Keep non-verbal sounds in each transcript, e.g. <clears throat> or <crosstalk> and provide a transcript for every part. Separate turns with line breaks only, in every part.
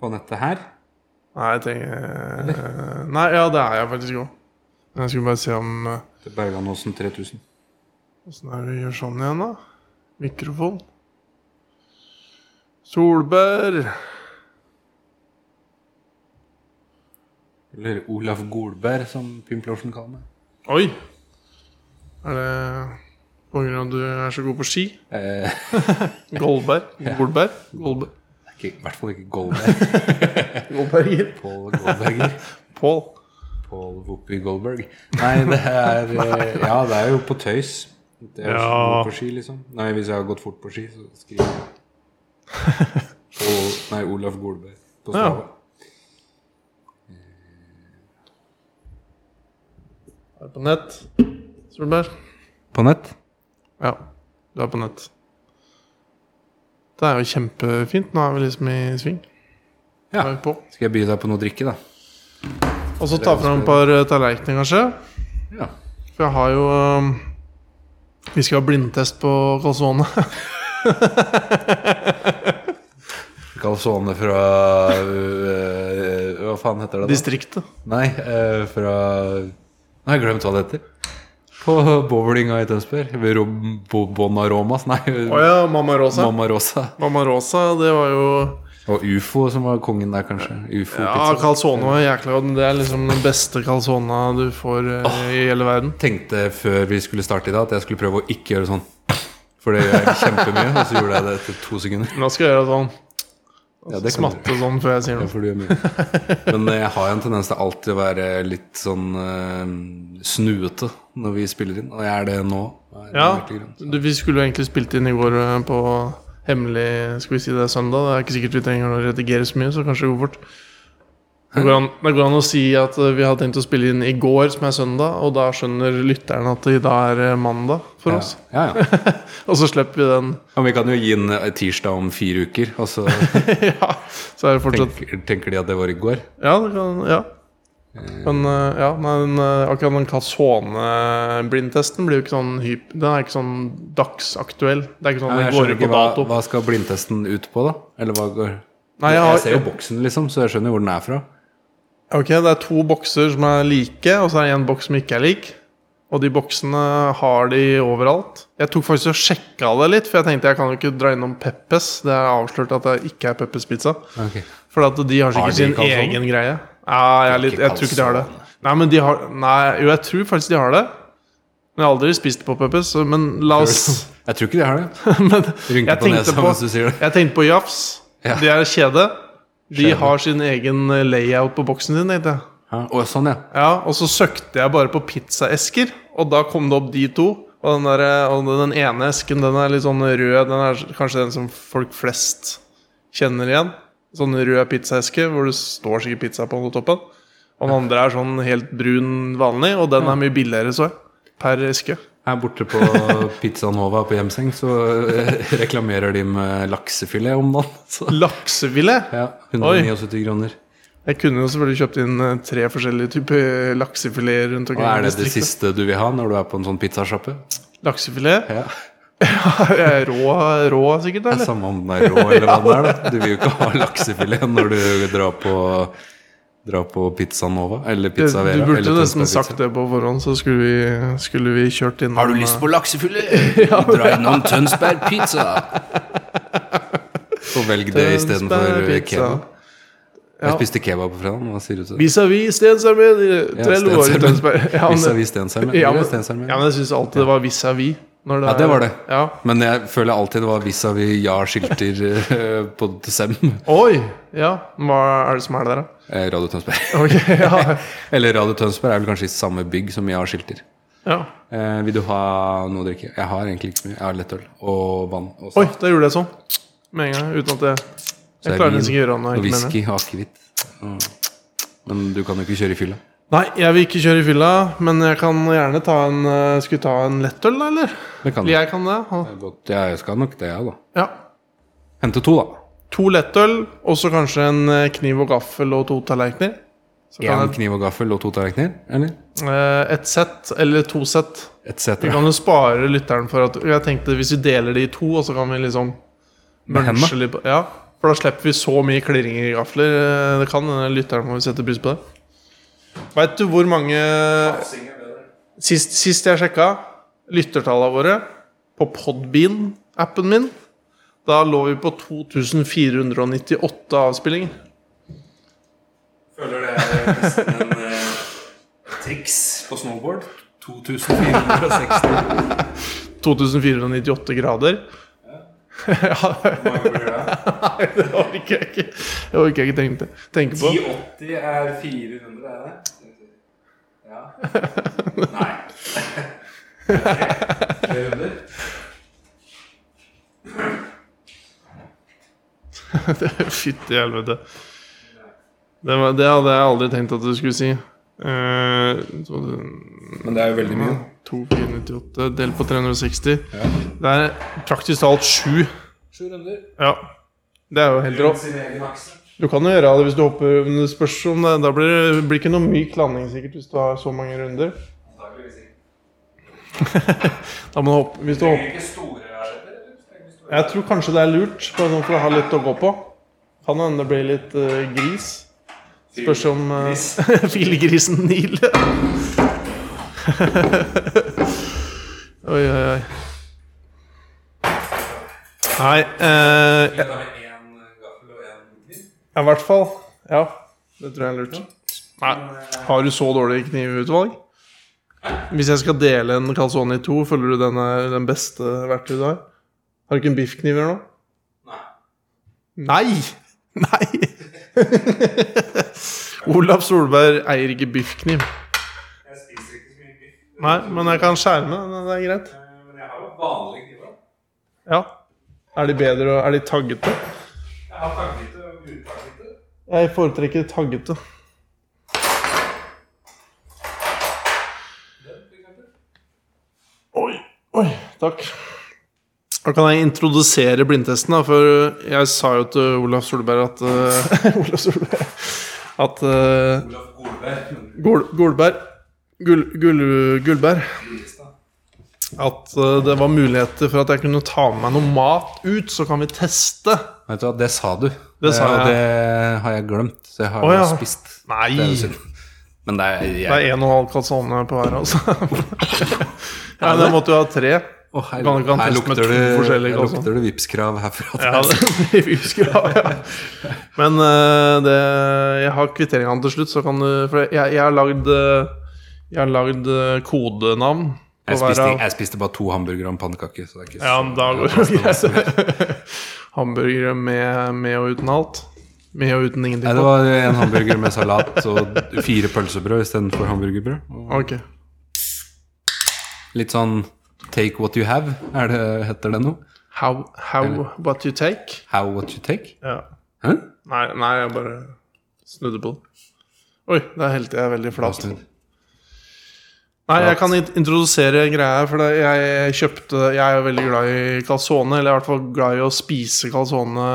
på nettet her?
Nei, jeg tenker eh, Nei, ja, det er jeg faktisk òg. Men jeg skulle bare se om eh,
Til Berganåsen 3000.
Åssen er det vi gjør sånn igjen, da? Mikrofon. Solbær.
Eller Olaf Golberg, som Pimplosjen kaller meg.
Oi! Er det på grunn av at du er så god på ski?
Eh,
<laughs> Goldbær? Golbær? Golbær.
ikke, I hvert fall ikke <laughs> Goldberg.
Goldberger.
Paul Goldberger.
Pål.
Paul Whoopi Goldberg. Nei, det er eh, Ja, det er jo på tøys. Det er jo
Ja.
sånn på ski, liksom. Nei, hvis jeg har gått fort på ski, så skriver jeg Paul, Nei, Olaf Golberg på
Ja.
Strava.
Er på nett. Solbær.
På nett?
Ja, du er på nett. Det er jo kjempefint. Nå er vi liksom i sving.
Ja.
Da er vi på.
Skal jeg by deg på noe drikke, da?
Og så ta fram et par eh, tallerkener, kanskje.
Ja.
For jeg har jo um, Vi skal ha blindtest på calzone.
Calzone fra øh, Hva faen heter det? da?
<laughs> Distriktet.
Nei, eh, fra Nå har jeg glemt hva det heter. På bowlinga i Tønsberg. Ved Rom- Bo- Bonaromas, nei.
Å ja, altså. Mamma Rosa.
Mamma Rosa.
Mamma Rosa, det var jo
Og Ufo som var kongen der, kanskje. Ufo
Ja,
pizza.
calzone var jækla godt. men Det er liksom den beste calzona du får eh, i hele verden.
Tenkte før vi skulle starte i dag, at jeg skulle prøve å ikke gjøre sånn. For det gjør jeg kjempemye, og så gjorde jeg det etter to
<laughs>
sekunder.
Nå skal jeg gjøre sånn.
Ja, det kan du
Smatte sånn før
<laughs>
jeg sier
Ja,
noe.
for du gjør mye. Men eh, jeg har jo en tendens til alltid å være litt sånn eh, snuete når vi spiller inn, og jeg er det nå. av en
Ja,
merkelig grunn.
du, Vi skulle jo egentlig spilt inn i går eh, på hemmelig Skal vi si det er søndag? Det er ikke sikkert vi trenger å redigere så mye, så kanskje det går fort. Det går, an, det går an å si at eh, vi hadde tenkt å spille inn i går, som er søndag, og da skjønner lytteren at det da er eh, mandag for
Ja.
oss.
Ja, ja.
Og så slipper vi den. <laughs>
Ja, Men vi kan jo gi en eh, tirsdag om fire uker, og så
ja, så er det fortsatt
tenker, tenker de at det var i går.
Ja, det kan Ja. Men eh, ja, nei, den, eh, akkurat den Casone-blindtesten blir jo ikke sånn hyp... Den er ikke sånn dagsaktuell. Det er ikke sånn
Ja,
at
jeg
den går
skjønner
ut
ikke
på
hva,
dato.
hva skal blindtesten ut på, da? Eller hva går
Nei, jeg
Jeg ser jo
har,
boksen, liksom, så jeg skjønner hvor den er fra.
ok, det er to bokser som er like, og så er det en boks som ikke er lik. Og de boksene har de overalt. Jeg tok faktisk og sjekka det litt, for jeg tenkte jeg kan jo ikke dra innom Peppes. Det er avslørt at det ikke er Peppes pizza. For at de
Har
har
de
sikkert sin
kalsone?
egen greie. Ja, jeg, er litt,
Ikke
jeg tror ikke de har det. Nei, men de har Nei, jo, jeg tror faktisk de har det. Men jeg har aldri spist på Peppes. så- Men la oss
Jeg tror ikke de har det.
<laughs> men,
Rynker
jeg,
på
tenkte
nesa
på,
mens du sier det.
jeg tenkte på Jafs.
Ja.
De er en kjede. De
Kjede.
har sin egen layout på boksen sin. Tenkte jeg.
Ja. Å, sånn, ja.
Ja, Og så søkte jeg bare på pizzaesker, og da kom det opp de to. Og den, der, og den ene esken den er litt sånn rød. Den er kanskje den som folk flest kjenner igjen. Sånn rød pizzaeske hvor det står sikkert pizza på toppen. Og den andre er sånn helt brun vanlig, og den er mye billigere, så jeg. Per eske.
Her borte på Pizza Nova på Hjemseng så eh, reklamerer de med laksefilet om dagen. Så.
Laksefilet!
Ja, 179 kroner.
Jeg kunne jo selvfølgelig kjøpt inn eh, tre forskjellige typer laksefileter rundt
Og
omkring. i
er det det
distriktet.
siste du vil ha når du er på en sånn pizzasjappe?
Laksefilet? <laughs>
Ja.
Er rå, rå sikkert,
Det er
eller?
samme om den er rå eller hva den er, da. Du vil jo ikke ha laksefilet når du drar på, drar på Pizza Nova eller
Det-
Pizza Vera.
du burde
eller
nesten
Tønsberg
sagt
Pizza.
det på forhånd, så skulle vi, skulle vi kjørt inn
Har du lyst på
<laughs>
laksefilet? Dra innom Tønsberg Pizza. Og velg det
eh,
istedenfor kebab.
Ja.
Jeg spiste kebab på fredag. Hva sier du til det?
Vis-à-vis Stensarmeen i Trello år i
Stensarmeen. <laughs>
Tønsberg. Ja, men-
Vis-à-vis Stensarmeen.
Ja,
Eller
men,
Stensarmeen.
ja, men jeg syns alltid det var vis-à-vis. når
Ja,
er-
det var det.
Ja.
Men jeg føler alltid det var vis-à-vis ja-skilter eh, på Sem.
Oi! Ja. Hva er det som er der, da? <laughs>
Eh, Radio Tønsberg. <laughs>
Ok, ja.
Eller Radio Tønsberg er vel kanskje i samme bygg som ja-skilter.
ja.
Eh, vil du ha noe å drikke? Jeg har egentlig ikke så mye. Jeg har lettøl og vann. Og
Oi, da gjorde jeg sånn. Med en gang. Uten at jeg Jeg
er
klarer
vin
nesten ikke å gjøre noe
og
helt med det.
whisky og akevitt. Mm. Men du kan jo ikke kjøre i fylla.
Nei, jeg vil ikke kjøre i fylla, men jeg kan gjerne ta en eh, Skal vi ta en lettøl, da, eller?
Det kan du.
Eller Jeg kan det. ha-
Jeg skal nok det, jeg, da.
Ja.
Hente to, da.
To lettøl, og så kanskje en eh, kniv og gaffel og to tallerkener. Så kan
Én
jeg-
kniv og gaffel og to tallerkener? Eller?
Eh, Et sett eller to sett.
Et
Vi
cetera.
kan jo spare lytteren for at Jeg tenkte hvis vi deler det i to, og så kan vi liksom
Med hendene?
munche litt på Ja. For da slipper vi så mye klirringer i gafler. eh, Det kan hende lytteren må sette pris på det. Veit du hvor mange Sist, sist jeg sjekka lyttertallene våre på Podbean-appen min, da lå vi på 2498 avspillinger.
Føler det er nesten en eh, triks på snowboard. 2460.
2498 grader. Ja, <laughs>
Hvor mange blir det?
Nei, det orker jeg ikke, det orker jeg ikke tenke, tenke på.
1080 er 400, er det? Ja. Nei. <laughs> 300?
<laughs> Fytti helvete. Det, var, det hadde jeg aldri tenkt at du skulle si. Eh, så det-
Men det er jo veldig mye.
2498 delt på 360.
Ja.
Det er praktisk talt sju.
700.
Ja. Det er jo helt rått.
Sin egen akse.
Du kan jo gjøre det hvis du hopper, men det spørs om det Da blir det blir ikke noe myk landing sikkert hvis du har så mange runder.
Antakeligvis ikke.
Da må du hoppe, hvis du hopper.
Trenger ikke store raketter, eller? Trenger ikke store-
Jeg tror kanskje det er lurt, bare sånn for å ha litt å gå på. Kan hende det blir litt eh, gris. Spørs om
Gris.
uh, <laughs> Filgrisen Nil. <laughs> oi, oi, oi. Nei eh,
Vil du ha en gaffel og en kniv?
Ja, I hvert fall. Ja, det tror jeg er lurt. Nei, Har du så dårlig knivutvalg? Hvis jeg skal dele en calzone i to, føler du den er den beste verktøyet du har? Har du ikke en biffkniv eller noe?
Nei.
Nei! Nei! <laughs> Olav Solberg eier ikke biffkniv.
Jeg spiser ikke så mye biff.
Nei, men jeg kan skjerme. Det er greit.
Eh, Men jeg har jo vanlige kniver. da.
Ja. Er de bedre og Er de taggete?
Jeg har taggete og utaggete.
Jeg foretrekker taggete. Oi, oi, takk. Da kan jeg introdusere blindtesten, da, for jeg sa jo til Olav Solberg at eh, <laughs> Olav Solberg At eh,
Olav Golberg. men
Gol- Golberg Gull, Gull, Gullberg
Gullestad.
At eh, det var muligheter for at jeg kunne ta med meg noe mat ut, så kan vi teste.
Vet du hva, det sa du.
Det sa
Eh, og
jeg.
det har jeg glemt. Så jeg har
Å, ja.
spist.
Nei!
Det er jo synd. Men det er
Det
jeg.
er en og en halv calzone på hver, altså. <laughs> ja, men jeg måtte jo ha tre.
Å, her,
Kan- kan
her
teste med
lukter
to
det,
forskjellige
her
også.
lukter det Vipps-krav herfra.
Ja, det <laughs> vi skulle ha, ja. Men eh, det, jeg har kvitteringene til slutt, så kan du For jeg, jeg har lagd eh, Jeg har lagd eh, kodenavn
<laughs>
på
Jeg
hver
spiste,
av
jeg spiste bare to hamburgere og en pannekake. Så det er ikke så
Ja, men da går det greit. <laughs> Hamburgere med, med og uten alt. Med og uten
Nei,
ingenting
det
på.
var en hamburger med salat og fire pølsebrød istedenfor hamburgerbrød. Og
Ok.
Litt sånn take what you have, er det, heter det noe?
How, how what you take?
How what you take?
Ja.
Hæ?
Nei, nei, jeg bare snudde på det. Oi, der helte jeg veldig flat. Nei, jeg kan int- introdusere en greie her, for det, jeg kjøpte Jeg er jo veldig glad i calzone, eller i hvert fall glad i å spise calzone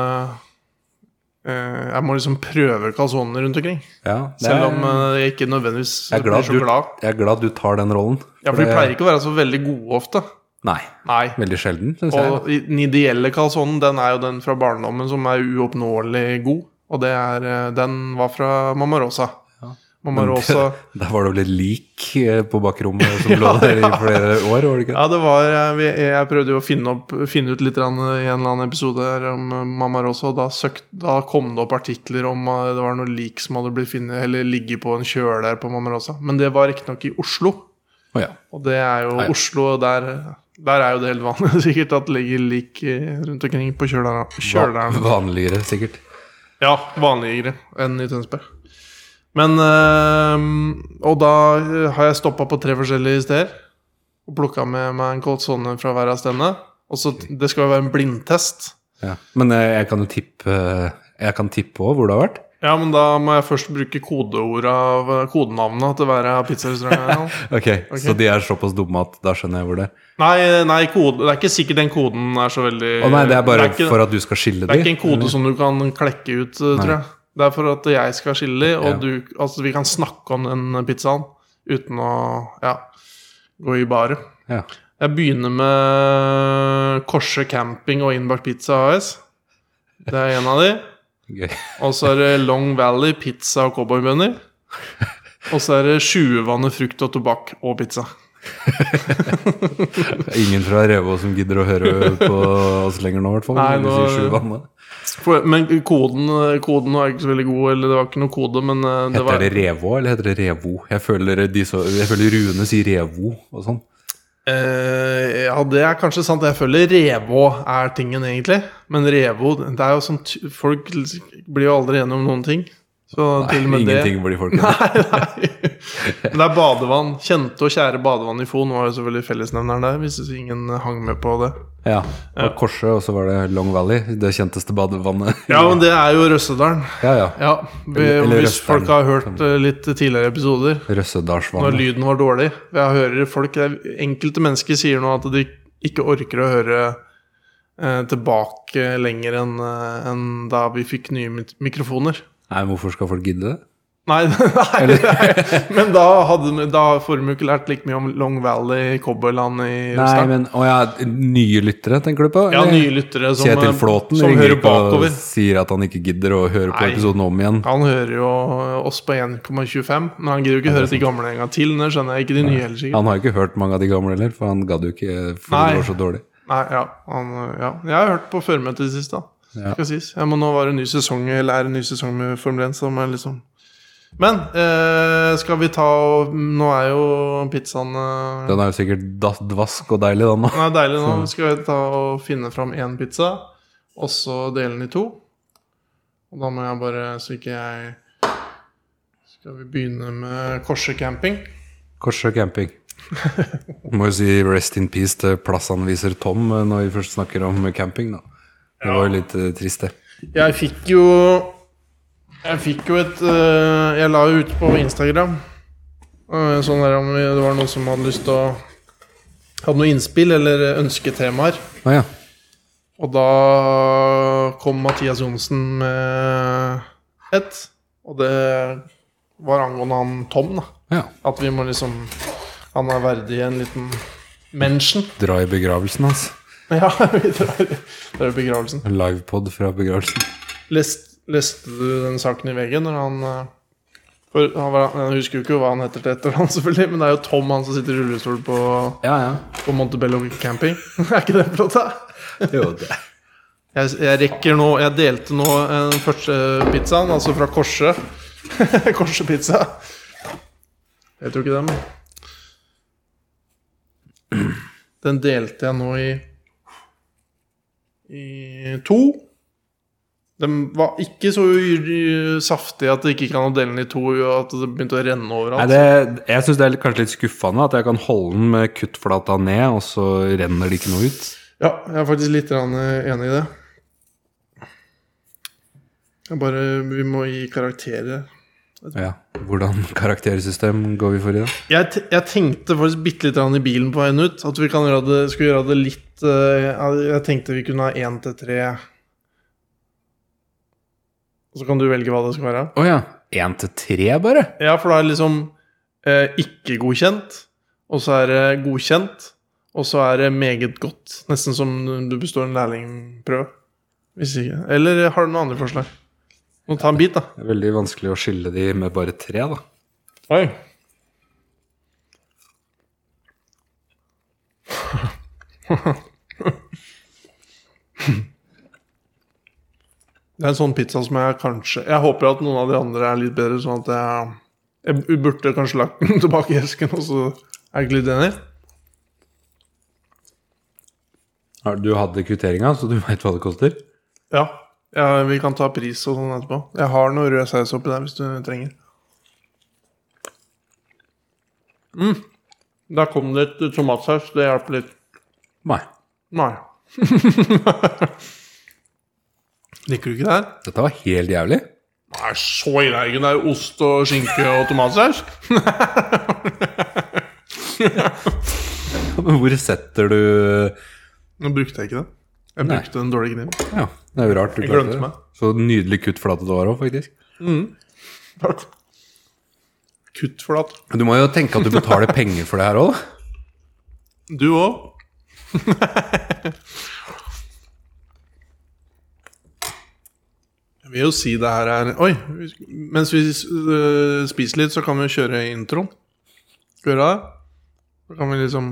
Eh, Jeg må liksom prøve calzone rundt omkring.
Ja, det er,
Selv om eh, jeg ikke nødvendigvis
jeg, er glad
blir så
du,
glad.
jeg er glad du tar den rollen.
Ja, for de pleier ikke å være så veldig gode ofte.
Nei,
Nei.
veldig sjelden, syns jeg.
Og i- den ideelle calzonen, den er jo den fra barndommen som er uoppnåelig god. Og det er, eh, den var fra Mamma Rosa. Mamma
<laughs>
Rosa
Der var det vel et lik eh, på bakrommet
<laughs>
som lå der i flere år, var det ikke?
Ja, det var eh, vi- Jeg prøvde jo å finne, opp, finne ut litt grann, eh, i en eller annen episode her om eh, Mamma Rosa, og da, søkt, da kom det opp artikler om eh, det var noe lik som hadde blitt finnet, eller ligget på en kjøle her på Mamma Rosa. Men det var riktignok i Oslo.
Å ja.
Og det er jo
Nei.
Oslo, der, eh, der er jo det helt vanlig <laughs> sikkert at det ligger lik eh, rundt omkring på kjølerne. kjølerne.
Va- Vanligere, sikkert.
Ja, vanligere enn i Tønsberg. Men eh, Og da eh, har jeg stoppa på tre forskjellige steder. Og plukka med meg en colzone fra hver av stedene. Og så, Det skal jo være en blindtest.
Ja. Men eh, jeg kan jo tippe eh, Jeg kan tippe òg hvor det har vært.
Ja, men da må jeg først bruke kodeorda av kodenavna til hver av pizzarestaurantene.
<laughs> Ok, Så de er såpass dumme at da skjønner jeg hvor det er.
nei, nei kode, det er ikke sikkert den koden er så veldig
Å nei, det er bare
Eh, ikke,
for at du skal skille
det er ikke
de?
en kode som du kan klekke ut, eh, tror jeg. Det er for at jeg skal skille, og
Ja.
du, altså, vi kan snakke om den pizzaen uten å ja, gå i baret.
Ja.
Jeg begynner med Korse camping og Innbakt pizza AS. Det er en av de.
Gøy.
Og så er det Long Valley pizza og cowboybønner. Og så er det Sjuevannet frukt og tobakk og pizza.
Det er <laughs> ingen fra Revås som gidder å høre på oss lenger nå, i hvert fall.
Nei,
når vi
nå-
sier sju vann, da.
For, men koden, koden var ikke så veldig god, eller det var ikke noe kode, men eh, det
Heter
var
det Revå, eller heter det Revo? Jeg føler, de så, jeg føler Rune sier Revo og sånn.
Eh, ja, det er kanskje sant. Jeg føler Revå er tingen, egentlig. Men Revå det er jo sånn ty- Folk blir jo aldri enige om noen ting. Så til og med
Ingenting for de folkene.
det <laughs> Nei, nei. Men det er badevann. Kjente og kjære badevann i Fon var jo selvfølgelig fellesnevneren der, hvis ingen hang med på det.
Ja. Og Korset, og så var det Long Valley, det kjenteste badevannet.
Ja, men det er jo Røssedalen.
ja, ja.
Ja, vi,
Eller- eller
Hvis folk har hørt eh, litt tidligere episoder, når
Røssedalsvannet.
lyden var dårlig Jeg hører folk Enkelte mennesker sier nå at de ikke orker å høre eh, tilbake lenger enn eh, enn da vi fikk nye mik- mikrofoner.
Nei, men hvorfor skal folk gidde det?
Nei, <laughs> nei, nei. <laughs> men da, hadde, vi- da får de jo ikke lært like mye om Long Valley, Cowboyland i
Nei,
Russland.
men Å ja, nye lyttere tenker du på?
Ja,
eller?
nye lyttere som,
Kjetil
eh,
Flåten
som
ringer
hører
ikke og
bakover.
sier at han ikke gidder å høre på
Nei.
episoden om igjen.
Han hører jo oss på 1,25, men han gidder jo ikke høre de gamle en gang til. Det skjønner jeg ikke de nye heller, sikkert.
Han har ikke hørt mange av de gamle heller, for han gadd jo ikke fordi
Nei.
det var så dårlig.
Nei, ja, han, ja. Jeg har hørt på førmøtet sist, da.
Ja.
Skal sies. Ja, men nå var det en ny sesong Eller er det en ny sesong med Formel 1. Som er liksom Men eh, skal vi ta og Nå er jo pizzaen eh,
Den er jo sikkert dass- dvask og deilig, den da.
Den er deilig nå. Skal vi ta og finne fram én pizza, og så dele den i to? Og da må jeg bare Så ikke jeg Skal vi begynne med Korse camping?
Korssjø
<laughs>
camping. Må jo si rest in peace til plassanviser Tom eh, når vi først snakker om camping, da. Det var jo litt eh, trist, det.
Jeg fikk jo Jeg fikk jo et eh, Jeg la jo ut på Instagram eh, Sånn der om det var noen som hadde lyst til å Hadde noen innspill eller ønsketemaer
Å ja.
Og da kom Mathias Jonsen med et Og det var angående han Tom da
ja.
At vi må liksom Han er verdig en liten Menschen
Dra i begravelsen altså. hans.
<laughs> Ja, vi drar Det er begravelsen
Livepod fra begravelsen.
Lest, leste du den saken i VG når han eh, for han var, Jeg husker jo ikke hva han heter til etternavn, <laughs> selvfølgelig, men det er jo Tom, han som sitter i rullestol på,
Ja, ja.
på Montebello camping. <laughs> er ikke det flott, da?
<laughs> Jo, det.
Jeg, jeg rekker nå Jeg delte nå eh, den første pizzaen, altså fra <laughs> Korset. Korsepizza. Jeg tror ikke det, men Den delte jeg nå i i to. Den var ikke så u- u- saftig at det ikke gikk an å dele den i to, og at det begynte å renne
Nei,
overalt.
det, jeg syns det er litt- kanskje litt skuffende at jeg kan holde den med kuttflata ned, og så renner det ikke noe ut.
Ja, jeg er faktisk litt grann, eh, enig i det. Jeg bare Vi må gi karakterer.
Ja. Hvordan <laughs> karaktersystem går vi for i dag?
Jeg, te- jeg tenkte faktisk bitte litt i bilen på veien ut. At vi kan gjøre det, skulle gjøre det litt eh, Jeg jeg tenkte vi kunne ha én til tre. Og så kan du velge hva det skal være.
Å ja. Én til tre, bare?
Ja, for da er det liksom eh, ikke godkjent, og så er det godkjent, og så er det meget godt. Nesten som du består en lærlingprøve. Hvis ikke. Eller har du noen andre forslag? Må ta en bit, da.
Det er veldig vanskelig å skille de med bare tre, da.
Oi. <laughs> Det er en sånn pizza som jeg kanskje Jeg håper at noen av de andre er litt bedre, sånn at jeg, jeg burde kanskje lagt den <laughs> tilbake i esken, og så er jeg ikke litt enig.
Har- Du hadde kvitteringa, så du veit hva det koster?
Ja. ja. Vi kan ta pris og sånn etterpå. Jeg har noe rød saus oppi der hvis du trenger. Mm. Der kom det litt tomatsaus. Det hjalp litt.
Nei.
Nei. <laughs> Liker du ikke det her?
Dette var helt jævlig.
Nei, så ille er det ikke. Det er jo ost og skinke og tomatsaus.
<laughs> Men hvor setter du
Nå brukte jeg ikke det. Jeg
Nei.
brukte den dårlige kniven.
Ja, det er jo rart du
Jeg
klarte
glemte
det.
meg.
Så nydelig kuttflate det var òg, faktisk.
Takk. Kutt for det.
Men Du må jo tenke at du betaler penger for det her òg.
Du òg. vil jo si det her er Oi! Mens vi øh, spiser litt, så kan vi jo kjøre introen. Skal vi gjøre det? Så kan vi liksom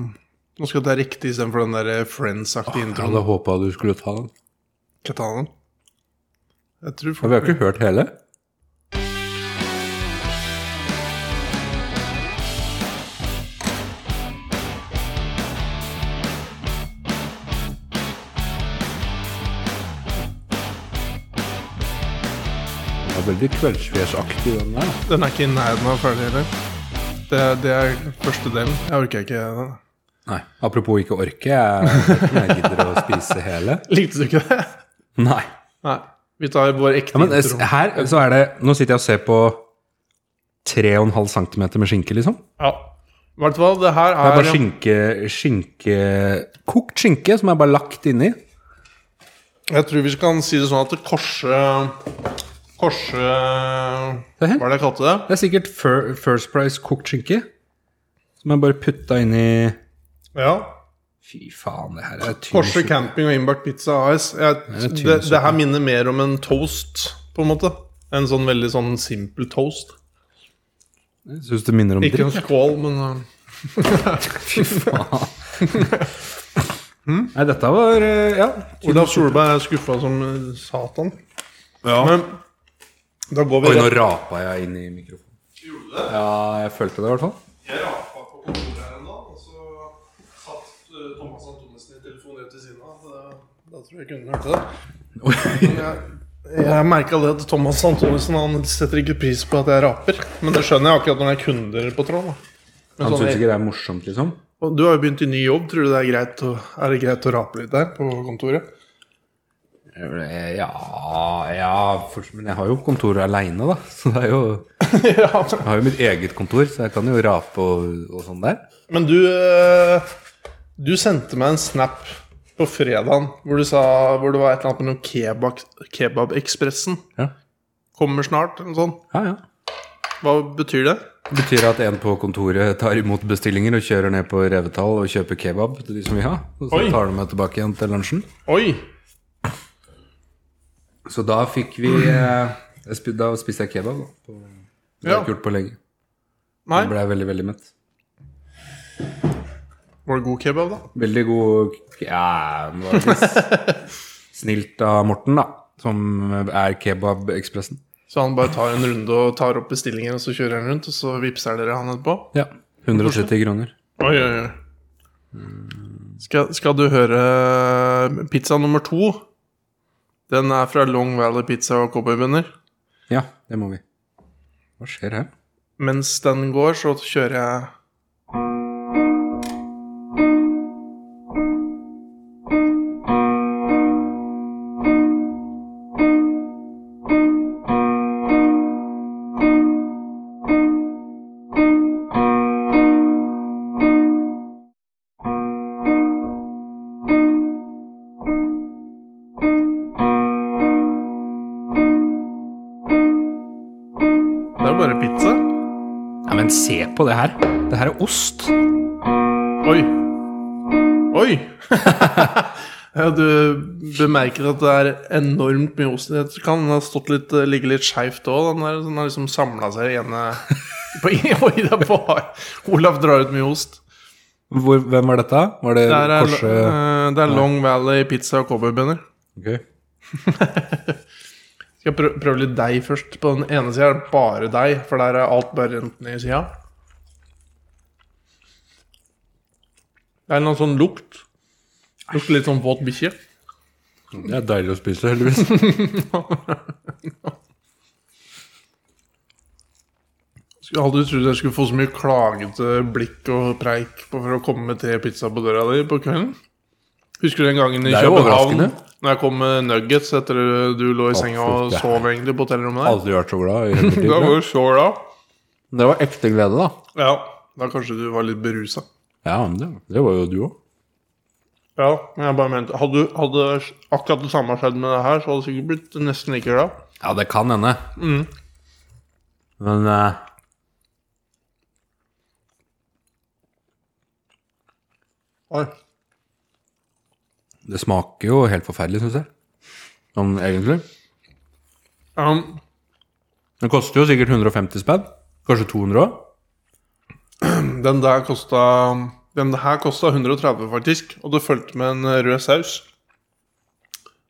Nå skal jeg ta riktig istedenfor den der eh, Friends-aktige
Jeg
introen.
hadde håpa du skulle ta den.
Skal jeg ta den? Jeg tror
Men
folk
vi har ikke hørt hele. Det var veldig kveldsfjesaktig, den der. da.
Den er ikke i nærheten av ferdig heller. Det, det er første delen. Jeg orker ikke den.
Nei. Apropos ikke orke, jeg, jeg gidder å spise hele.
Likte du ikke det?
<laughs> Nei.
Nei. Vi tar vår ekte
Ja, men eh, s-
intro.
her så er det Nå sitter jeg og ser på 3,5 cm med skinke, liksom.
Ja. I hvert fall, det her
Det er
er,
bare skinke, skinke Kokt skinke som er bare lagt inni.
Jeg tror vi kan si det sånn at det korse Korse Hva
Hæ?
er det jeg kalte det?
Det er sikkert fir, First Price kokt skinke. Som er bare putta inni
Ja.
Fy faen, det her er tynn
Korse camping og innbakt pizza AS. Jeg,
er
det,
tynn
det,
suppe.
her minner mer om en toast, på en måte. En sånn veldig sånn simpel toast.
Jeg Syns det minner om
Ikke
dritt.
en skål, men uh,
<laughs> Fy faen. Nei, dette var eh, Ja.
Olav Solberg er skuffa som uh, satan.
ja.
Men da går vi
Oi, nå
rett
rapa jeg inn i mikrofonen.
Gjorde det?
Ja, jeg følte det i hvert fall. <laughs>
Jeg rapa på kontoret her en dag, og så satt eh, Thomas Antonesen i telefonen rett ved siden av. så det- Da tror jeg ikke hun hørte det.
Oi.
Jeg, jeg merka det at Thomas Antonesen han setter ikke pris på at jeg raper. Men det skjønner jeg akkurat når det er kunder på tråden. da. Men
Han
sånn,
syns ikke det er morsomt, liksom?
og Du har jo begynt i ny jobb. Tror du det er greit å, er det greit å rape litt der på
<laughs>
kontoret?
Ja, ja for- Men jeg har jo kontoret aleine, da. Så det er jo
ja.
Jeg har jo mitt eget kontor, så jeg kan jo rape og, og sånn der.
Men du eh, Du sendte meg en snap på fredagen hvor du sa Hvor det var et eller annet med noe kebab, Kebabekspressen.
Ja,
Kommer snart, eller noe sånt.
ja.
Hva betyr det?
Det betyr at en på kontoret tar imot bestillinger og kjører ned på Revetal og kjøper kebab til de som vil ha. Og så
Oi.
tar de meg tilbake igjen til lunsjen.
Oi!
Så da fikk vi eh, jeg spi- Da spiste jeg kebab, da. På, det har
Ja.
jeg ikke gjort på lenge.
Nei.
Da ble jeg veldig, veldig mett.
Var det god kebab, da?
Veldig god Ja, det var litt <laughs> s- snilt av Morten, da. Som er Kebabekspressen.
Så han bare tar en runde og tar opp bestillinger, og så kjører han rundt, og så vippser dere han etterpå?
Ja. 170 kroner.
Oi, oi, oi. Skal, skal du høre pizza nummer to? Den er fra Long Valley Pizza og Cowboybønner.
Ja, det må vi. Hva skjer her?
Mens den går, så kjører jeg Det er jo bare pizza.
Ja, men se på det her. Det her er ost.
Oi. Oi! <laughs> ja, du bemerker at det er enormt mye ost i det. Det Kan ha stått litt, eh, ligge litt skeivt òg. Den, der- den har liksom samla seg i <laughs> ene på- Oi, det er bare Olaf drar ut mye ost.
Hvor, hvem var dette? Var det
Det er, eh,
Korse
eh, det er Long Valley pizza og cowboybønner.
Ok.
Skal jeg prø- prøve litt deig først. På den ene sida er det bare deig, for der er alt bare rent ned i sida. Det er noen sånn lukt. Lukter litt sånn våt bikkje.
Det er deilig å spise,
<laughs>
heldigvis.
Skulle aldri trodd jeg skulle få så mye klagete blikk og preik på for å komme med tre pizza på døra di på kvelden. Husker du den gangen i
Det er jo
København?
overraskende.
Når jeg kom med nuggets etter du lå i senga og
fy, det er-
sov egentlig på hotellrommet der.
Aldri vært så glad. i hele mitt liv, tror
Da
jeg.
var du så glad.
Det var ekte glede, da.
Ja, da kanskje du var litt berusa.
Ja, men det, det var jo du òg.
Ja, men jeg bare mente Hadde, hadde akkurat det samme skjedd med det her, så hadde du sikkert blitt nesten like glad.
Ja, det kan hende.
Mm.
Men eh,
Oi.
det smaker jo helt forferdelig, syns jeg. Sånn egentlig.
Um,
Den koster jo sikkert 150 spenn. Kanskje 200 òg.
Den der kosta Den her kosta 130, faktisk. Og det fulgte med en eh, rød saus.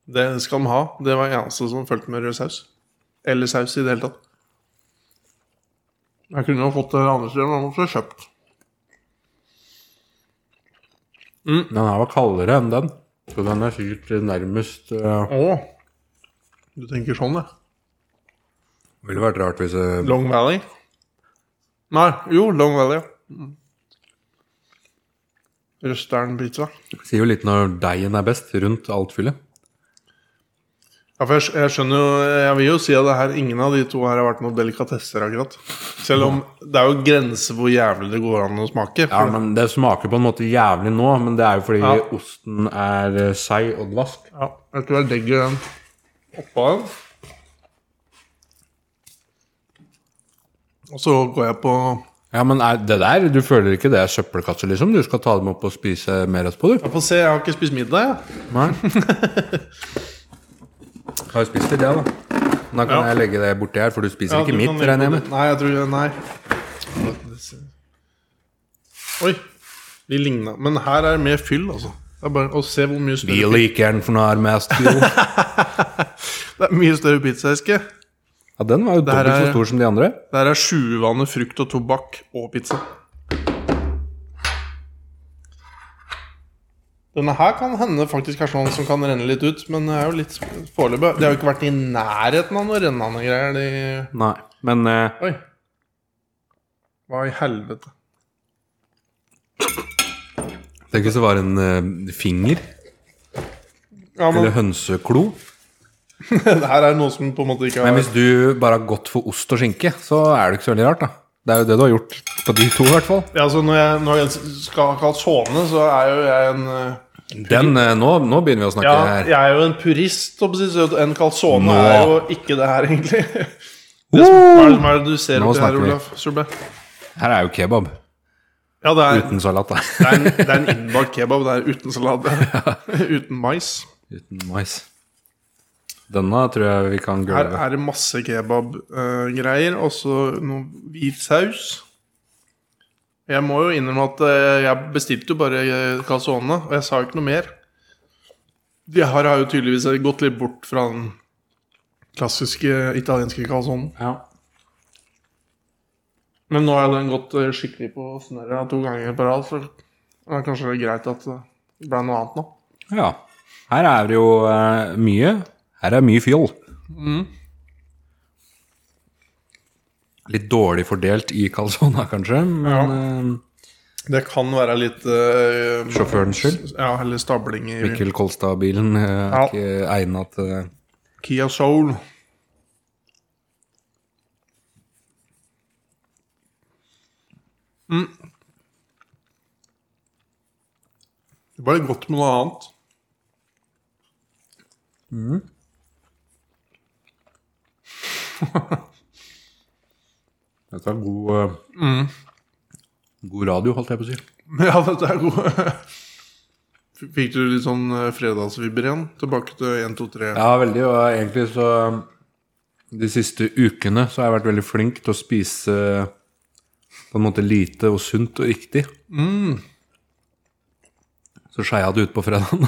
Det skal de ha. Det var eneste som fulgte med rød saus. Eller saus i det hele tatt. Jeg kunne jo fått det andre steder, men jeg måtte ha kjøpt.
Den her var kaldere enn den. Så den er sikkert nærmest eh,
Å! Du tenker sånn, ja.
Ville vært rart hvis eh,
Long Valley? Nei, jo, Long Valley, ja. Mm. Røstern pizza.
Sier jo litt når deigen er best, rundt alt fyllet.
Ja, for jeg, skj- jeg skjønner jo Jeg vil jo si at det her, ingen av de to her har vært noen delikatesser, akkurat. Selv om det er jo grenser for hvor jævlig det går an å smake.
Ja,
For,
men Det smaker på en måte jævlig nå, men det er jo fordi
Ja.
osten er eh, seig og dvask.
ja, jeg tror jeg legger den oppå den. Og så går jeg på
Ja, men er det der, Du føler ikke det er søppelkasse, liksom? Du skal ta dem opp og spise mer ost på, du?
Jeg får se, jeg har ikke spist middag, jeg.
Nei. <laughs> Har jo spist litt, jeg, da. Da kan
Ja.
jeg legge det borti her, for du spiser
Ja, du
ikke mitt,
kan legge
regner jeg
på
med.
det. Nei, jeg tror Nei. Oi. De ligna. Men her er det mer fyll, altså. Det er bare å se hvor mye
Vi
større
liker den for noe er mest, <laughs> jo. Ja,
Det er mye større pizzaeske.
den var jo
her
dobbelt
er-
så stor som de andre.
Der er sjuvannet frukt og tobakk og pizza. Denne her kan hende faktisk er sånn som kan renne litt ut, men det er jo litt foreløpig. Det har jo ikke vært i nærheten av noe rennende greier. De...
Nei, men eh,
Oi. Hva i helvete?
tenk hvis det var en eh, finger
Ja, men
eller hønseklo.
<laughs> det her er noe som på en måte ikke
Men
har
hvis du bare har gått for ost og skinke, så er det ikke så veldig rart, da. Det er jo det du har gjort på de to, i hvert fall.
ja, altså, når, jeg, når jeg skal ha calzone, så er jo jeg en eh,
Den, eh, nå, nå begynner vi å snakke
Ja,
her.
jeg er jo en purist, holdt jeg på å si, så en calzone
Nå.
er jo ikke det her, egentlig. <laughs> Det som, hva er
Woo!
det som er det du ser
Nå
oppi her,
snakker vi.
Olaf Solberg?
Her er jo kebab
Ja, det er,
uten salat,
det
da. <laughs>
er en, det er en innbakt kebab. Det er uten salat. <laughs> uten mais.
Uten mais. Denne tror jeg vi kan
Her
gulve.
er det masse kebabgreier, og så noe hvit saus. Jeg må jo innrømme at eh, jeg bestilte jo bare eh, calzone, og jeg sa jo ikke noe mer. De her har jo tydeligvis gått litt bort fra den klassiske italienske calzonen.
Ja.
Men nå har den gått eh, skikkelig på snørra to ganger på rad, så det er kanskje greit at eh, det ble noe annet nå.
ja. Her er det jo eh, mye. Her er mye fjoll.
Mm.
Litt dårlig fordelt i calzona, kanskje, men
Det kan være litt eh,
Sjåførens skyld?
Ja, eller stabling i
eh, Mikkel Kolstad-bilen eh, er
Ja.
ikke egna til det.
Kia Soul. Mm. Det var litt godt med noe annet. <laughs>
Dette er god eh, God radio, holdt jeg på å si.
Men ja, dette er god. Fikk du litt sånn eh, fredagsvibber igjen? Tilbake til 1, 2, 3.
Ja, veldig. Og egentlig så De siste ukene så har jeg vært veldig flink til å spise eh, på en måte lite og sunt og riktig. Mm. Så skeia det ut på fredagen.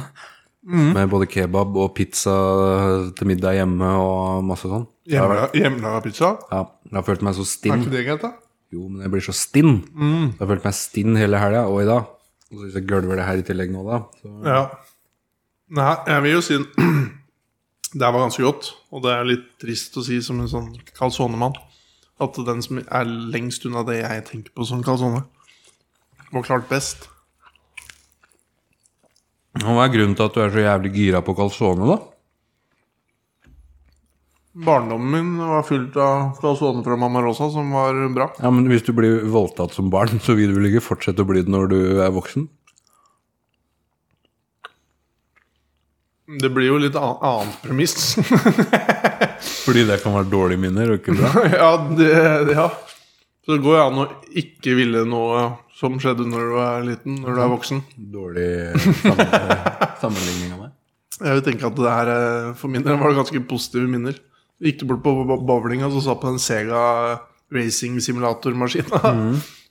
Med både kebab og pizza eh, til middag hjemme og masse sånn.
Hjemla- Hjemmelaga pizza?
Ja, jeg har følt meg så
Er
stinn.
ikke det greit, da?
Jo, men jeg blir så stinn. Jeg har følt meg stinn hele helga og i dag. Og så hvis jeg gølver det her i tillegg nå, da så
Ja. Nei, jeg vil jo si <clears throat> det her var ganske godt. Og det er litt trist å si som en sånn calzonemann at den som er lengst unna det jeg tenker på som calzone, var klart best.
Og Hva er grunnen til at du er så jævlig gira på calzone, da?
Barndommen min var fylt av calzone fra Mamma Rosa, som var bra.
Ja, men Hvis du blir voldtatt som barn, så vil du vel ikke fortsette å bli det når du er voksen?
Det blir jo litt an annet <laughs> premiss.
Fordi det kan være dårlige minner og ikke bra?
ja, det, ja. Så det går jo an å ikke ville noe som skjedde når du er liten, når du er voksen.
<laughs> Dårlig sam- sammenligning av meg.
Jeg vil tenke at det her eh, for min del var det ganske positive minner. Gikk du bort på bo- bowlinga og så på den Sega racing simulatormaskina.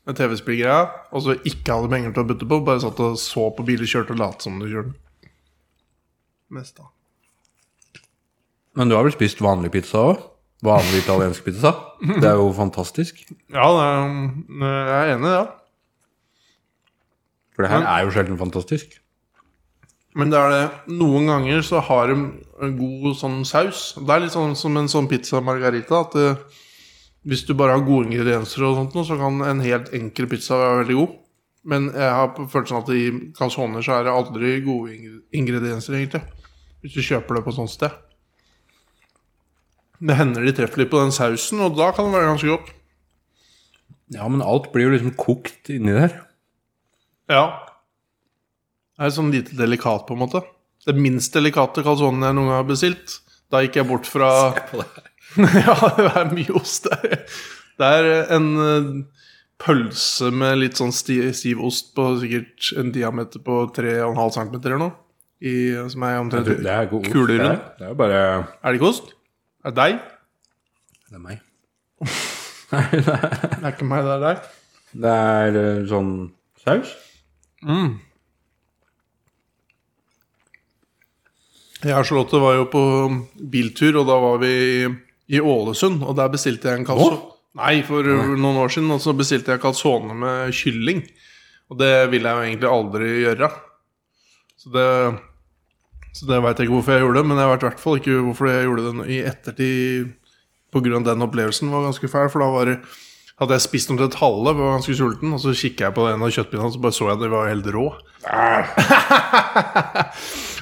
Med TV-spillgreia. Og så ikke hadde penger til å bytte på, bare satt og så på biler kjørte og lot som du kjørte. Mest da.
Men du har vel spist vanlig pizza òg? Vanlig italiensk pizza? Det er jo fantastisk.
Ja, det er- jeg er enig i det.
For det her er jo sjelden fantastisk.
Men det er det, noen ganger så har de en god sånn saus. Det er litt sånn som en sånn pizza margarita. At eh, hvis du bare har gode ingredienser, og sånt, noe, så kan en helt enkel pizza være veldig god. Men jeg har på følelsen at i calzoner så er det aldri gode ingre- ingredienser, egentlig. Hvis du kjøper det på sånt sted. Det hender de treffer litt på den sausen, og da kan det være ganske godt.
Ja, men alt blir jo liksom kokt inni der.
Ja. Det er sånn lite delikat, på en måte. Det minst delikate calzonen jeg noen gang har bestilt. Da gikk jeg bort fra <laughs> Ja, det er mye ost der. Det er en eh, pølse med litt sånn sti, stiv ost på sikkert en diameter på 3,5 cm eller noe. I, som er omtrent
Det er god ost.
Kuler
Det er-
rundt.
Det er jo bare
Er det ikke ost? Er det deg?
Det er meg.
Det er ikke meg, det er deg.
Det er eh, sånn saus.
Jeg og Charlotte var jo på biltur, og da var vi i Ålesund. Og der bestilte jeg en calzone. Nei, for noen år siden. Og så bestilte jeg calzone med kylling. Og det vil jeg jo egentlig aldri gjøre. Så det Så det veit jeg ikke hvorfor jeg gjorde det, men jeg vet i hvert fall ikke hvorfor jeg gjorde det i ettertid. På grunn av den opplevelsen var ganske fæl, for da var det hadde jeg spist omtrent halve, var ganske sulten, og så kikka jeg på en av kjøttpinnene, og så bare så jeg at de var helt rå.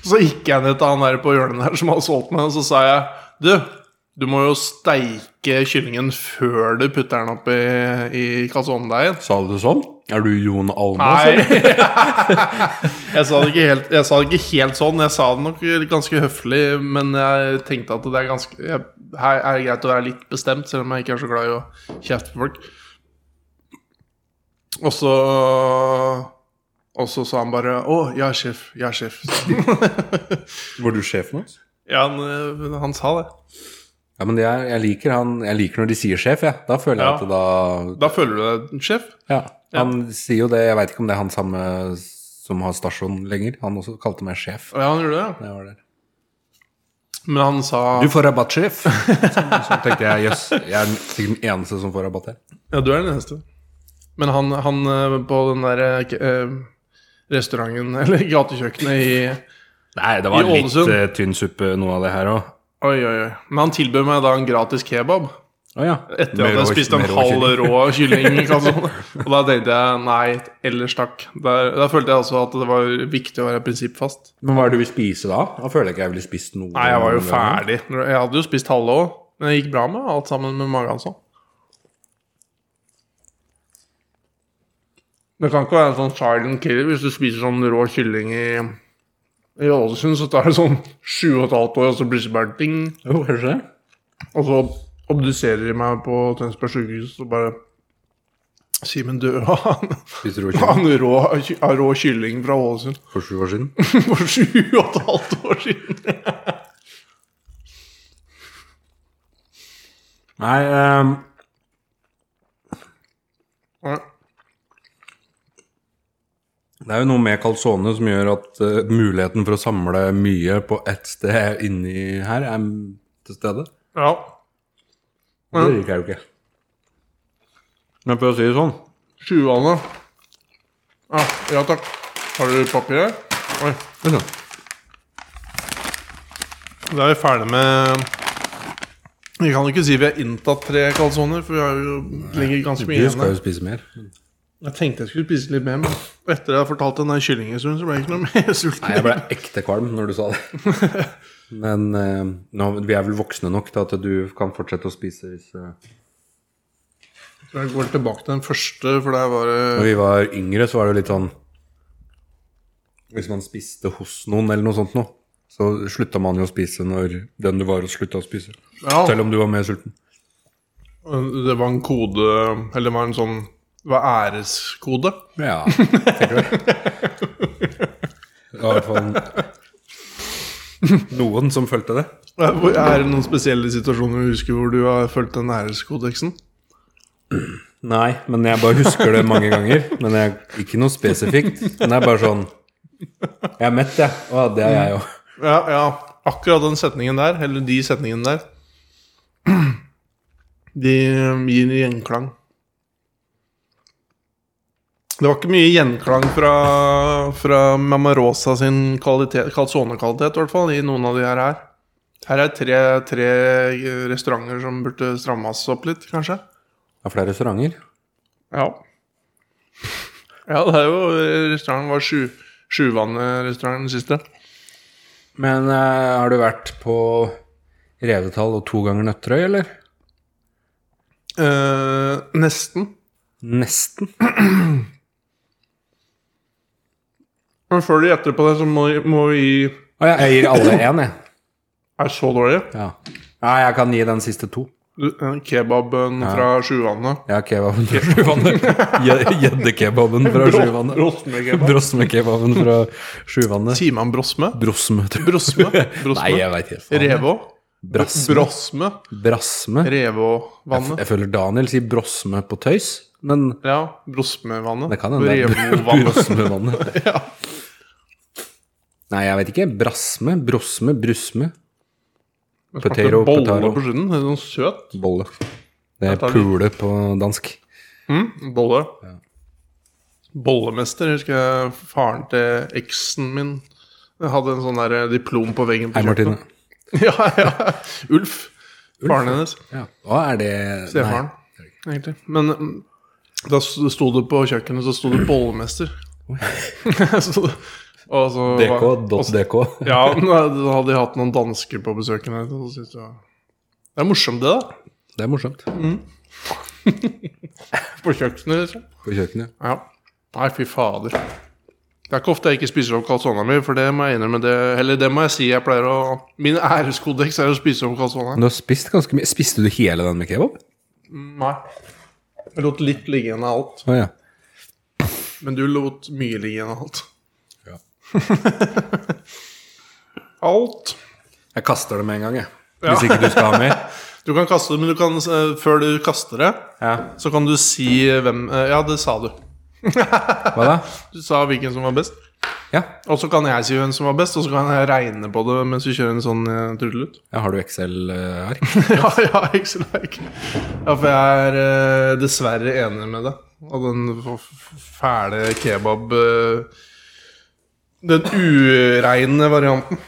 så gikk jeg ned til han der på hjørnet der som hadde solgt meg, og så sa jeg Du, du må jo steike kyllingen før du putter den oppi i kalsonedeigen.
Sa du det sånn? Er du Jon Almaas?
Nei.
eller?
<laughs> jeg, sa det ikke helt, jeg sa det ikke helt sånn. Jeg sa det nok ganske høflig, men jeg tenkte at det er ganske jeg, Her er det greit å være litt bestemt, selv om jeg ikke er så glad i å kjefte på folk. Og så Og så sa han bare 'Å, jeg er sjef. Jeg er sjef'. <laughs>
Var du sjefen hans?
ja, han, han sa det.
Ja, men det er, jeg, liker han, jeg liker når de sier sjef, jeg. Da føler jeg
Ja.
at det da
Da føler du deg sjef?
Ja, han sier jo det. Jeg veit ikke om det er han samme som har stasjon lenger. Han også kalte meg sjef.
Ja, han gjorde det.
da jeg var der.
Men han sa
Du får rabatt, sjef! <laughs> Så tenkte jeg jøss, jeg er sikkert den eneste som får rabatt her.
Ja, du er den eneste. Men han, han eh, på den der eh, k- eh, restauranten, <laughs> eller gatekjøkkenet i
Nei, det
I
var litt
Ålesund.
eh, tynn suppe, noe av det her òg.
Oi, oi, oi. Men han tilbød meg da en gratis kebab.
Å ja.
Etter
Med
at jeg
rå-
spiste en
med rå
halv
kylling.
rå kylling.
<laughs>
kalsone. Og da tenkte jeg nei, ellers takk. Der, der følte jeg altså at det var viktig å være prinsippfast.
Men hva er det du vil spise da? Da føler jeg ikke jeg ville spist noe.
Nei, jeg var jo ferdig. Jeg hadde jo spist halve òg. Men det gikk bra med alt sammen med magen altså. Det kan ikke være en sånn silent killer hvis du spiser sånn rå kylling i i Ålesund, så tar det sånn sju og et halvt år, og så plutselig bare ding.
Jo, kanskje det.
Og så obduserer de meg på Tønsberg sykehus og bare Simen døde av <laughs> han-
Spiste <laughs> rå
av
kylling
en rå, av rå kylling fra Ålesund <laughs>
for sju år siden.
for sju og et halvt år siden.
Nei, ehm,
Ja.
det er jo noe med calzone som gjør at eh, muligheten for å samle mye på ett sted inni her er til stede.
Ja.
Det liker jeg jo ikke. Men for å si det sånn,
20-ane. Ja, ja takk. Har du papir her? Oi.
Vent da.
Da er vi ferdig med Vi kan jo ikke si vi har inntatt tre kalsoner, for vi har jo ligger ganske mye
du
igjen.
skal
her.
jo spise mer. Nei,
Jeg tenkte jeg skulle spise litt mer, men etter jeg har fortalt den der kyllinghistorien, så ble jeg ikke noe mer <laughs> sulten.
jeg ble ekte kvalm når du sa det.
<laughs>
Men eh, nå, vi er vel voksne nok til at du kan fortsette å spise hvis eh,
Så jeg går tilbake til den første, for der var det
Når vi var yngre, så var det jo litt sånn Hvis man spiste hos noen eller noe sånt noe, så slutta man jo å spise når den du var hos, slutta å spise.
Ja,
Selv om du var mer sulten.
det var en kode Eller det var en sånn Det var æreskode.
Ja, tenker du. Det var i hvert fall Noen som fulgte det?
Hvor- Er det noen spesielle situasjoner du husker hvor du har fulgt den æreskodeksen?
Nei, men jeg bare husker det mange ganger. Men jeg, ikke noe spesifikt. Men det er bare sånn Jeg er mett, jeg. Å, det er jeg òg.
Ja, ja, akkurat den setningen der, eller de setningene der, <clears throat> de gir gjenklang. Det var ikke mye gjenklang fra, fra Mamma Rosa sin kvalitet, kalsonekvalitet, i hvert fall, i noen av de her her. Her er tre, tre restauranter som burde strammes opp litt, kanskje.
Det er flere restauranter.
Ja. Ja, det er jo eh, restauranten var sju, Sjuvannet-restauranten, den siste.
Men eh, har du vært på Revetall og to ganger Nøtterøy, eller?
Eh, nesten.
Nesten.
Men før de gjetter på det, så må, må vi gi
Å, ja, jeg gir alle én, jeg.
Er det så dårlig?
Ja. Nei, jeg kan gi den siste to.
Du- den Kebaben fra Sjuvannet.
Ja, kebaben fra Sjuvannet. Gje- Gjeddekebaben fra Sjuvannet.
Brosmekebab.
Brosmekebaben fra Sjuvannet.
Sier man brosme?
Brosme, tror jeg.
Brosme?
<laughs> Nei,
brosme.
jeg veit ikke. faen.
Revå?
Brasme.
Brosme?
Brasme. Jeg,
Revåvannet?
jeg føler Daniel sier brosme på tøys, men
Ja, Brosmevannet.
det kan hende det <laughs> er br-
Revåvannet.
brosmevannet. <laughs> Nei, jeg vet ikke. Brasme, brosme, brusme, Potato,
Potato, bolle
potato.
på slutten. Det er Sånn søt.
bolle. Det er
tar vi.
pule på dansk.
Mm, bolle. Bollemester, husker jeg faren til eksen min hadde en sånn der diplom på veggen. på
Hei, Martine.
kjøkkenet. <laughs> Ja, ja. Ulf. Faren hennes.
Ja. Hva er det Nei.
Stefaren, egentlig. Men mm, da s- sto det på kjøkkenet, så
<clears throat>
sto det bollemester. <laughs> så, det- og så var- og så-
DK.dk.
Ja, men da da hadde de hatt noen dansker på besøk. her, så syntes jeg- Det er morsomt, det, da.
Det er morsomt.
På kjøkkenet, liksom.
På kjøkkenet.
Ja. Nei, fy fader. Det er ikke ofte jeg ikke spiser opp calzona mi, for det må jeg innrømme det Eller det må jeg si jeg pleier å Min æreskodeks er å spise opp calzona.
Men du har spist ganske mye. Spiste du hele den med kebab?
Nei. Jeg lot litt ligge igjen av alt.
Å ja.
Men du lot mye ligge igjen av alt.
Ja.
<laughs> alt.
Jeg kaster det med en gang, jeg.
Ja.
Hvis ikke du skal <laughs> ha mer.
Du kan kaste det, men du kan, eh, før du kaster det,
Ja.
så kan du si hvem eh, Ja, det sa du.
Hva da?
Du sa hvilken som var best.
Ja.
Og så kan jeg si hvem som var best, og så kan jeg regne på det mens vi kjører en sånn eh, trudelutt.
ja. Har du Excel-ark?
<laughs> ja, ja, Excel-ark. Ja, for jeg er eh, dessverre enig med deg. Og den f- f- fæle kebab eh, Den ureine varianten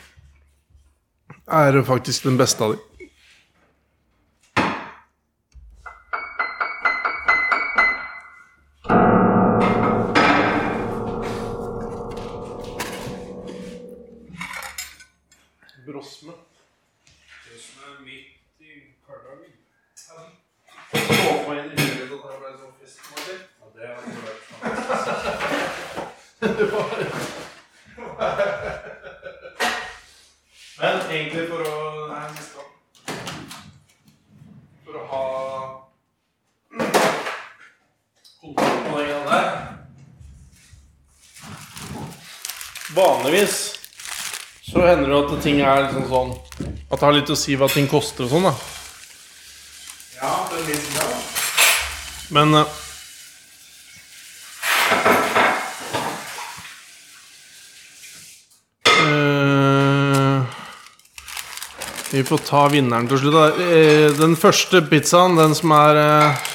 er faktisk den beste av de. Brosme. sånn. Men egentlig for å Nei, siste gang. For å ha kontroll på den greia der Vanligvis så hender det at ting er liksom sånn At det har litt å si hva ting koster og sånn, da. Ja, det er litt bra. Men eh, Eh, Vi får ta vinneren til slutt. Da. Eh, Den første pizzaen, den som er eh,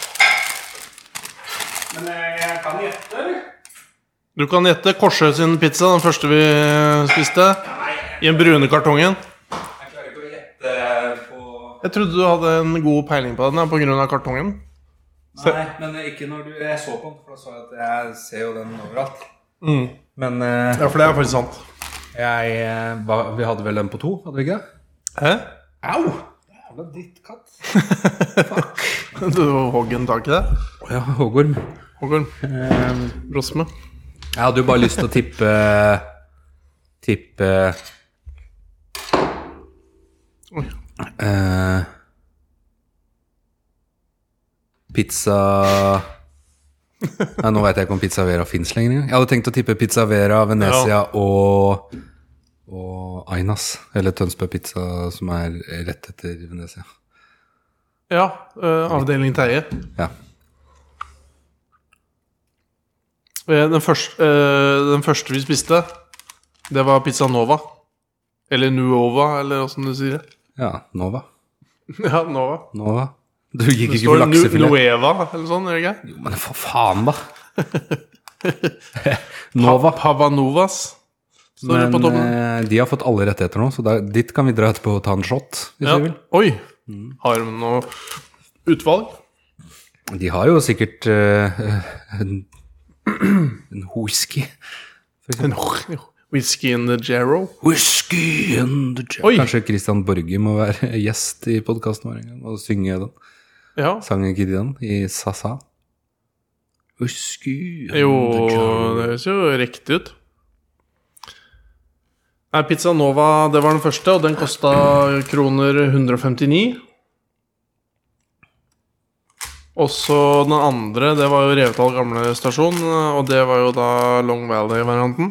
Men eh, jeg kan gjette, eller?
Du kan gjette Korsø sin pizza, den første vi eh, spiste. I den brune kartongen.
Jeg klarer ikke å gjette eh, på
Jeg trodde du hadde en god peiling på den pga. kartongen.
Nei, men eh, ikke når du Jeg så på den, for da så jeg at jeg ser jo den overalt.
Mm.
Men eh,
Ja, for det er faktisk sant.
jeg eh, ba, Vi hadde vel den på to, hadde vi ikke det?
Hæ?
Au! Jævla drittkatt.
<laughs> Du hogg en tak i det?
Å ja, hoggorm.
Håkon Ehm, Brosme.
Jeg hadde jo bare lyst til å tippe Tippe
Oi.
eh, Pizza Nei, nå veit jeg ikke om Pizza Vera fins lenger engang. Jeg hadde tenkt å tippe Pizza Vera, Venezia og og Ainas, eller Tønsberg Pizza, som er rett etter Venezia.
Ja, eh, avdeling Terje.
Ja.
Eh, Den første, eh, den første vi spiste, det var Pizza Nova. Eller Nuova, eller åssen du sier det.
ja. Nova.
<laughs> Ja, Nova.
Nova. Du gikk
Det
ikke for
står Nu-
laksefilet?
Nueva eller sånn, gjør det ikke?
Jo, men for faen, da!
<laughs>
Nova.
Pavanovas. Står det på
Men
toppen.
eh, de har fått alle rettigheter nå, så da, dit kan vi dra etterpå og ta en shot. hvis
Ja.
vi vil.
Oi! Har de noe utvalg?
De har jo sikkert eh, en, en whisky.
En <laughs> Whisky in the Jarrow?
Whisky and the
Oi.
Kanskje Christian Borge må være <laughs> gjest i podkasten vår en gang og synge den.
Ja.
Sangen ikke de den? I Sasa? Whisky and
Jo,
the
det
Jar-
høres jo riktig ut. Nei, Pizza Nova det var den første, og den kosta kroner 159. Og så den andre, det var jo Revetal gamle stasjon, og det var jo da Long Valley-varianten.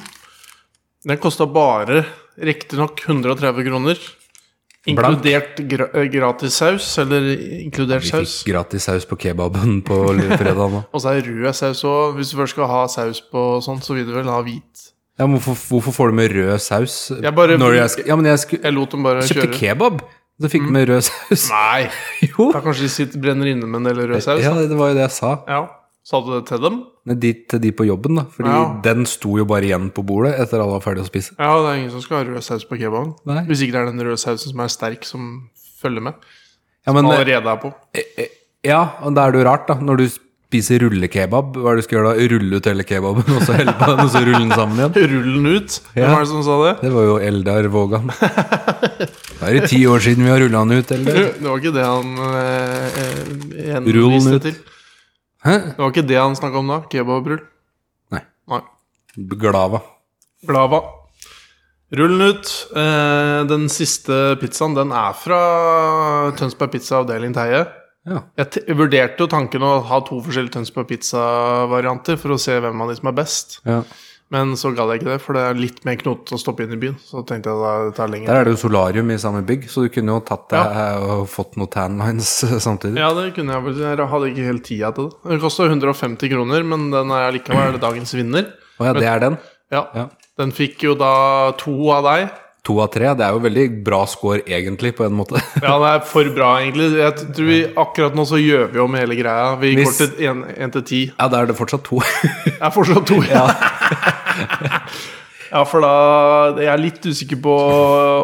Den kosta bare riktignok 130 kroner.
Blank.
Inkludert gra eh, gratis saus, eller inkludert
Vi
saus.
fikk gratis saus på kebaben på fredag nå.
Og så er det rød saus òg. Hvis du først skal ha saus på sånt, så vil du vel ha hvit.
Ja, men hvorfor, hvorfor får du med rød saus?
Jeg bare-
Når jeg, sk- ja, men jeg sku,
Jeg lot dem bare
kjøpte
kjøre.
kebab, så fikk du med rød saus.
Nei!
<laughs> Jo.
Da kanskje de sitter, brenner inne med en del rød saus.
Ja,
Ja.
det det var jo det jeg sa.
Sa du det til dem?
Men De, til de på jobben, da. Fordi
Ja.
den sto jo bare igjen på bordet etter alle var ferdige å spise.
Ja, det er ingen som skal ha rød saus på kebaben.
Nei.
Hvis ikke det er den røde sausen som er sterk, som følger med.
Ja, men, eh,
Allerede er på.
ja, og da er det jo rart, da. Når du spiser rullekebab, hva er det du skal gjøre da? Rulle ut hele kebaben, og så helle på den, og så rulle den sammen igjen?
Rull den ut. Hvem
Ja.
er det som sa det?
Det var jo Eldar
<laughs>
Vågan. Da er det ti år siden vi har rulla den ut, eller?
Det var ikke det han eh,
Rull den
eh, henviste
ut.
til.
Hæ?
Det var ikke det han snakka om da. Kebabrull.
Nei.
Nei.
Glava.
Glava. Rull den ut. Eh, den siste pizzaen den er fra Tønsberg Pizza avdeling Teie.
Ja.
Jeg t vurderte jo tanken å ha to forskjellige Tønsberg Pizza-varianter for å se hvem av de som er best,
ja.
men så gadd jeg ikke det, for det er litt mer knotete å stoppe inn i byen. Så tenkte jeg da det tar lenger.
Der er det jo solarium i samme bygg, så du kunne jo tatt deg eh, og fått noen tanlines eh, <laughs> samtidig.
Ja, det kunne jeg vel. Jeg hadde ikke helt tida til det. Den kosta 150 kroner, men den er likevel dagens vinner.
Å ja, det er den?
Ja.
Ja.
Den fikk jo da to av deg.
To av tre. Det er jo veldig bra score, egentlig, på en måte.
Ja, det er for bra, egentlig. Jeg tror vi, akkurat nå så gjør vi om hele greia. Vi
Hvis-
går til en- én til ti.
<laughs> Ja, da er det fortsatt to.
Jeg er fortsatt to. <laughs> Ja. <laughs> ja, for da Jeg er litt usikker på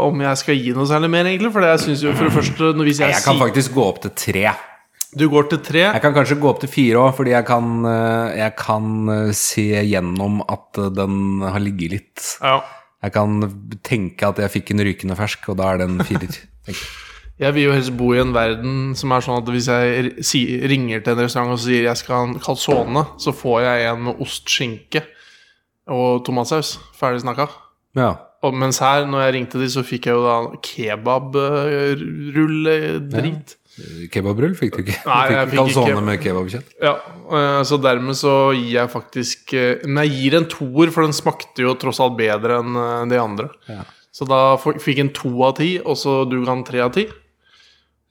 om jeg skal gi noe særlig mer, egentlig. For jeg synes jo for det første når- Hvis jeg,
Jeg kan
sier
faktisk gå opp til tre.
du går til tre
Jeg kan kanskje gå opp til fire òg, fordi jeg kan, eh, jeg kan eh, se gjennom at eh, den har ligget litt.
ja.
Jeg kan tenke at jeg fikk en rykende fersk, og da er det en
<laughs>
firer. tenker jeg.
Jeg vil jo helst bo i en verden som er sånn at hvis jeg r- sier- ringer til en restaurant og sier jeg skal ha en calzone, så får jeg en med ost, skinke og tomatsaus. Ferdig snakka.
Ja.
Og mens her, når jeg ringte de, så fikk jeg jo da kebabrulle-drit.
Kebabrull fikk du ikke. Du
Nei, jeg
fikk
fikk
kalsone
ikke-
med kebabkjøtt.
Ja. eh, så dermed så gir jeg faktisk eh, Men jeg gir en toer, for den smakte jo tross alt bedre enn eh, de andre.
Ja.
Så da f- fikk en to av ti, og så du ga en tre av ti.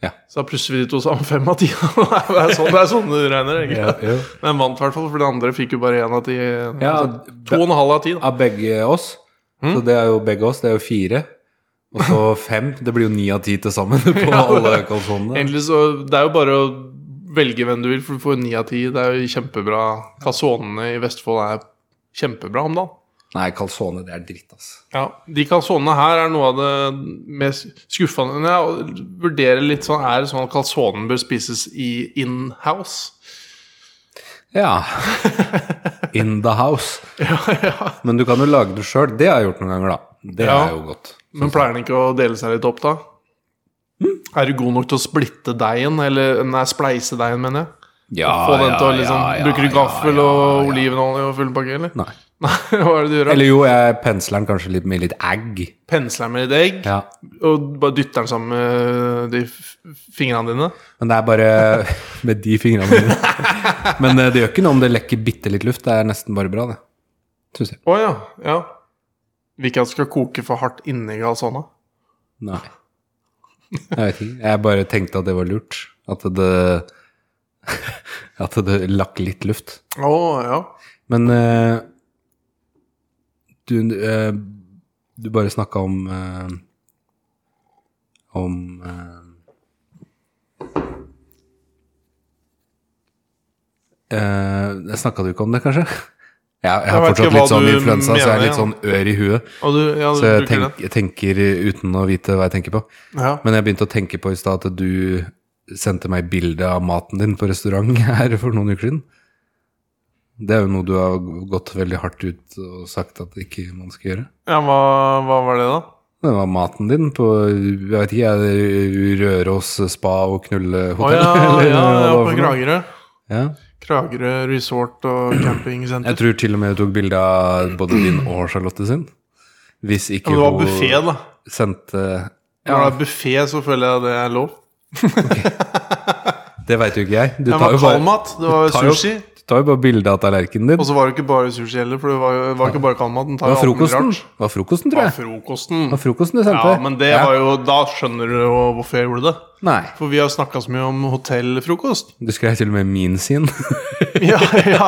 Ja.
Så da plusser vi de to sammen fem av ti. <laughs> det er sånn, det er sånn du regner, egentlig.
Ja, ja.
Men jeg vant i hvert fall, for de andre fikk jo bare én av ti.
Ja,
To og en halv av ti, da.
av begge oss.
Mm.
Så det er jo begge oss, det er jo fire. Og
<laughs>
så fem. Det blir jo ni av ti til sammen på alle kalsonene.
Egentlig så Det er jo bare å velge hvem du vil, for du får ni av ti. Det er jo kjempebra. Kalsonene i Vestfold er kjempebra om dagen.
Nei, kalsone, det er dritt, ass.
Ja, De calzonene her er noe av det mest skuffende Når Jeg vurderer litt sånn Er det sånn at calzonen bør spises i in-house?
Ja. <laughs> In the house.
<laughs> Ja, ja.
Men du kan jo lage det sjøl. Det har jeg gjort noen ganger, da. Det
Ja.
er jo godt.
Men pleier den ikke å dele seg litt opp, da?
Mm.
Er du god nok til å splitte deigen? Eller nei, spleise deigen, mener jeg.
Ja,
Få den til å
ja,
liksom
ja,
Bruker du
ja,
gaffel
ja,
og
ja.
olivenolje og full pakke, eller? <laughs>
Nei.
Nei, hva er det du gjør? da?
Eller jo, jeg pensler den kanskje litt med litt egg.
Pensler med et egg,
Ja.
og bare dytter den sammen med de f- fingrene dine?
Men det er bare <laughs> med de fingrene mine.
<laughs>
Men eh, det gjør ikke noe om det lekker bitte litt luft. Det er nesten bare bra, det. Syns jeg.
Å ja. ja. Vil ikke at det skal koke for hardt inni Galsona.
Nei. Jeg vet ikke. Jeg bare tenkte at det var lurt. At det <laughs> At det lakk litt luft.
Å, ja.
Men eh, du, eh, du bare snakka om eh, Om eh, eh, Det snakka du ikke om det, kanskje? Jeg, jeg har
Jeg vet
fortsatt
ikke hva
litt sånn
du
influensa, så jeg er
mener,
litt sånn ør i huet.
Og du, ja, du
Så jeg
bruker
tenk, jeg tenker uten å vite hva jeg tenker på.
den. Ja.
Men jeg begynte å tenke på i stad at du sendte meg bilde av maten din på restaurant <laughs> her for noen uker siden. Det er jo noe du har gått veldig hardt ut og sagt at ikke man skal gjøre.
ja, hva, hva var det, da?
Det var maten din på jeg vet ikke, jeg, Røros spa og
Å
knullehotell.
ja,
<laughs> eller hva
ja,
det
ja,
var
på
for noe.
Kragerø.
Ja.
Kragerø resort og
Jeg
campingsenter.
tror til og med du tok bilde av både din og Charlotte sin. Hvis ikke
Og det var
hun
buffé, da.
sendte
Når det er buffé, så føler jeg det er lov.
Det veit jo ikke jeg. Du
Det
tar
var
jo bare,
kaldmat, det var
tar jo-
sushi.
du tar jo bare bilde av tallerkenen din.
Og så var det ikke bare sushi heller, for det var, jo- var ikke bare kaldmat. Den
Det
tar
var
jo alt mulig
frokosten,
rart.
det var frokosten
Det
tror
var
jeg.
frokosten.
Det var frokosten du sendte.
Ja, men det var jo Da skjønner du jo hvorfor jeg gjorde det.
Nei.
For vi har snakka så mye om hotellfrokost.
<laughs> Du skrev til og med min
<laughs>
sin.
Ja, ja, ja.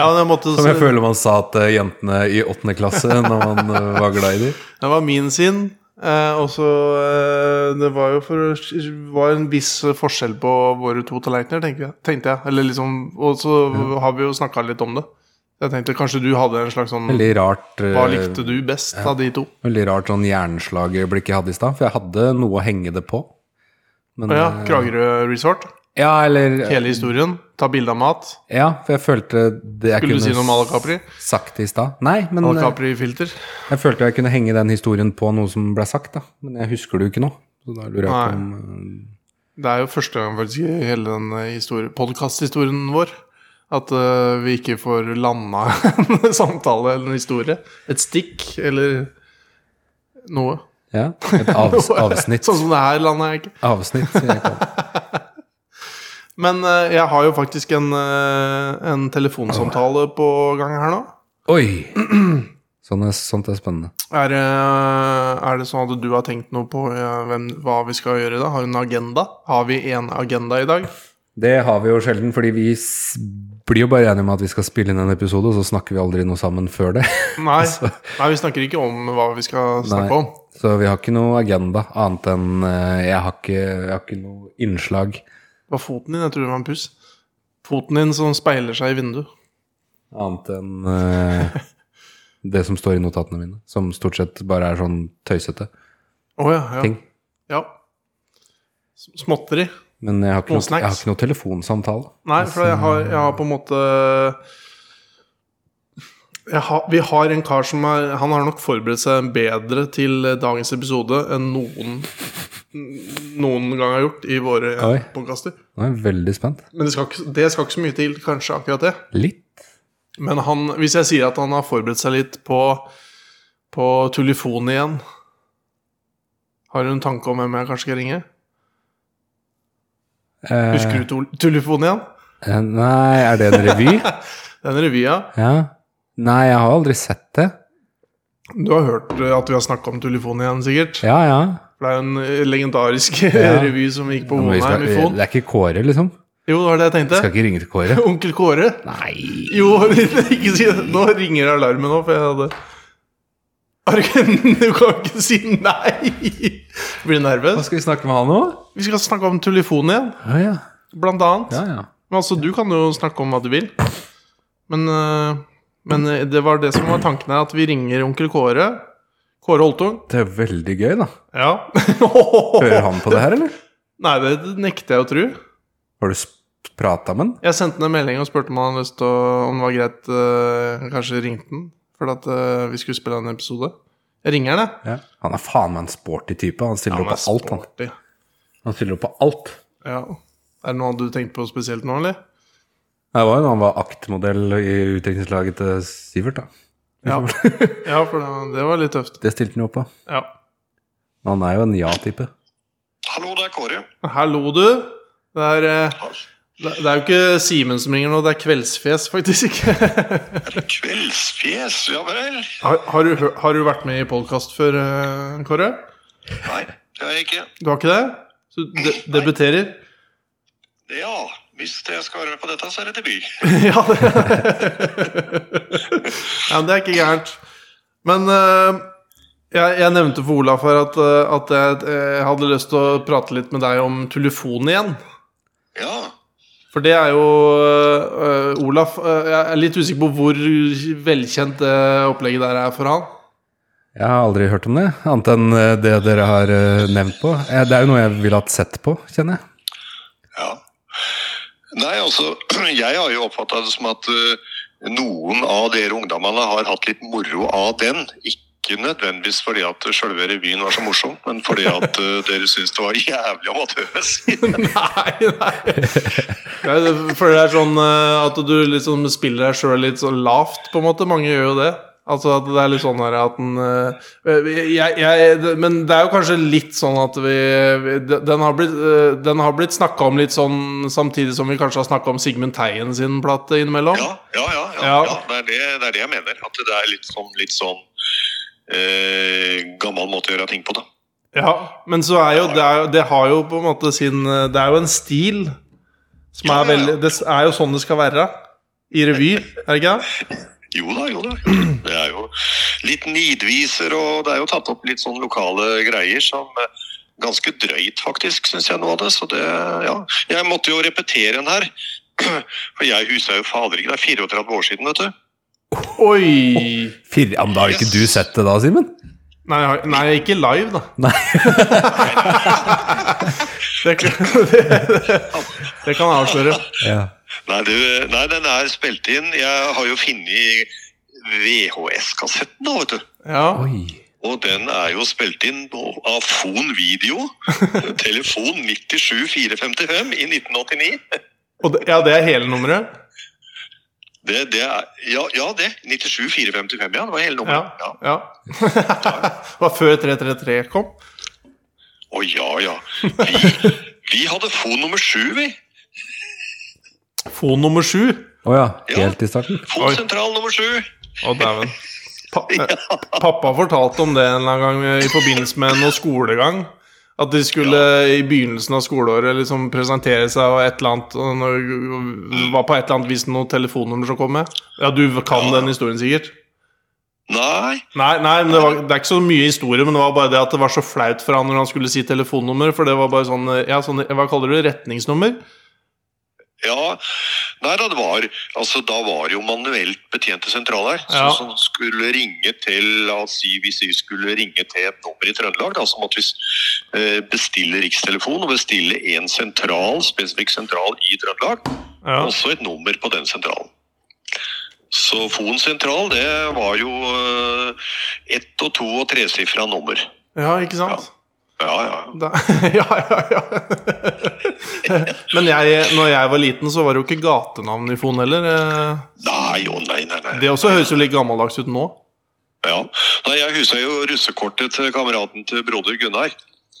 ja men jeg måtte
Som jeg føler man sa til jentene i åttende klasse når
<laughs>
man eh, var glad i dem.
Det var min sin. Eh, og så eh, Det var jo for, var en viss forskjell på våre to tallerkener, tenker jeg- tenkte jeg. Eller liksom, og så har vi jo snakka litt om det. Jeg tenkte kanskje du hadde en slags sånn
Veldig rart, eh,
Hva likte du best av de to?
veldig rart sånn jernslagøyeblikk jeg hadde i stad, for jeg hadde noe å henge det på. Men,
Å ja,
eh,
Kragerø Resort.
ja, eller
Hele historien. Ta bilde av mat.
Ja, for jeg følte det jeg
Skulle du
kunne
si noe om Ala Capri?
sagt i stad. Nei, men
Ala
eh,
Capri-filter.
jeg følte jeg kunne henge den historien på noe som ble sagt, da. Men jeg husker det jo ikke nå. Så da lurer jeg på om
Det er jo første gang faktisk i hele den eh, historie- podcasthistorien vår at eh, vi ikke får landa <laughs> en samtale eller en historie. Et stikk eller noe.
eh, Ja, et
<laughs>
avs avsnitt.
Sånn som det her lander jeg ikke.
Avsnitt. sier jeg ikke.
Men eh, jeg har jo faktisk en, eh, en telefonsamtale på gang her nå.
Oi! <clears throat> Sånn er, sånt er spennende.
Er, det- er det sånn at du har tenkt noe på eh, hvem, hva vi skal gjøre i dag? Har du en agenda? Har vi en agenda i dag?
Det har vi jo sjelden, fordi vi s- blir jo bare enige om at vi skal spille inn en episode, og så snakker vi aldri noe sammen før det. <laughs>
Nei, Nei vi snakker ikke om hva vi skal
Altså-
snakke
Nei.
om.
Så vi har ikke noe agenda, annet enn eh, jeg har ikke, jeg har ikke noe innslag.
Det var foten din, jeg tror det var en puss. Foten din som speiler seg i vinduet.
Annet enn eh, det som står i notatene mine, som stort sett bare er sånn tøysete
Å ja, ja.
ting.
ja. S- Småtteri.
Men jeg har ikke noe,
Småsnacks.
jeg har ikke noe telefonsamtale.
Nei, for jeg har, jeg har på en måte jeg har, Vi har en kar som er Han har nok forberedt seg bedre til eh, dagens episode enn noen n- noen gang har gjort i våre
Oi.
podkaster.
Nå er jeg veldig spent.
Men det skal, ikke, det skal ikke så mye til, kanskje, akkurat det.
Litt.
Men han, hvis jeg sier at han har forberedt seg litt på, på telefon igjen Har du en tanke om hvem jeg kanskje skal ringe?
Eh,
Husker du to- telefonen igjen?
eh, Nei, er det en revy?
Den revya.
Ja. Nei, jeg har aldri sett det.
Du har hørt eh, at vi har snakka om telefonen igjen, sikkert?
Ja, ja.
For det er en eh, legendarisk <laughs>
Ja.
revy som gikk på
Ja, men vi skal,
Vonheim i Fon.
det er ikke Kåre, liksom?
Jo, det var det jeg
Vi skal
tenkte.
ikke ringe til Kåre?
<laughs> Onkel Kåre.
Nei
Jo, <laughs> ikke si det. Nå ringer alarmen nå, for jeg hadde Arken, <laughs> du kan ikke si nei! <laughs> Blir du nervøs?
skal vi snakke med han nå?
Vi skal snakke om telefonen igjen,
Ja, ja.
blant annet.
ja, ja.
Men altså, du kan jo snakke om hva du vil. Men, øh, men øh, det var det som var tanken her, at vi ringer onkel Kåre. Kåre Holtung.
Det er veldig gøy, da.
Ja.
Hører han på det her, eller?
<laughs> Nei, det nekter jeg å tro.
Har du sp- prata med han?
Jeg sendte han en melding og spurte om han hadde lyst til å Om det var greit øh, kanskje ringte han for at øh, vi skulle spille en episode. Jeg ringer han, jeg.
Han er faen meg en sporty type. Han stiller
Han
opp
er
på alt, han.
sporty.
Han stiller opp på alt.
Ja. Er det noe du tenkte på spesielt nå, eller?
Det var jo da han var aktmodell i utdrikningslaget til Sivert, da.
Ja, <laughs> ja for det, det var litt tøft.
Det stilte han jo opp på.
Ja.
Men han er jo en ja-type.
Hallo, det er Kåre.
Hallo, du. Det er øh, Det det er jo ikke Simen som ringer nå, det er Kveldsfjes, faktisk. <laughs>
Er det kveldsfjes? Ja vel?
har, har, du, hø- har du vært med i podkast før, eh, Kåre?
Nei, det er jeg ikke.
Du har ikke det? Så du de debuterer?
Ja, hvis jeg skal være med på dette, så er det debut.
<laughs> ja, det. <laughs> ja, men det er ikke gærent. Men eh, jeg, jeg nevnte for Olaf her at, eh, at jeg, eh, hadde lyst til å prate litt med deg om telefon igjen.
Ja,
For det er jo eh, Olaf eh, Jeg er litt usikker på hvor velkjent det opplegget der er for han. <laughs>
Jeg har aldri hørt om det, annet enn eh, det dere har eh, nevnt på. Eh, Det er jo noe jeg ville hatt sett på, kjenner jeg.
ja. Nei, altså, <clears throat> jeg har jo oppfatta det som at eh, noen av dere ungdommene har hatt litt moro av den. Ikke nødvendigvis fordi at sjølve revyen var så morsom, men fordi at eh, <laughs> dere syns det var jævlig amatørmessig.
nei, nei. Jeg føler det er sånn eh, at du liksom spiller deg sjøl litt sånn lavt, på en måte. Mange gjør jo det. Altså at det er litt sånn her at den eh, jeg, jeg, det- Men det er jo kanskje litt sånn at vi vi- Den har blitt, eh, den har blitt snakka om litt sånn samtidig som vi kanskje har snakka om Sigmund Teien sin plate innimellom.
Ja, ja, ja. ja,
Ja.
ja. det, er det, det er det jeg mener. At det er litt sånn, litt sånn eh, gammel måte å gjøre ting på, da.
Ja, men så er jo det, er, jo- det har jo på en måte sin eh, Det er jo en stil som
Ja,
er
ja, ja.
veldig Det er jo sånn det skal være i revy, er det ikke det?
Jo da, jo da. Jo. da. Det er jo litt nidviser, og det er jo tatt opp litt sånn lokale greier som eh, Ganske drøyt, faktisk, syns jeg noe av det. Så det, ja. Jeg måtte jo repetere en her. <clears throat> For jeg husa jo fader ikke, det er 34 år siden, vet du.
Oi!
Fire, ja, men da har ikke du sett det da, Simen?
Nei, jeg har- nei ikke live, da.
Nei.
<laughs> det, kan- <laughs> det, det kan jeg avsløre.
Ja.
Nei, du, nei, den er spilt inn. Jeg har jo funnet VHS-kassetten, da, vet du.
Ja.
Oi.
Og den er jo spilt inn på- av Fon Video, telefon 97455 i 1989.
Og det, ja, det er hele nummeret?
Det, det er, ja, ja, det. 97455, ja. Det var hele nummeret.
Ja. ja.
Ja.
<laughs> Det var før 333 kom.
Å ja, ja.
<laughs>
Vi, vi hadde Fon nummer sju, vi.
Fon nummer sju.
Å ja, helt i starten?
Oi.
Fon sentral nummer sju.
Å, dæven. <laughs> Pa, eh, pappa fortalte om det en eller annen gang eh, i forbindelse med noe skolegang. At de skulle eh, i begynnelsen av skoleåret liksom presentere seg og et eller annet og når- Det var på et eller annet vis noe telefonnummer som kom med. Ja, du kan
Ja.
den historien sikkert?
Nei,
Nei, nei men det, var, det er ikke så mye historie, men det var bare det at det var så flaut for han når han skulle si telefonnummer, for det var bare sånn Ja, sånn, hva kaller du det? Retningsnummer?
ja. Nei da, det var Altså, da var det jo manuelt betjente sentraler.
Ja.
Så, som skulle ringe til La oss si hvis vi skulle ringe til et nummer i Trøndelag, da, så måtte vi eh, bestille rikstelefon og bestille en sentral, spesifikk sentral i Trøndelag.
Ja.
Også et nummer på den sentralen. Så Fon sentral, det var jo eh, ett og to og tresifra nummer.
ja, ikke sant?
Ja, ja.
Da, <laughs> ja, ja, ja. men jeg, når jeg var liten, så var det jo ikke gatenavn i Fon heller. eh.
Nei, å nei, nei, nei.
Det også høres jo litt gammeldags ut nå.
Ja. Nei, jeg husker jo russekortet til kameraten til broder Gunnar,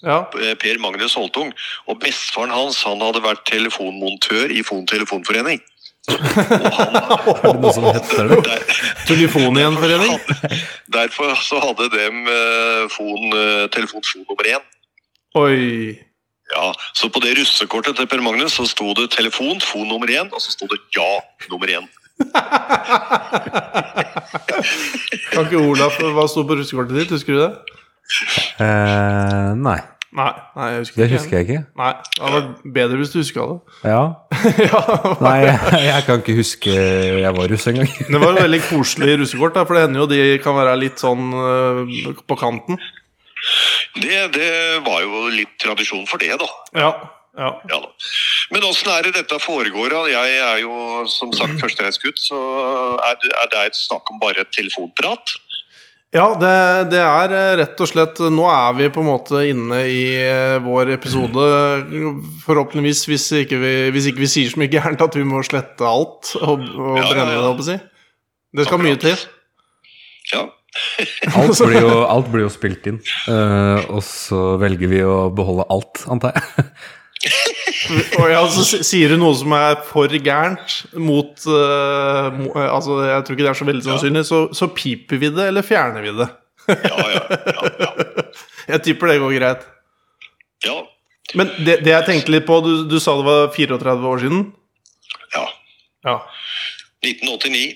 Ja,
eh, Per Magnus Holtung. Og bestefaren hans, han hadde vært telefonmontør i Fon
<laughs>
telefonforening. Og han,
Er det noe som heter det?
der,
Telefon igjen, forening.
<laughs> <laughs> derfor så hadde dem eh, fon, eh, telefon fon nummer én.
Oi.
Ja, så på det russekortet til Per Magnus så sto det telefon, fon nummer én, og så sto det ja nummer én.
Kan ikke Olaf Hva sto på russekortet ditt? Husker du det?
Eh, nei,
Nei, nei jeg husker
det husker jeg ikke.
Nei, det hadde vært bedre hvis du huska det. <laughs>
Ja.
ja,
Nei, <laughs> jeg, jeg kan ikke huske jeg var russ engang.
Det var jo veldig koselig russekort, da, for det hender jo de kan være litt sånn øh, på kanten.
Det, det var jo litt tradisjon for det, da.
Ja, ja.
Ja, da. Men åssen er det dette foregår? da? Jeg er jo som sagt førstereisgutt, så er det, er det et snakk om bare et telefonprat?
ja det, det er eh, rett og slett Nå er vi på en måte inne i eh, vår episode, forhåpentligvis, hvis ikke vi, hvis ikke vi sier så mye gærent at vi må slette alt og, og
Ja, ja,
brenne det,
ja.
holdt jeg på å si. Det skal mye til.
Ja.
Alt blir jo, alt blir jo spilt inn. Eh, og så velger vi å beholde alt, antar jeg.
Og ja, så si- sier du noe som er for gærent mot eh, mo, eh, Altså, jeg tror ikke det er så veldig sannsynlig, så, så piper vi det, eller fjerner vi det.
Ja, ja, ja. ja.
<laughs> Jeg tipper det går greit.
ja,
Men det, det jeg tenkte litt på, du, du sa det var 34 år siden?
ja.
Ja.
1989.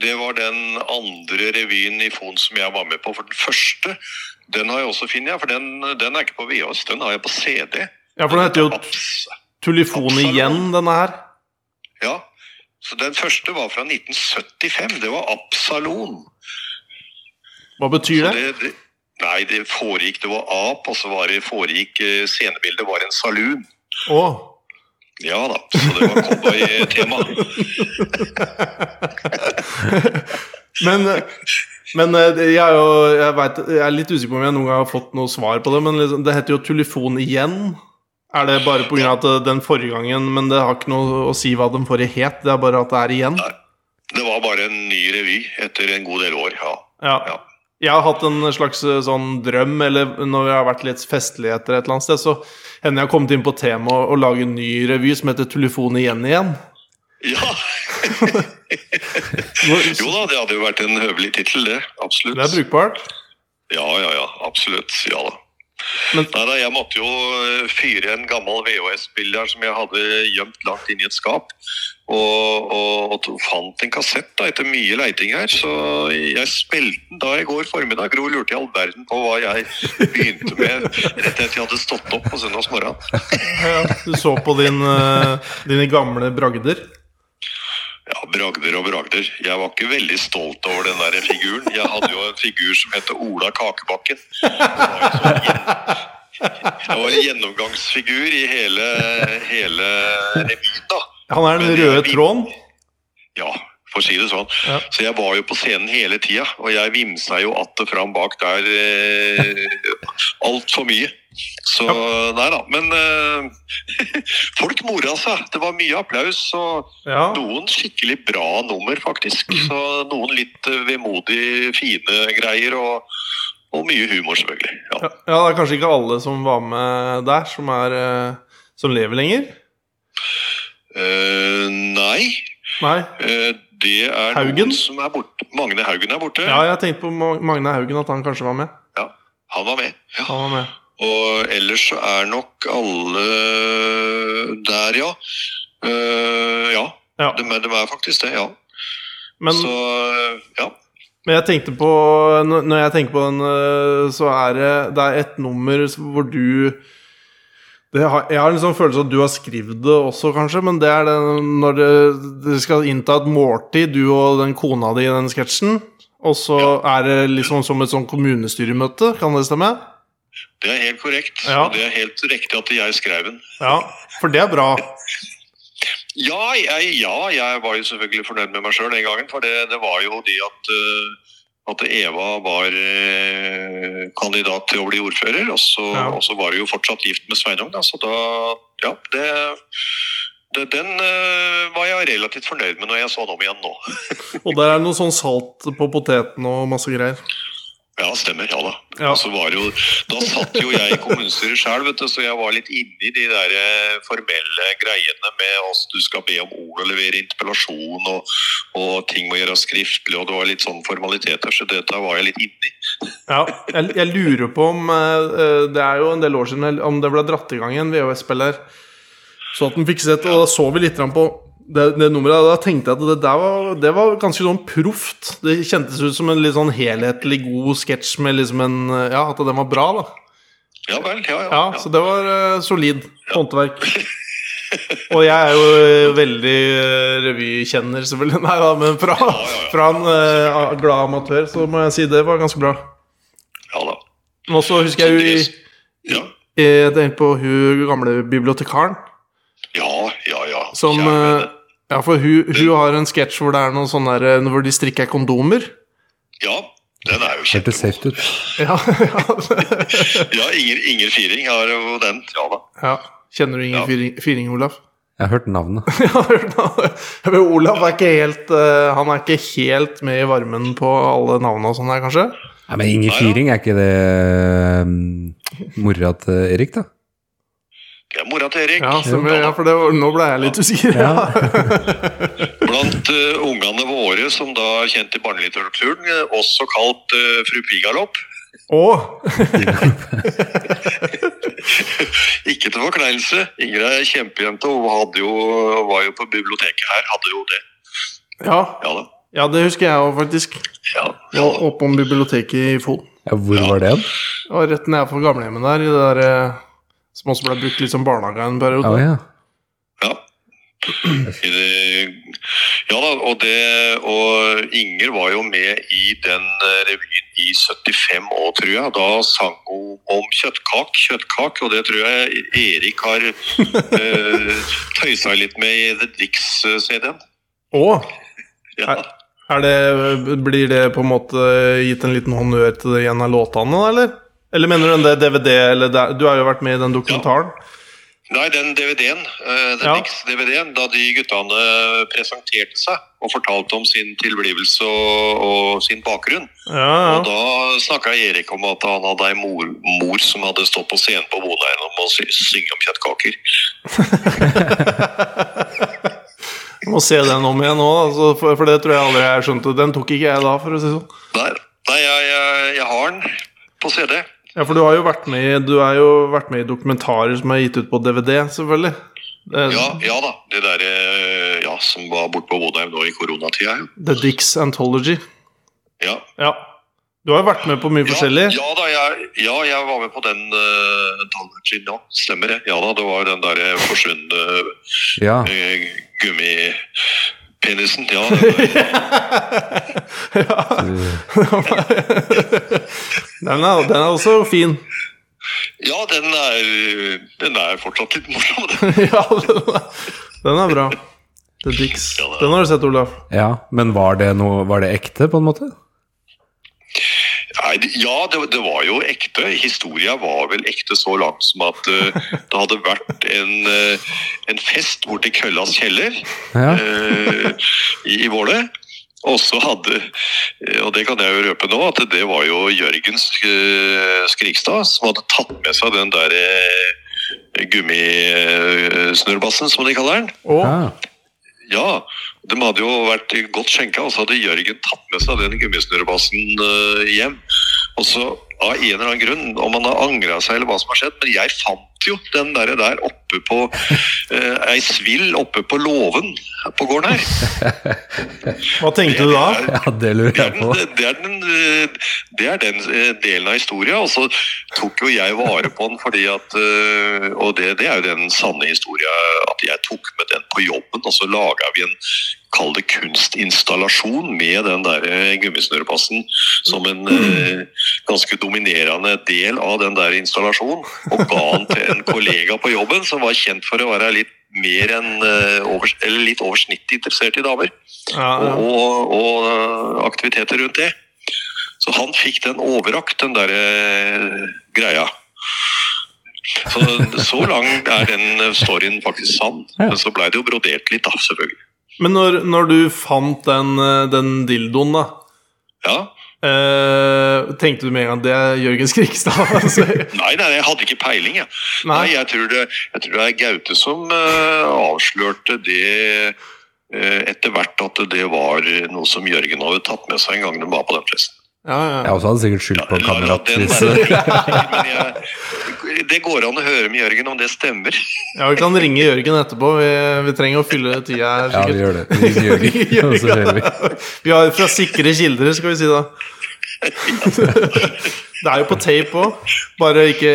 Det var den andre revyen i Fon som jeg var med på. For den første, den har jeg også, finner jeg, for den, den er ikke på VHS, den har jeg på CD.
ja, for den heter jo
Abs-
Tullifon igjen, denne her.
Ja. Så den første var fra 1975. Det var Absalon.
Hva betyr
Så
det?
det, det, nei, det foregikk Det var ap, og så var det foregikk eh, Scenebildet var en saloon.
Å.
Ja da. Så det var
<laughs>
cowboytema.
Men, eh, men eh, jeg, er jo, jeg, vet, jeg er litt usikker på om jeg noen gang har fått noe svar på det, men liksom, det heter jo Tullifon igjen. Er det bare pga. at eh, den forrige gangen Men det har ikke noe å si hva den forrige het, det er bare at det er igjen?
Det var bare en ny revy etter en god del år. Ja.
Ja.
Ja.
Jeg har hatt en slags eh, sånn drøm, eller når jeg har vært litt festlig etter et eller annet sted, så hender jeg har kommet inn på temaet å lage en ny revy som heter Tullifon igjen igjen.
ja. Jo da, det hadde jo vært en høvelig tittel, det. Absolutt.
Det er brukbart.
Ja, ja, ja. Absolutt. Ja da.
Men-
Nei da, jeg måtte jo eh, fyre en gammel VHS-spiller som jeg hadde gjemt langt inni et skap. Og, og, og to- fant en kassett da, etter mye leiting her, så jeg spilte den da i går formiddag. Gro lurte i all verden på hva jeg begynte med rett etter at jeg hadde stått opp på søndagsmorgenen.
Ja, Du så på din, eh, dine gamle bragder.
Ja, bragder og bragder. Jeg var ikke veldig stolt over den der figuren. Jeg hadde jo en figur som het Ola Kakebakken. Det var jo sånn gjen- Det var en gjennomgangsfigur i hele, hele revyen, da.
Han er den
Men jeg
røde
vil-
tråden.
Ja, for å si det sånn.
Ja.
Så jeg var jo på scenen hele tida, og jeg vimsa jo att og fram bak der eh, altfor mye. Så nei da. Men eh, <laughs> folk mora seg. Det var mye applaus. og
Ja.
noen skikkelig bra nummer, faktisk.
Mhm.
Så noen litt eh, vemodig fine greier, og, og mye humor, selvfølgelig.
ja,
Ja.
det er kanskje ikke alle som var med der, som, er, eh, som lever lenger.
Eh, nei,
Nei.
eh, det er
Haugen?
noen som er borte. Magne Haugen er borte.
Ja, jeg tenkte på Ma- Magne Haugen, at han kanskje var med.
Han var med. Ja.
Han var med.
Og ellers så er nok alle der, ja. Eh, ja,
Ja,
de, er- de er faktisk det, ja.
men...
så eh, ja.
Men jeg tenkte på Når når jeg tenker på den, øh, så er det Det er et nummer hvor du det har, Jeg har en sånn følelse at du har skrevet det også, kanskje, men det er den når det- dere skal innta et måltid, du og den kona di i den sketsjen. Og så er det liksom som et sånn kommunestyremøte, kan det stemme?
Det er helt korrekt.
Ja.
Og det er helt riktig at jeg skrev den.
Ja, for det er bra.
Ja jeg, ja, jeg var jo selvfølgelig fornøyd med meg sjøl den gangen. For det, det var jo det at, eh, at Eva var eh, kandidat til å bli ordfører. Og så,
Ja.
og så var hun jo fortsatt gift med Sveinung, da. Så da Ja, det, det Den eh, var jeg relativt fornøyd med når jeg så den om igjen nå.
Og der er det noe sånn salt på poteten og masse greier.
Ja, stemmer. Ja da.
Ja.
Og så var det jo, da satt jo jeg i kommunestyret sjøl, vet du, så jeg var litt inni de der eh, formelle greiene med oss du skal be om ord og levere interpellasjon, og, og ting må gjøres skriftlig, og det var litt sånn formaliteter, så dette var jeg litt inni.
Ja, jeg, jeg lurer på om eh, eh, Det er jo en del år siden jeg- om det ble dratt i gang en VHS-spiller. Så at den fikk sett, og da så vi litt grann på det, det nummeret. og Da tenkte jeg at det der var, det var ganske sånn proft. Det kjentes ut som en litt sånn helhetlig god sketsj med liksom en eh, Ja, at den var bra, da.
Ja vel, ja
Ja,
ja. ja.
Så det var eh, solid håndverk. Og jeg er jo eh, veldig eh, revykjenner, selvfølgelig. Nei da, men fra, fra en eh, glad amatør så må jeg si det var ganske bra.
ja da.
Men også husker jeg jo i
Ja,
jeg tenkte Eh, på hun gamle bibliotekaren
ja, ja. ja.
som
Kjære
eh,
vene.
Ja, for hun, hun har en sketsj hvor det er noen sånne der, eh, hvor de strikker kondomer. eh,
Ja, den er jo
Hørtes safe
kjempegod.
ut.
Ja, <laughs> ja.
Ja, Inger, Inger Firing har jo den. Ja da.
ja. Kjenner du Inger
Ja.
Fyring- Fyring, <laughs> Olaf?
Jeg har hørt navnet.
Ja, hørt navnet. Jeg vet, Olaf er ikke helt eh, Han er ikke helt med i varmen på alle navnene og sånn her, kanskje?
Nei, men Inger
Ja, ja.
eh, Firing, er ikke det um, mora til Erik, da?
Det er mora til Erik.
Ja, som, ja for det var, nå ble jeg litt usikker.
Ja.
<laughs>
Blant eh, ungene våre som da er kjent i barnelitteraturen, eh, også kalt eh, fru Pigalopp.
Og
Ikke til forkleinelse. Ingrid er kjempejente og hadde jo, var jo på biblioteket her. Hadde jo det.
ja,
Ja da.
ja, det husker jeg òg, faktisk.
Ja,
Ja, Oppom biblioteket i Fon.
Ja, hvor var det?
Og rett ned for gamlehjemmet der, i det der eh, som også ble brukt litt som barnehage en periode.
Ja, ja.
ja. I det, ja da, og det Og Inger var jo med i den eh, revyen i 75 år, tror jeg. Da sang hun om kjøttkak, kjøttkak, og det tror jeg Erik har eh, tøysa litt med i The Dix-CD-en.
Og
Ja.
er det, blir det på en måte gitt en liten honnør til det igjen av låtene, da, eller? Eller mener du den der DVD, eller der, du har jo vært med i den dokumentaren?
Nei, den DVD-en, eh, den
Ja.
Dix-DVD-en, da de guttene eh, presenterte seg og fortalte om sin tilblivelse og, og sin bakgrunn.
Ja, ja.
Og da snakka Erik om at han hadde ei mor, mor som hadde stått på scenen på Bonheim og sy synge om kjøttkaker.
Jeg må se den om igjen nå, da, så- for, for det tror jeg aldri jeg skjønte. Den tok ikke jeg da, for å si det sånn.
Nei, nei jeg, jeg, jeg har den på CD.
Ja, for du har jo vært med, i- du er jo vært med i dokumentarer som er gitt ut på DVD, selvfølgelig. Det,
Ja, ja da. Det derre ja, som var borte på Bonheim nå i koronatida. jo.
The Dicks Anthology.
Ja.
Ja. Du har jo vært med på mye forskjellig.
Ja, ja da, jeg, ja, jeg var med på den uh, Dollargin, ja. Stemmer det. Ja da, det var den derre forsvunne
ja.
uh, gummipenisen. Ja, den,
<laughs> Den er, den er også fin. <laughs>
ja den, er, den er fortsatt litt morsom. den.
ja, den er, den er bra. The Dicks.
Ja, det er-
Den har du sett, Olaf.
ja. Men var det, noe, var det ekte, på en måte?
Nei, det- ja, det, det var jo ekte. Historia var vel ekte så langt som at eh, det hadde vært en, eh, en fest borte i Køllas kjeller.
Ja.
eh, i, i Våle. Og så hadde, eh, og det kan jeg jo røpe nå, at det var jo Jørgen Sk- Skrikstad som hadde tatt med seg den der eh, gummisnurrbassen, som de kaller den.
Og
ja.
Ja, de hadde jo vært godt skjenka, og så hadde Jørgen tatt med seg den gummisnurrebassen eh, hjem. Og så av en eller annen grunn, om han har angra seg eller hva som har skjedd, men jeg fant jo den der, der oppe på eh, ei svill oppe på låven på gården her.
hva tenkte du da?
ja, det lurer
Det er
jeg på.
den, det er den, eh, det er den eh, delen av historien, og så tok jo jeg vare på den fordi at eh, Og det, det er jo den sanne historien at jeg tok med den på jobben, og så laga vi en Kall det kunstinstallasjon med den der eh, gummisnørrepassen som en eh, ganske dominerende del av den der installasjonen. Og ga den til en kollega på jobben som var kjent for å være litt mer enn eh, over, eller litt over snittet interessert i damer
Ja, ja.
og, og og aktiviteter rundt det. Så han fikk den overrakt, den der eh, greia. Så, så lang er den eh, storyen faktisk sann.
Ja.
Men så blei det jo brodert litt, da, selvfølgelig.
Men når, når du fant den, eh, den dildoen, da
Ja.
eh, Tenkte du med en gang det er Jørgen Skrikstad? <laughs> Altså,
Nei, nei, jeg hadde ikke peiling, jeg. Nei,
nei.
jeg, tror det, jeg tror det er Gaute som eh, avslørte det eh, etter hvert at det var noe som Jørgen hadde tatt med seg en gang de var på den festen.
Ja,
Ja,
ja.
og så hadde han sikkert skyldt på
La- la- la den
kameratpris.
være. Men jeg- Det går an å høre med Jørgen om det stemmer.
ja, vi kan ringe Jørgen etterpå. Vi, vi trenger å fylle tida
Ja,
her.
vi
sikkert.
gjør det. Vi ringer
<laughs>
Jørgen, og så hører vi.
Vi har fra sikre kilder, skal vi si <laughs> da. Det er jo på tape òg, bare ikke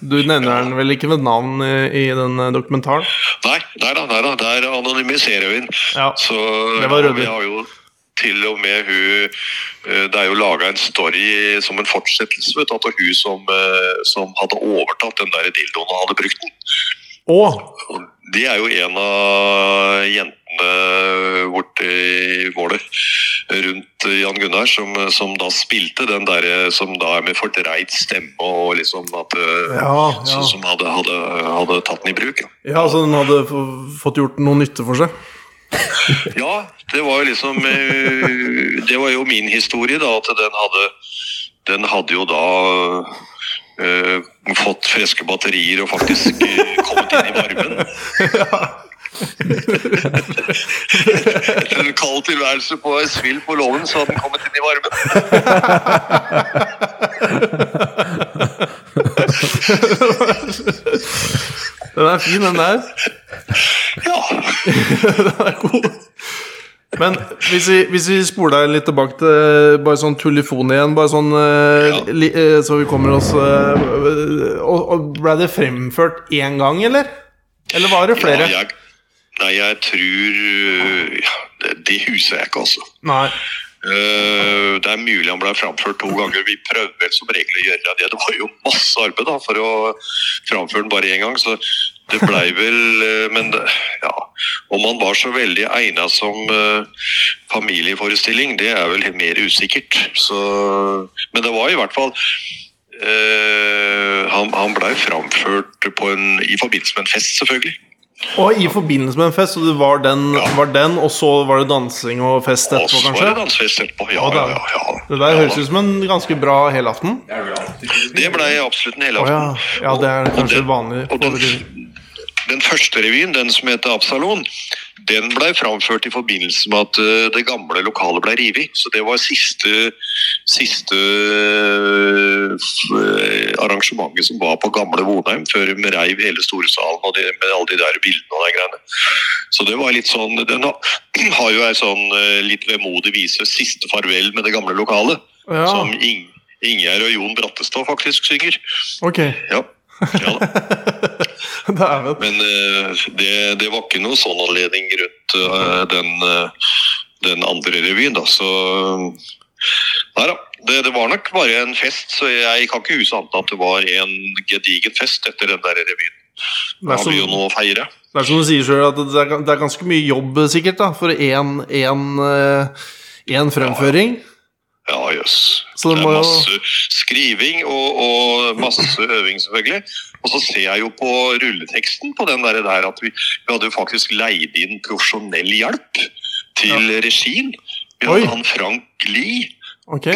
Du nevner den vel ikke ved navn i, i den eh, dokumentaren?
Nei, nei da, nei da, der anonymiserer vi den.
Ja.
Så
Det var
ja,
ryddig.
vi har jo til og med hun eh, Det er jo laga en story som en fortsettelse vet du, av hun som, eh, som hadde overtatt den der dildoen og hadde brukt den.
Å!
Og Det er jo en av jentene borte i Våler rundt Jan Gunnar, som, som da spilte den derre som da er med fordreid stemme og liksom at eh,
Ja, ja.
Som som hadde, hadde, hadde tatt den i bruk. Ja.
ja, så den hadde f- fått gjort noe nytte for seg?
Ja, det var jo liksom eh, Det var jo min historie, da. At den hadde Den hadde jo da eh, fått friske batterier og faktisk eh, kommet inn i varmen. Etter en kald tilværelse på ei svill på låven, så hadde den kommet inn i varmen.
Den er fin, den der.
Ja,
Den er god. Men hvis vi, hvis vi spoler deg litt tilbake til bare sånn tullifon igjen, bare sånn eh,
Ja.
li, eh, Så vi kommer oss eh, og, og Ble det fremført én gang, eller? Eller var det flere?
Ja, jeg, nei, jeg tror øh, ja, det, det huser jeg ikke, altså.
Nei.
Eh, det er mulig han ble framført to ganger. Vi prøvde vel som regel å gjøre det. Det var jo masse arbeid da, for å framføre den bare én gang, så det
<laughs>
blei vel eh, Men det- ja, om han var så veldig egna som eh, familieforestilling, det er vel mer usikkert. Så, men det var i hvert fall eh, Han, han blei framført på en, i forbindelse med en fest, selvfølgelig.
Og i forbindelse med en fest, så det var den, var den og så var det dansing og fest
Og så
etterpå,
var det
kanskje?
dansefest etterpå. Ja,
Å, da.
ja, ja, ja.
Det der
ja,
høres
da.
ut som en ganske bra helaften. Å
Det ble absolutt
ja.
en helaften.
ja, det er
Og- og
kanskje
den-
vanlig.
og den, den første revyen, den som heter Absalon, den ble framført i forbindelse med at eh, det gamle lokalet ble revet. Så det var siste, siste eh, f- eh, arrangementet som var på gamle Vonheim, før de reiv hele storsalen og de, med alle de der bildene og de greiene. Så det var litt sånn Den har, <clears throat> har jo ei sånn eh, litt vemodig vise, 'Siste farvel med det gamle lokalet',
Ja,
som Ing, Ingjerd og Jon Brattestad faktisk synger.
ok. <laughs>
Ja. ja da.
Dæven.
Men eh, det, det var ikke noe sånn anledning rundt eh, den, eh, den andre revyen, da. Så eh, Nei da. Det, det var nok bare en fest, så jeg kan ikke huske annet enn at det var en gedigen fest etter den der revyen.
Det
Da
er
har vi jo
som,
noe å feire.
det er som du sier sjøl, at det er, det er ganske mye jobb sikkert da, for én fremføring.
Ja, jøss.
Så det
Det
må
er
jo
masse skriving og, og masse øving, selvfølgelig. Og så ser jeg jo på rulleteksten på den der, der at vi, vi hadde jo faktisk leid inn profesjonell hjelp til regien. Vi
Oi.
hadde han Frank Lie.
Ok.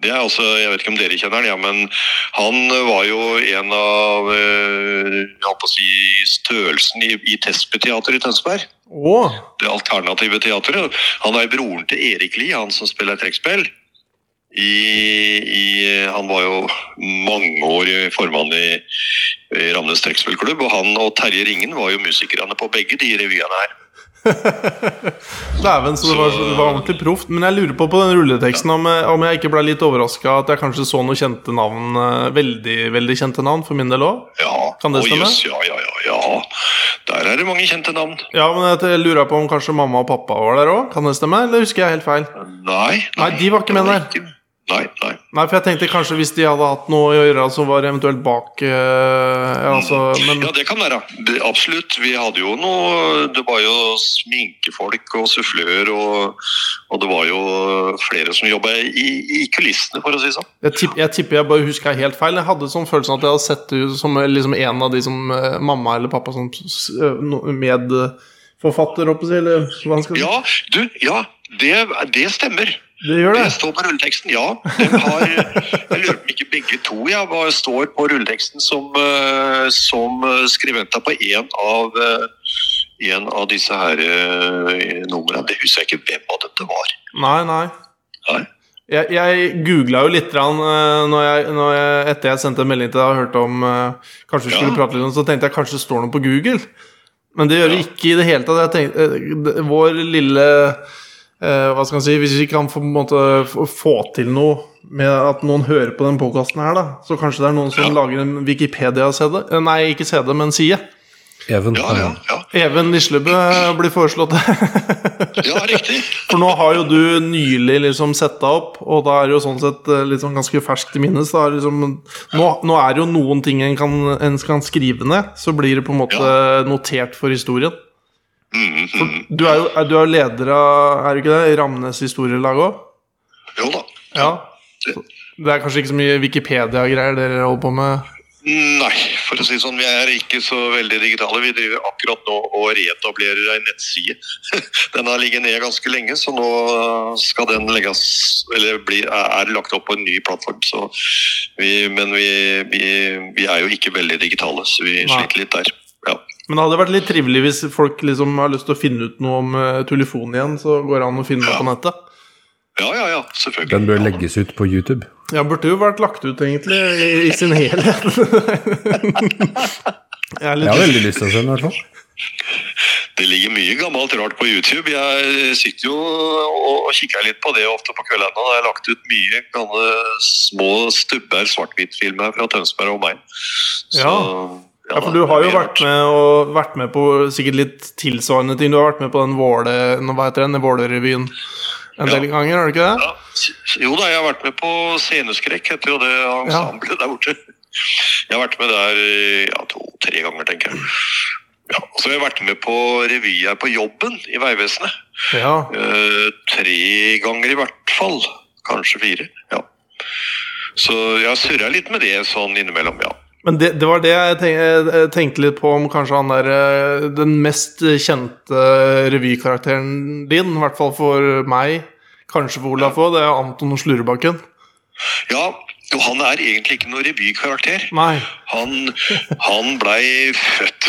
Det er også, Jeg vet ikke om dere kjenner han, ja, men han var jo en av eh, jeg holdt på å si, størrelsen i, i Tespeteatret i Tønsberg.
Å!
Det alternative teatret. Han er broren til Erik Lie, han som spiller trekkspill. I, i, han var jo mangeårig formann i, i Ramnes trekkspillklubb, og han og Terje Ringen var jo musikerne på begge de revyene her.
Dæven, så det var, det var ordentlig proft. Men jeg lurer på på den rulleteksten om jeg, om jeg ikke ble litt overraska at jeg kanskje så noen kjente navn, eh, veldig veldig kjente navn, for min del òg.
Ja,
Kan det
og
stemme?
jøss, ja, ja, ja, ja. Der er det mange kjente navn.
Ja, men jeg- jeg lurer på om kanskje mamma og pappa var der òg? Kan det stemme, eller husker jeg helt feil?
Nei.
Nei, de var ikke med der.
Nei, nei.
Nei, for jeg tenkte kanskje hvis de hadde hatt noe å gjøre, så var det eventuelt bak eh, ja, altså, Men
Ja, det kan være. Det- Absolutt. Vi hadde jo noe Det var jo sminkefolk og sufflør, og, og det var jo flere som jobba i, i kulissene, for å si det sånn.
jeg, tipp, jeg tipper jeg bare huska helt feil. Jeg hadde sånn følelsen at jeg hadde sett det ut som eh, liksom, en av de som eh, mamma eller pappa som s- eh, no- medforfatter, oppe, eller hva skal jeg si.
Ja, du, ja. Det, det stemmer.
Det gjør det.
Det står på rulleteksten, ja. De har, jeg lurer på om ikke begge to ja, hva står på rulleteksten som, eh, som eh, skribenter på en av, eh, en av disse her eh, numrene. Det husker jeg ikke hvem av dem det var.
Nei, nei.
Nei.
Jeg, jeg googla jo litt grann, eh, når jeg, når jeg, etter jeg sendte en melding til deg og hørte om eh, Kanskje vi skulle
Ja.
prate litt om det, så tenkte jeg kanskje det står noe på Google. Men det gjør det
Ja.
ikke i det hele tatt. Jeg tenkte, eh, det- vår lille eh, Hva skal man si Hvis vi kan få, på en måte, få- få til noe med at noen hører på den podkasten her, da, så kanskje det er noen som
Ja.
lager en Wikipedia-CD eh, Nei, ikke CD, men side.
Even.
Ja, ja, ja.
Even Lislebø eh, blir foreslått. <laughs>
ja riktig.
For nå har jo du nylig liksom sett deg opp, og da er det jo sånn sett eh, litt sånn ganske ferskt i minnes. Da. er det Liksom, nå, nå er det jo noen ting en kan, en kan skrive ned, så blir det på en måte notert for historien.
Mm, mm.
Du er jo, er, du er jo leder av er du ikke det, Ramnes historielag òg?
Jo da.
Ja. Så Det er kanskje ikke så mye Wikipedia-greier dere holder på med?
Nei, for å si det sånn, vi er ikke så veldig digitale. Vi driver akkurat nå og reetablerer ei nettside. <laughs> Den har ligget nede ganske lenge, så nå skal den legges Eller blir, er lagt opp på en ny plattform. Så vi, men vi, vi, vi er jo ikke veldig digitale, så vi
Nei.
sliter litt der. Ja.
Men det hadde vært litt trivelig hvis folk liksom har lyst til å finne ut noe om eh, telefonen igjen. Så går det an å finne det
Ja.
på nettet.
ja, ja, ja. Selvfølgelig.
Den bør legges ut på YouTube.
Ja, burde jo vært lagt ut, egentlig, i, i sin helhet. <laughs> Jeg er
Jeg har
litt
veldig lyst til å se den, i hvert fall.
Det ligger mye gammelt rart på YouTube. Jeg sitter jo og og kikker litt på det ofte på kveldene. og Jeg har lagt ut mye gamle små stubber svart-hvitt-filmer fra Tønsberg og meg.
Ja.
ja
ja, for du
da, det
har jo
blir
vært med, og, vært med på sikkert litt tilsvarende ting. Du har vært med på den Våle, nå, hva heter den, den Vålerevyen en
Ja.
del ganger, har du ikke det?
Ja. Jo da, jeg har vært med på Sceneskrekk, heter jo det ensemblet der borte. Jeg har vært med der eh, ja, to-tre ganger, tenker jeg. Ja, og så har jeg vært med på revy her på jobben i Vegvesenet.
Ja.
Eh, tre ganger i hvert fall. Kanskje fire. ja. Så jeg surra litt med det sånn innimellom, ja.
Men det, det var det jeg tenk- jeg tenkte litt på om kanskje han der eh, Den mest kjente revykarakteren din, i hvert fall for meg, kanskje for Olaf òg, det er Anton Slurrebakken.
Ja, og han er egentlig ikke noen revykarakter.
Nei.
Han, han blei født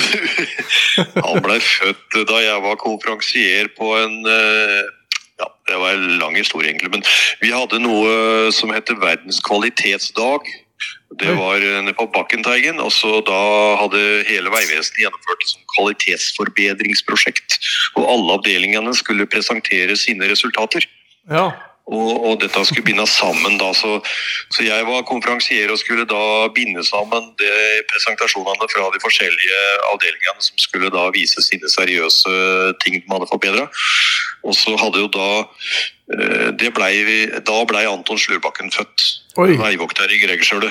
<laughs> Han blei født da jeg var konferansier på en eh, Ja, det var en lang historie, egentlig. Men vi hadde noe som heter Verdens kvalitetsdag. Det
Oi.
var eh, nede på Bakkenteigen. og så Da hadde hele Vegvesenet gjennomført et sånt kvalitetsforbedringsprosjekt. Og alle avdelingene skulle presentere sine resultater.
Ja.
Og, og dette skulle bindes sammen da, så, så jeg var konferansier og skulle da binde sammen de presentasjonene fra de forskjellige avdelingene som skulle da vise sine seriøse ting de hadde forbedra. Og så hadde jo da eh, det blei, vi- Da blei Anton Slurbakken født.
Oi.
Veivokter i Gregerstølet.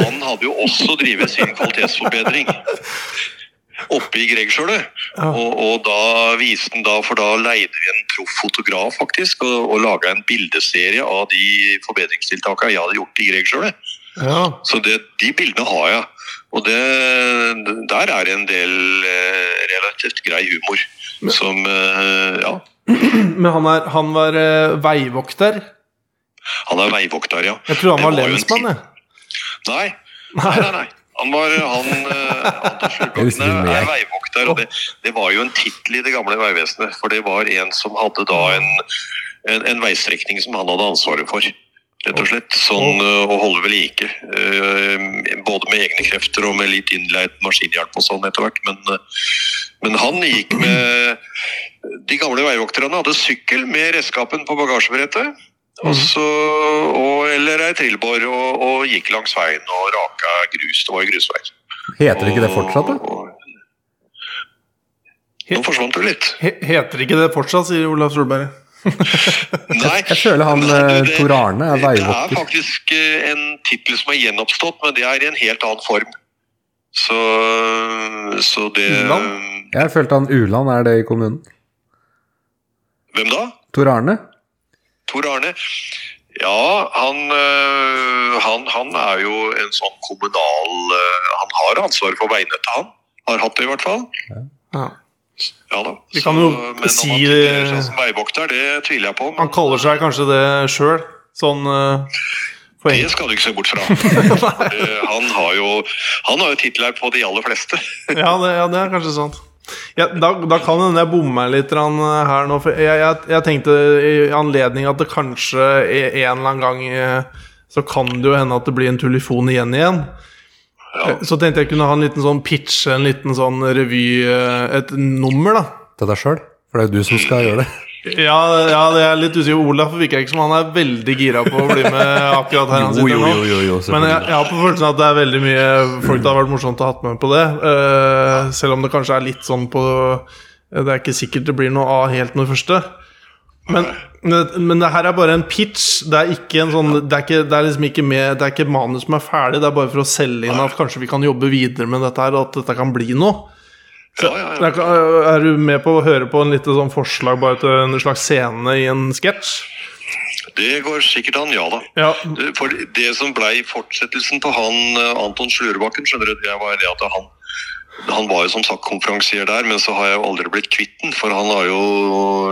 Han hadde jo også drevet sin kvalitetsforbedring oppe i Gregerstølet.
Ja.
Og, og da viste den da, for da leide vi en proff fotograf faktisk, og, og laga en bildeserie av de forbedringstiltakene jeg hadde gjort i Gregerstølet.
ja.
Så det, de bildene har jeg. Og det, der er det en del eh, relativt grei humor. Som eh, Ja.
Men han, er, han var eh, veivokter.
Han er veivokter, ja.
Jeg tror han
Det
var
var jo en tid.
lensmann, jeg.
Nei,
Nei.
Nei, nei, nei. Han var han, eh, Anton
Jeg visste ikke
Slurbakken
hvem
er
jeg-
veivokter, og det, det var jo en tittel i det gamle Vegvesenet. For det var en som hadde da en, en, en veistrekning som han hadde ansvaret for. Rett og slett. Sånn eh, å holde ved like. eh, Både med egne krefter og med litt innleid maskinhjelp og sånn etter hvert. Men, eh, men han gikk med De gamle veivokterne hadde sykkel med redskapen på bagasjebrettet. Og så, og, eller ei trillbår, og, og gikk langs veien og raka grus. Det var jo grusvei.
Heter ikke det fortsatt, da?
da? Nå forsvant du litt.
He heter ikke det fortsatt, sier Olav Solberg.
Nei.
Jeg føler han
Nei,
eh,
du, det-
Tor Arne er
Det er
veivokter.
faktisk eh, en tittel som er gjenoppstått, men det er i en helt annen form. Så, så det
Uland?
Jeg følte han Uland er det i kommunen.
Hvem da?
Tor Arne?
Tor Arne? Ja, han, øh, han, han er jo en sånn kommunal øh, Han har ansvaret for veinettet, han. Har hatt det, i hvert fall.
Ja.
Ja da.
Vi kan jo
men om han
si-
titulerer
eh,
seg som veivokter, det tviler jeg på.
Han
Men
kaller seg kanskje det sjøl, sånn eh, på
det
engelsk.
skal du ikke se bort fra. For, øh, han har jo, han har jo titler på de aller fleste.
Ja, det, ja, det er kanskje sant. Ja, da, da kan det hende jeg bommer litt grann, eh, her nå. For jeg, jeg, jeg tenkte i anledning at det kanskje er en eller annen gang eh, så kan det jo hende at det blir en tullifon igjen igjen.
Ja.
Eh, Så tenkte jeg kunne ha en liten sånn pitch, en liten sånn revy eh, Et nummer, da.
Til deg sjøl? For det er jo du som skal gjøre det.
Ja, ja det er litt usikker. Olaf virker ikke som han er veldig gira på å bli med akkurat her han
Jo,
sitter
jo,
nå.
jo, jo, jo
Men jeg,
selvfølgelig.
jeg har på følelsen at det er veldig mye folk det har vært morsomt å ha hatt med på det. eh, selv om det kanskje er litt sånn på Det er ikke sikkert det blir noe av helt med det første. Men, men, men det her er bare en pitch. Det er ikke en sånn Det er, ikke, det er liksom ikke med Det er ikke manus som er ferdig, det er bare for å selge inn at kanskje vi kan jobbe videre med dette her, og at dette kan bli noe.
Ja, ja, ja.
Er, er du med på å høre på en liten sånn forslag bare til en slags scene i en sketsj?
Det går sikkert an, ja da.
Ja,
For det som blei fortsettelsen på han eh, Anton Slurbakken, skjønner du, det var det at han han var jo som sagt konferansier der, men så har jeg jo aldri blitt kvitt den. For han har jo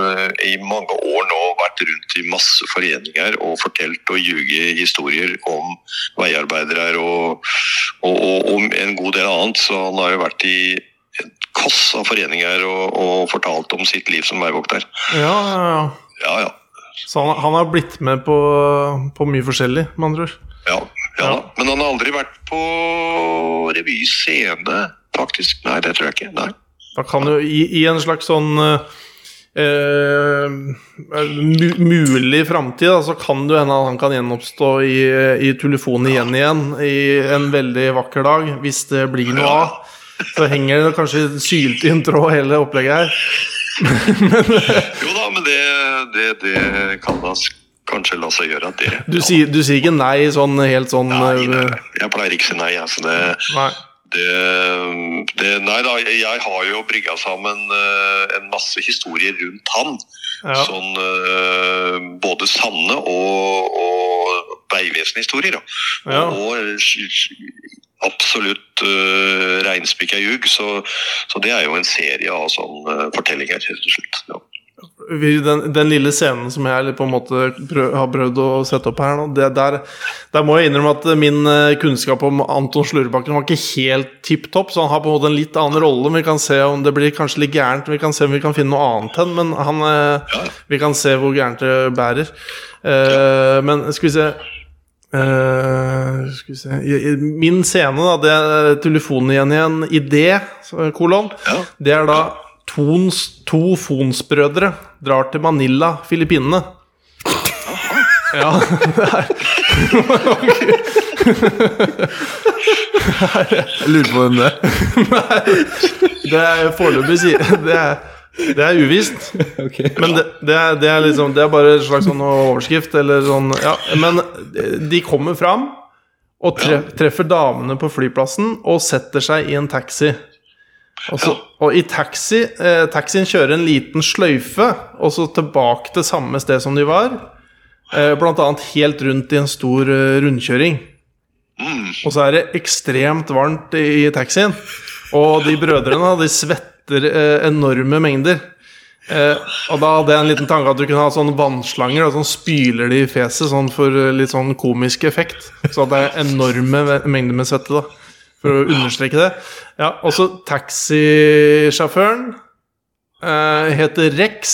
eh, i mange år nå vært rundt i masse foreninger og fortalt og ljuget historier om veiarbeidere og, og, og om en god del annet. Så han har jo vært i en koss av foreninger og, og fortalt om sitt liv som veivokter.
ja, ja, ja.
Ja, ja.
Så han, han har blitt med på, på mye forskjellig, med andre ord.
Ja, ja.
Ja.
da. Men han har aldri vært på revyscene, faktisk. Nei, det tror jeg ikke. Nei.
Da kan jo i, i en slags sånn eh, eh, mu, mulig framtid, da, så kan det jo hende at han kan gjenoppstå i, i telefonen igjen igjen i en veldig vakker dag, hvis det blir noe
Ja.
av. Så henger det kanskje sylt i en tråd, hele opplegget her.
Jo da, men det, det, det kan da s- kanskje la seg gjøre. Det.
Du, sier, du sier ikke nei sånn helt sånn
Nei, nei,
eh,
nei. Jeg pleier ikke å si nei. jeg, så det,
nei.
det, det, nei da, jeg har jo brygga sammen eh, en masse historier rundt han.
Ja.
Sånn, eh, både sanne og, og veivesenhistorier. Da.
Ja.
Og, og s- s- absolutt uh, reinspikka ljug. Så, så det er jo en serie av sånne eh, fortellinger, rett og slett. Ja.
Vi- Den, den lille scenen som jeg på en måte prø- har prøvd å sette opp her nå, det der, der må jeg innrømme at min eh, kunnskap om Anton Slurbakken var ikke helt tipp topp, så han har på en måte en litt annen rolle. men Vi kan se om det blir kanskje litt gærent, vi kan se om vi kan finne noe annet hen, men han eh,
Ja.
Vi kan se hvor gærent det bærer. Eh, men skal vi se eh, Skal vi se I- i- Min scene, da, det er telefonen igjen igjen, idé, så- kolon.
Ja.
Det er da Tons, to Fons-brødre drar til Manila, Filippinene. Ja, det er
Jeg lurer på hvem det er.
<laughs> Det er foreløpig si- det, er- det er uvisst. Men det, det, er, det er liksom Det er bare en slags sånn overskrift eller sånn Ja, men de kommer fram og tre, treffer damene på flyplassen og setter seg i en taxi. Og, så, og i taxi eh, Taxien kjører en liten sløyfe, og så tilbake til samme sted som de var. Eh, blant annet helt rundt i en stor eh, rundkjøring.
Mm.
Og så er det ekstremt varmt i, i taxien. Og de brødrene de svetter eh, enorme mengder. Eh, og da hadde jeg en liten tanke at du kunne ha sånne vannslanger og sånn spyler de i fjeset sånn for eh, litt sånn komisk effekt. Så at det er enorme ve- mengder med svette, da. For å understreke det. Ja, og så taxisjåføren eh, heter Rex.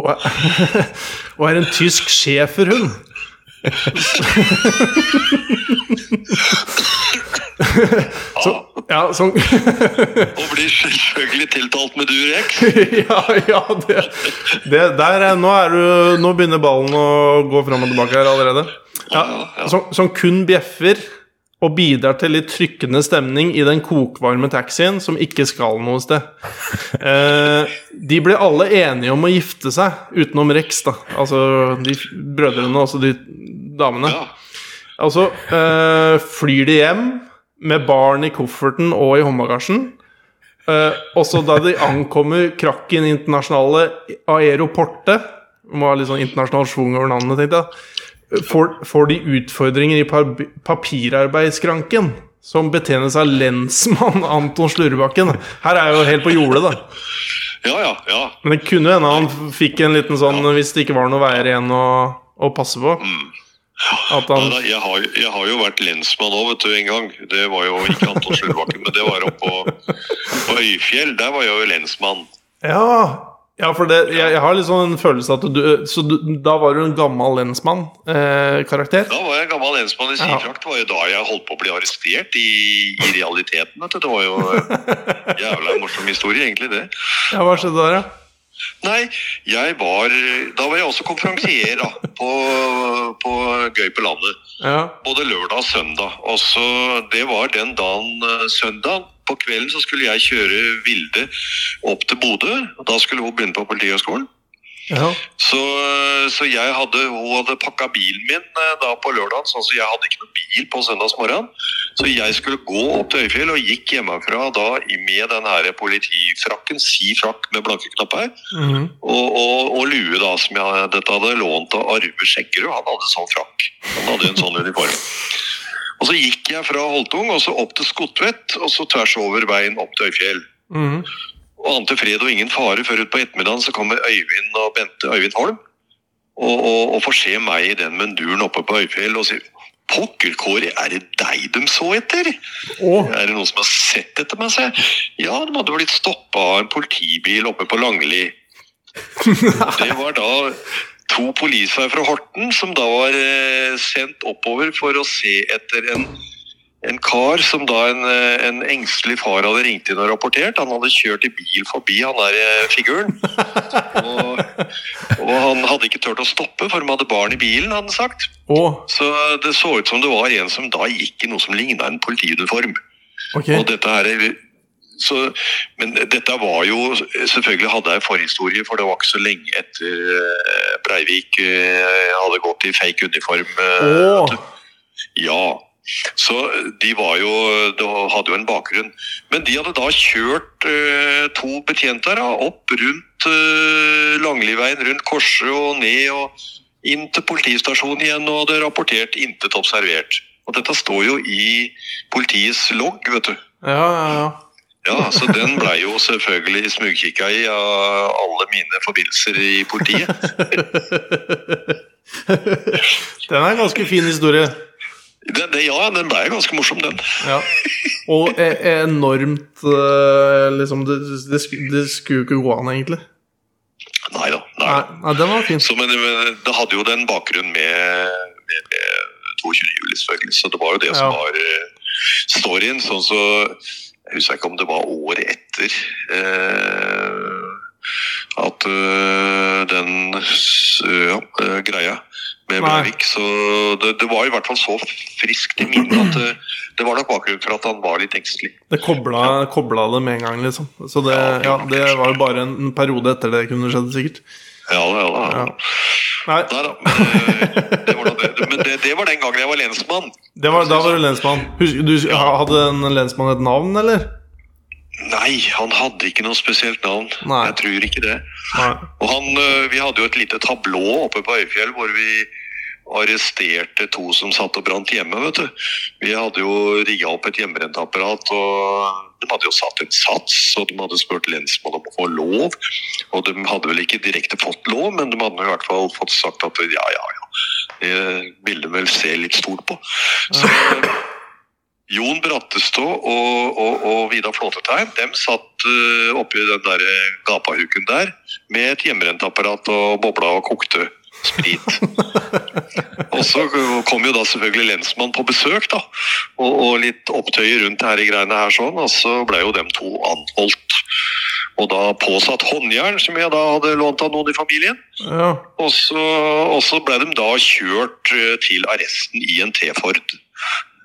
Og er, <laughs> og er en tysk schæferhund.
Ja.
Ja, sånn, som
Og blir selvfølgelig tiltalt med Durex.
<laughs> ja, ja, det, det der er, nå, er du, nå begynner ballen å gå fram og tilbake her allerede. Ja, som, som kun bjeffer og bidrar til litt trykkende stemning i den kokvarme taxien som ikke skal noe sted. Eh, de ble alle enige om å gifte seg, utenom Rex, da. Altså de f- brødrene og de damene.
Ja.
Og så eh, flyr de hjem med barn i kofferten og i håndbagasjen. Eh, og så da de ankommer Krakken internasjonale aeroporte Må ha litt sånn internasjonal schwung over navnet, tenkte jeg. Får, får de utfordringer i par- papirarbeidsskranken, som betjenes av lensmann Anton Slurrebakken. Her er jeg jo helt på jordet, da.
ja, ja, ja.
Men det kunne hende han fikk en liten sånn hvis det ikke var noen veier igjen å, å passe på. At han
Neida, jeg, har, jo- jeg har jo vært lensmann òg, vet du, en gang. Det var jo ikke Anton Skjølbakken, men det var oppe på, på Høyfjell. Der var jeg jo lensmann.
Ja, ja for det, jeg, jeg har litt sånn en følelse at du Så du, da var du en gammel eh, lensmann-karakter?
Da var jeg gammel lensmann i sidedrakt. Det var jo da jeg holdt på å bli arrestert i, i realiteten. Vet du. Det var jo eh, jævla morsom historie, egentlig, det.
ja, hva skjedde der, ja?
Nei, jeg var Da var jeg også konferansier da, på, på Gøy på landet.
ja?
både lørdag og søndag. Og så, det var den dagen eh, søndag. På kvelden så skulle jeg kjøre Vilde opp til Bodø. og Da skulle hun begynne på Politihøgskolen.
Ja.
Så, eh, så jeg hadde, hun hadde pakka bilen min eh, da på lørdag, sånn så jeg hadde ikke noen bil på søndagsmorgenen. Så jeg skulle gå opp til Øyfjell og gikk hjemmefra da i- med den her politifrakken, si frakk med blanke knapper,
Mhm.
og, og, og lue da, som jeg dette hadde lånt av Arve Skjeggerud. Han hadde sånn frakk. Han hadde en sånn uniform. Og så gikk jeg fra Holtung og så opp til Skotvet, og så tvers over veien opp til Øyfjell.
Mhm.
Og ante fred og ingen fare før utpå ettermiddagen så kommer Øyvind og Bente Øyvind Holm og, og, og får se meg i den munduren oppe på Øyfjell og sier Pokker, Kåre, er det deg de så etter?
Å,
Er det noen som har sett etter meg? sa jeg. Ja, de hadde blitt stoppa av en politibil oppe på Langli. Det var da to poliser fra Horten som da var eh, sendt oppover for å se etter en, en kar som da en, eh, en engstelig far hadde ringt inn og rapportert. Han hadde kjørt i bil forbi han der eh, figuren. Og, og han hadde ikke turt å stoppe, for de hadde barn i bilen, hadde han sagt.
å,
Så det så ut som det var en som da gikk i noe som ligna en politiuniform. Og
ok.
dette her er- så, men dette var jo Selvfølgelig hadde jeg forhistorie, for det var ikke så lenge etter eh, Breivik eh, hadde gått i fake uniform. eh,
Å,
Ja. Så de var jo De hadde jo en bakgrunn. Men de hadde da kjørt eh, to betjenter da, opp rundt eh, Langliveien, rundt korset og ned og inn til politistasjonen igjen og hadde rapportert intet observert. Og dette står jo i politiets logg, vet du.
ja, ja, ja.
Ja, så den blei jo selvfølgelig smugkikka i av alle mine forbindelser i politiet.
Den er en ganske fin historie.
Den, den, ja, den blei jo ganske morsom, den.
Ja. Og e enormt eh, liksom det, det, sku- det skulle jo ikke gå an, egentlig.
Nei da. Nei.
Nei, nei den var fin.
Så, men, men det hadde jo den bakgrunnen med, med, med 22. juli, selvfølgelig. Så det var jo det som
Ja.
var eh, storyen. Sånn så Jeg husker ikke om det var året etter eh, at eh, den s- ja, eh, greia med
Nei.
Breivik Så det, det var i hvert fall så friskt i minnet at eh, det var nok bakgrunnen for at han var litt engstelig.
Det kobla, kobla det med en gang, liksom. Så det, ja, det var jo bare en en periode etter det kunne skjedd, sikkert.
Ja da, ja da.
Ja. Nei,
Nei da. Men, eh, det var, nå det. men det, det var den gangen jeg var lensmann.
det var, da var du lensmann. Husk, du, hadde en lensmann et navn, eller?
Nei, han hadde ikke noe spesielt navn.
Nei.
Jeg tror ikke det.
Nei.
Og han, øh, vi hadde jo et lite tablå oppe på Øyfjell hvor vi arresterte to som satt og brant hjemme, vet du. Vi hadde jo rigga opp et hjemmebrentapparat, og de hadde jo satt en sats, og de hadde spurt lensmannen om å få lov. Og de hadde vel ikke direkte fått lov, men de hadde i hvert fall fått sagt at ja, ja, ja. Det ville de vel se litt stort på. Så eh, Jon Brattestå og, og, og Vidar Flåtetein, dem satt øh, oppi den der øh, gapahuken der med et hjemmebrentapparat og bobla og kokte sprit. og så kom jo da selvfølgelig lensmannen på besøk, da. Og, og litt opptøyer rundt her i greiene her sånn, og så ble jo dem to anholdt. Og da påsatt håndjern, som jeg da hadde lånt av noen i familien.
Ja.
Og så, og så ble de da kjørt eh, til arresten i en T-Ford.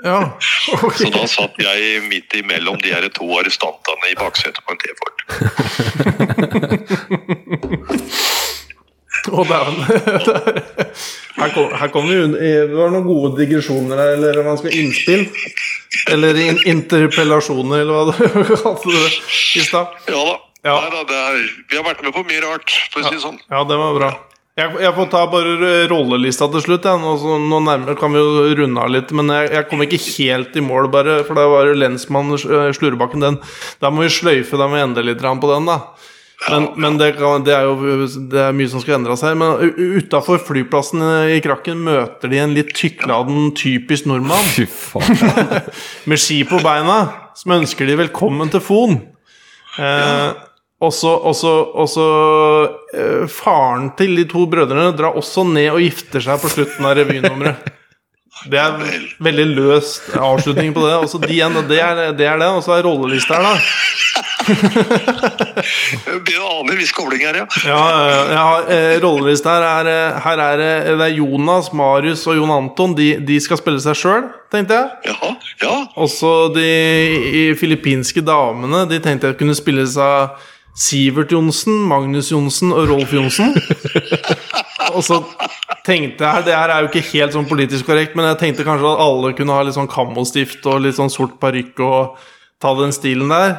ja.
Så da
Ok.
satt jeg midt imellom de her to arrestantene i baksetet på en T-Ford.
Å, dæven. Her kom- Her kommer vi unna Det var noen gode digresjoner her, eller hva man skal innspill. Eller in interpellasjoner, eller hva det <laughs> kalte det i stad.
Ja da.
Ja.
Neida, det er, vi har vært med på mye rart, for å si det sånn.
Ja, det var bra. Jeg, jeg får ta bare rollelista til slutt. Jeg. Nå, så, nå nærmere kan vi jo runde av litt, men jeg, jeg kom ikke helt i mål, bare, for da var jo lensmann eh, Slurbakken den. Da må vi sløyfe, da må vi endre litt grann på den, da. Men, men det, kan, det er jo det er mye som skal endres her. Men utafor flyplassen eh, i Krakken møter de en litt tykkladen, typisk nordmann
Fy faen.
<laughs> med ski på beina, som ønsker de velkommen til Fon. Eh, og så- og så- og så, eh, Faren til de to brødrene drar også ned og gifter seg på slutten av revynummeret. Det er veldig løs avslutning på det. Og så de igjen, det er det, er det. og så er rollelista her, da.
Jeg begynner å ane en viss kobling her, ja.
Ja, eh, jeg har, eh, rollelista her er, eh, her er eh, det er Jonas, Marius og Jon Anton. De, de skal spille seg sjøl, tenkte jeg.
Ja, ja.
Også de i- filippinske damene De tenkte jeg kunne spille seg Sivert Johnsen, Magnus Johnsen og Rolf Johnsen. Og så tenkte jeg Det her er jo ikke helt sånn politisk korrekt, men jeg tenkte kanskje at alle kunne ha litt sånn kammostift og litt sånn sort parykk og ta den stilen der.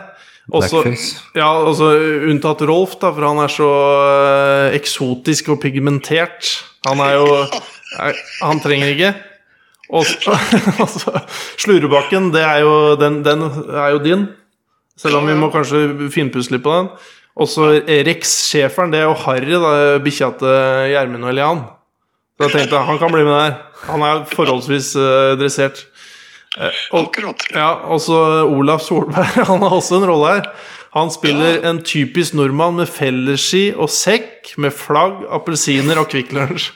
Også,
Blackface.
ja, altså unntatt Rolf, da, for han er så eh, eksotisk og pigmentert. Han er jo eh, Han trenger ikke. Og <laughs> så, og så- Altså, Slurebakken, det er jo, den, den er jo din. Selv om vi må kanskje finpusse litt på den. Og så Rex-schæferen, det er jo Harry, da, bikkja til Gjermund og Elian. Så jeg tenkte han kan bli med der. Han er forholdsvis eh, dressert. Eh, og,
Akkurat.
ja, og så Olaf Solberg, <laughs> han har også en rolle her. Han spiller en typisk nordmann med felleski og sekk, med flagg, appelsiner og Kvikk Lunsj.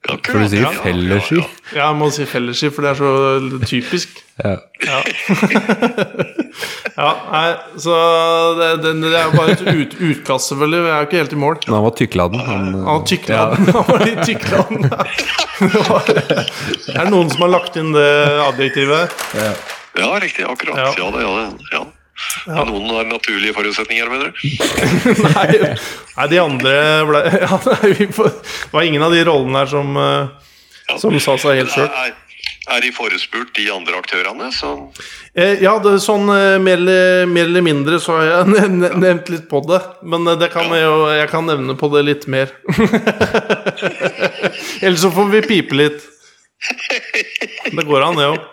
akkurat.
For du sier
Ja, ja,
felleski.
ja, ja.
Ja, jeg må si felleski, for det er så typisk.
Ja.
Ja, nei, så det, det, det er bare et ut, utkast, selvfølgelig. Vi er jo ikke helt i mål.
Men han var tykkeladen. Han, eh,
Han var tykkland. <laughs> Han var litt tykkland. Det var- Det er noen som har lagt inn det adjektivet.
Ja, riktig. Akkurat.
Ja.
Ja, det, ja, det, ja. Noen har naturlige forutsetninger, mener du?
Nei, nei de andre ble <laughs> ja, nei, vi får, Det var ingen av de rollene her som, eh,
Ja.
som sa seg helt sjøl.
Er, er de forespurt, de andre aktørene? Så,
Eh, ja, det, er sånn eh, mer, eller- mer eller mindre så har jeg <laughs> ne- ne- nevnt litt på det. Men eh, det kan jeg, jo, jeg kan nevne på det litt mer. <laughs> Ellers så får vi pipe litt. Det går an, det òg.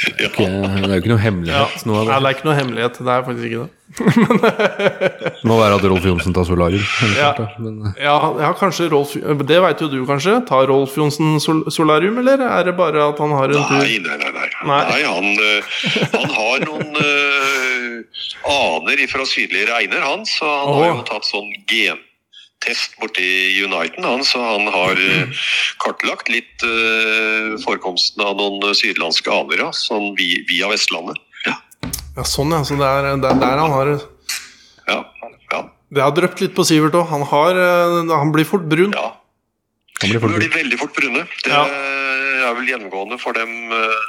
ikke, det er jo ikke noe hemmelighet. Noe
Nei,
av det.
det er ikke noe hemmelighet. Det er faktisk ikke det.
det må være at Rolf Johnsen tar solarium. helt
Ja.
klart, da. Men, eh,
Ja, ja kanskje Rolf eh, Det veit jo du, kanskje. Tar Rolf Johnsen sol solarium, eller er det bare at han har en tur?
nei, nei, nei. nei.
Nei.
nei han, eh, han har noen eh, aner fra sydlige regner, han. Så han har jo
Åh.
tatt sånn gentest borti Uniten, han. Så han har eh, kartlagt litt eh, forekomsten av noen sydlandske aner, ja. Sånn vi- via Vestlandet. Ja.
Ja, sånn, ja. Så det er det er der han har det.
Ja. ja.
Det har drypt litt på Sivert òg. Han, har, eh, han blir fort brun.
ja.
han blir
De blir
forbudt.
veldig fort brune. Det
Ja.
er vel gjennomgående for dem, eh,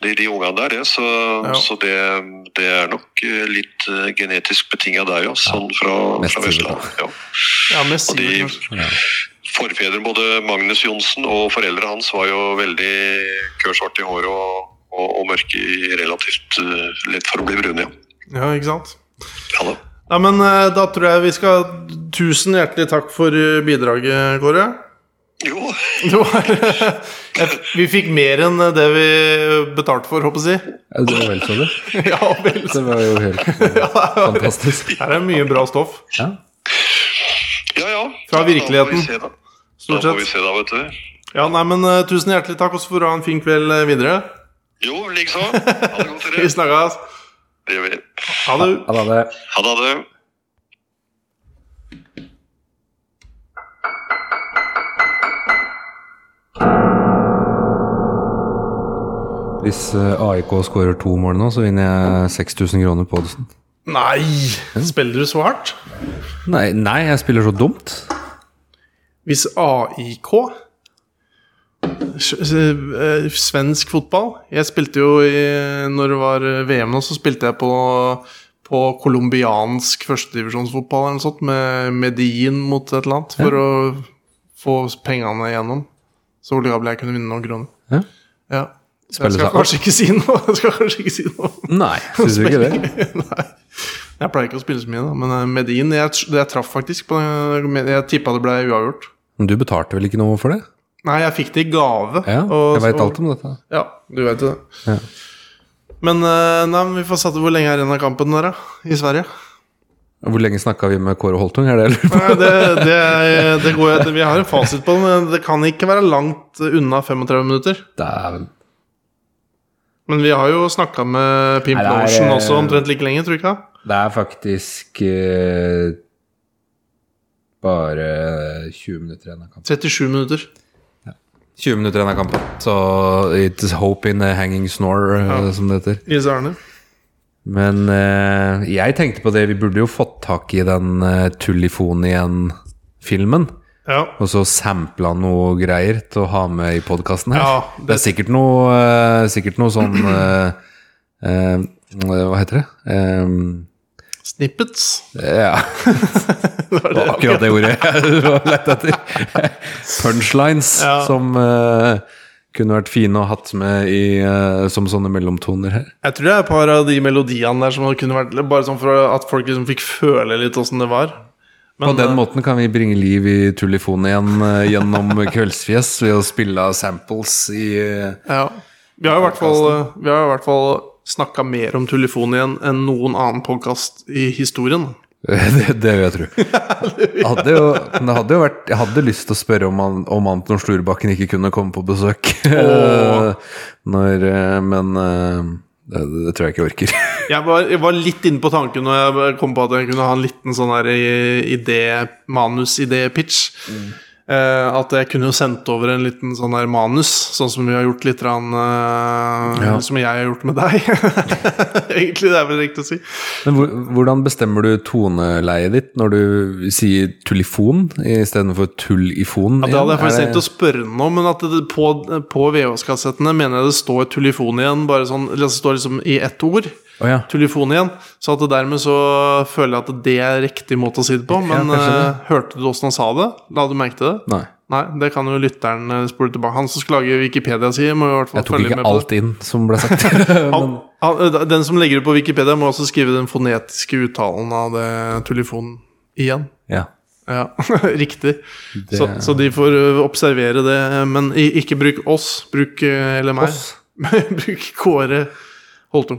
de, de ungene der. det. Så,
Ja.
så det, det er nok eh, litt eh, genetisk betinga der, ja. Sånn fra,
Mest
fra
sikkert,
Vestlandet. Ja.
Ja, mest
Og de-
Sivert, kanskje.
Ja.
Forfedre, både Magnus Johnsen og foreldre hans, var jo veldig kørsvart i håret og, og, og mørke i relativt eh, lett for å bli brune, ja.
Ja, ikke sant?
ja da.
Ja, men eh, da tror jeg vi skal Tusen hjertelig takk for eh, bidraget, Kåre.
Jo,
<laughs> Det var <laughs> Jeg- Vi fikk mer enn eh, det vi eh, betalte for, håper jeg å
Ja, det var vel så det.
si. <laughs> Ja vel.
Det var jo helt fantastisk.
<laughs> Her er mye bra stoff.
Ja.
ja ja.
Fra
Ja, da får vi
virkeligheten.
se, da. Da
Stort
får vi
sett.
se, da, vet du.
Ja, nei, men eh, Tusen hjertelig takk, og så får du ha en fin kveld eh, videre.
Jo, liksom. Ha det godt,
Vi <laughs>
dere.
snakkes.
Det gjør vi.
Ha det.
Ja, da, det.
Ha det, ha det.
Hvis eh, AIK skårer to mål nå, så vinner jeg 6000 kroner på oddsen.
Nei! Spiller du så hardt?
Nei, nei, jeg spiller så dumt.
Hvis AIK s- s- eh, Svensk fotball. Jeg spilte jo i Når det var VM nå, så spilte jeg på på colombiansk førstedivisjonsfotball eller noe sånt, med Medin mot et eller annet, for å få pengene igjennom. Så ligabel jeg kunne vinne noen kroner.
Ja.
Ja. Så
Spille
Jeg skal
seg opp?
kanskje ikke si noe. <laughs> Jeg skal kanskje ikke si noe. <laughs>
Nei, syns du ikke det?
Nei. Jeg pleier ikke å spille så mye, da. Men eh, Medin jeg, tr- jeg traff faktisk på den. Jeg tippa det ble uavgjort.
<laughs> Men du betalte vel ikke noe for det?
Nei, jeg fikk det i gave.
Ja,
og-
jeg veit
og-
alt om dette.
Ja, du vet det.
Ja.
Men eh, nei, men vi får satt hvor lenge er igjen av kampen der, da? I Sverige?
Hvor lenge snakka vi med Kåre Holtung, er det jeg lurer på?
Nei, det, det, det går jeg Vi har en fasit på det, men det kan ikke være langt unna 35 minutter.
Dæven.
Men vi har jo snakka med Pimp
Nei, det er,
Larsen
eh,
også omtrent like lenge, tror du ikke?
Det er faktisk eh, bare 20 minutter igjen av kampen.
37 minutter.
20 minutter igjen av kampen. Så it's hope in a hanging snore, eh,
Ja.
som det heter.
Is Arne.
Men eh, jeg tenkte på det, vi burde jo fått tak i den eh, Tullifon igjen-filmen.
Ja.
Og så sampla noe greier til å ha med i podkasten her.
Ja,
det...
det-
er sikkert noe, eh, sikkert noe sånn eh, eh, Hva heter det? Eh,
Snippets.
Ja, <laughs>
Det var
det var akkurat det ordet jeg <laughs> var lett etter. Punchlines
Ja.
som eh, kunne vært fine å hatt med i, eh, som sånne mellomtoner her.
Jeg tror det er et par av de melodiene der som kunne vært Bare sånn for at folk liksom fikk føle litt åssen det var.
På
Men,
den
eh,
måten kan vi bringe liv i tullifonen igjen eh,
<laughs>
gjennom Kveldsfjes ved å spille av samples i eh, <laughs>
Ja. Vi har i hvert fall, vi har i hvert fall snakka mer om Tullifon igjen enn noen annen podkast i historien.
Det, det vil jeg tro. Hadde jo, men det hadde jo vært, jeg hadde lyst til å spørre om, han, om Anton Slurbakken ikke kunne komme på besøk.
Åh.
<laughs> Når, eh, men eh, det, det tror jeg ikke jeg orker. <laughs>
Jeg var, jeg var litt inne på tanken når jeg kom på at jeg kunne ha en liten sånn her i- idé, manus-idé-pitch. Eh, at jeg kunne jo sendt over en liten sånn her manus, sånn som vi har gjort litt rann, eh,
Ja.
Som jeg har gjort med deg. <laughs> Egentlig, det er vel riktig å si.
Men hvor, hvordan bestemmer du toneleiet ditt når du sier tullifon istedenfor tullifon?
Ja, det hadde jeg faktisk
Er det-
tenkt å spørre han om, men at det, på, på VHS-kassettene mener jeg det står Tullifon igjen, bare sånn, eller det står liksom i ett ord.
Å ja.
Tullifon igjen. Så at det dermed så føler jeg at det er riktig måte å si det på. Men
kanskje det.
eh, hørte du åssen han sa det? La du merke til det?
Nei.
Nei, det kan jo lytteren eh, spole tilbake. Han som skal lage Wikipedia si, må jo i hvert fall
Jeg tok
følge
ikke
med på det.
alt inn som ble sagt. <laughs>
Han, han, eh, den som legger det på Wikipedia, må også skrive den fonetiske uttalen av det tullifonen igjen.
ja.
Ja, <laughs> riktig. Så, så de får ø, observere det. øh, Men i- ikke bruk oss, bruk ø, eller meg.
Oss?
<laughs> bruk Kåre Holtung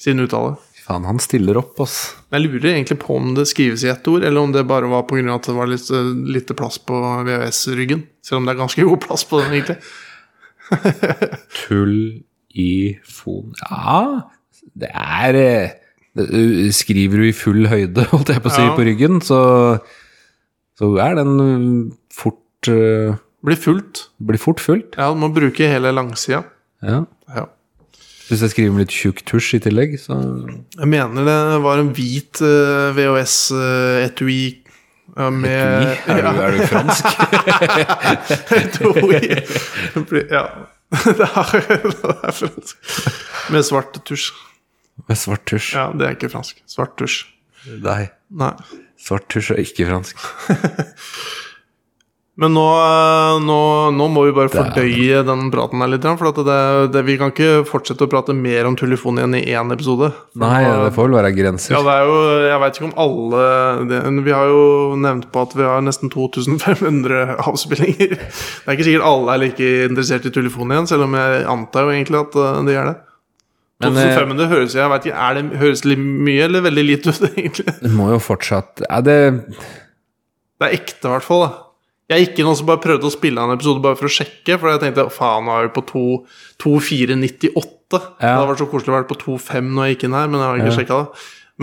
sin uttale.
Faen, han stiller opp, ass.
Jeg lurer egentlig på om det skrives i ett ord, eller om det bare var pga. at det var litt ø, lite plass på VHS-ryggen. Selv om det er ganske <laughs> god plass på den, egentlig.
Tullifon Ja, det er eh, det- Skriver du i full høyde, holdt jeg på å si,
Ja.
på ryggen, så, så er den fort eh,
Blir fullt.
Blir fort fullt.
Ja, du må bruke hele langsida.
Ja.
Ja.
Hvis jeg skriver med litt tjukk tusj i tillegg, så
Jeg mener det var en hvit øh, VHS-etui øh, med
Etui? Er, du, er du fransk? <laughs>
Etui. ja. <laughs> Det er, det er fransk. Med svart tusj.
Med svart tusj.
Ja, det er ikke fransk. Svart tusj.
Nei.
Nei.
Svart tusj er ikke fransk.
Men nå, eh, nå, nå må vi bare fordøye den praten her litt. grann, For at det, det, vi kan ikke fortsette å prate mer om telefon igjen i én episode. For
Nei,
nå-
det får vel være grenser.
Ja, det er jo, jeg vet ikke om alle det, Vi har jo nevnt på at vi har nesten 2500 avspillinger. Det er ikke sikkert alle er like interessert i telefonen igjen, selv om jeg antar jo egentlig at eh, de er det.
Men, eh,
2500 høres jeg vet ikke, er det høres litt mye eller veldig lite ut, <laughs> egentlig.
Det må jo fortsatt Er det
Det er ekte, i hvert fall. da. Jeg gikk inn og så bare prøvde å spille en episode bare for å sjekke, for jeg tenkte faen, nå er vi på 2498. Det
Ja.
hadde vært så koselig å være på 25 når jeg gikk inn her, men jeg har ikke
Ja.
sjekket det.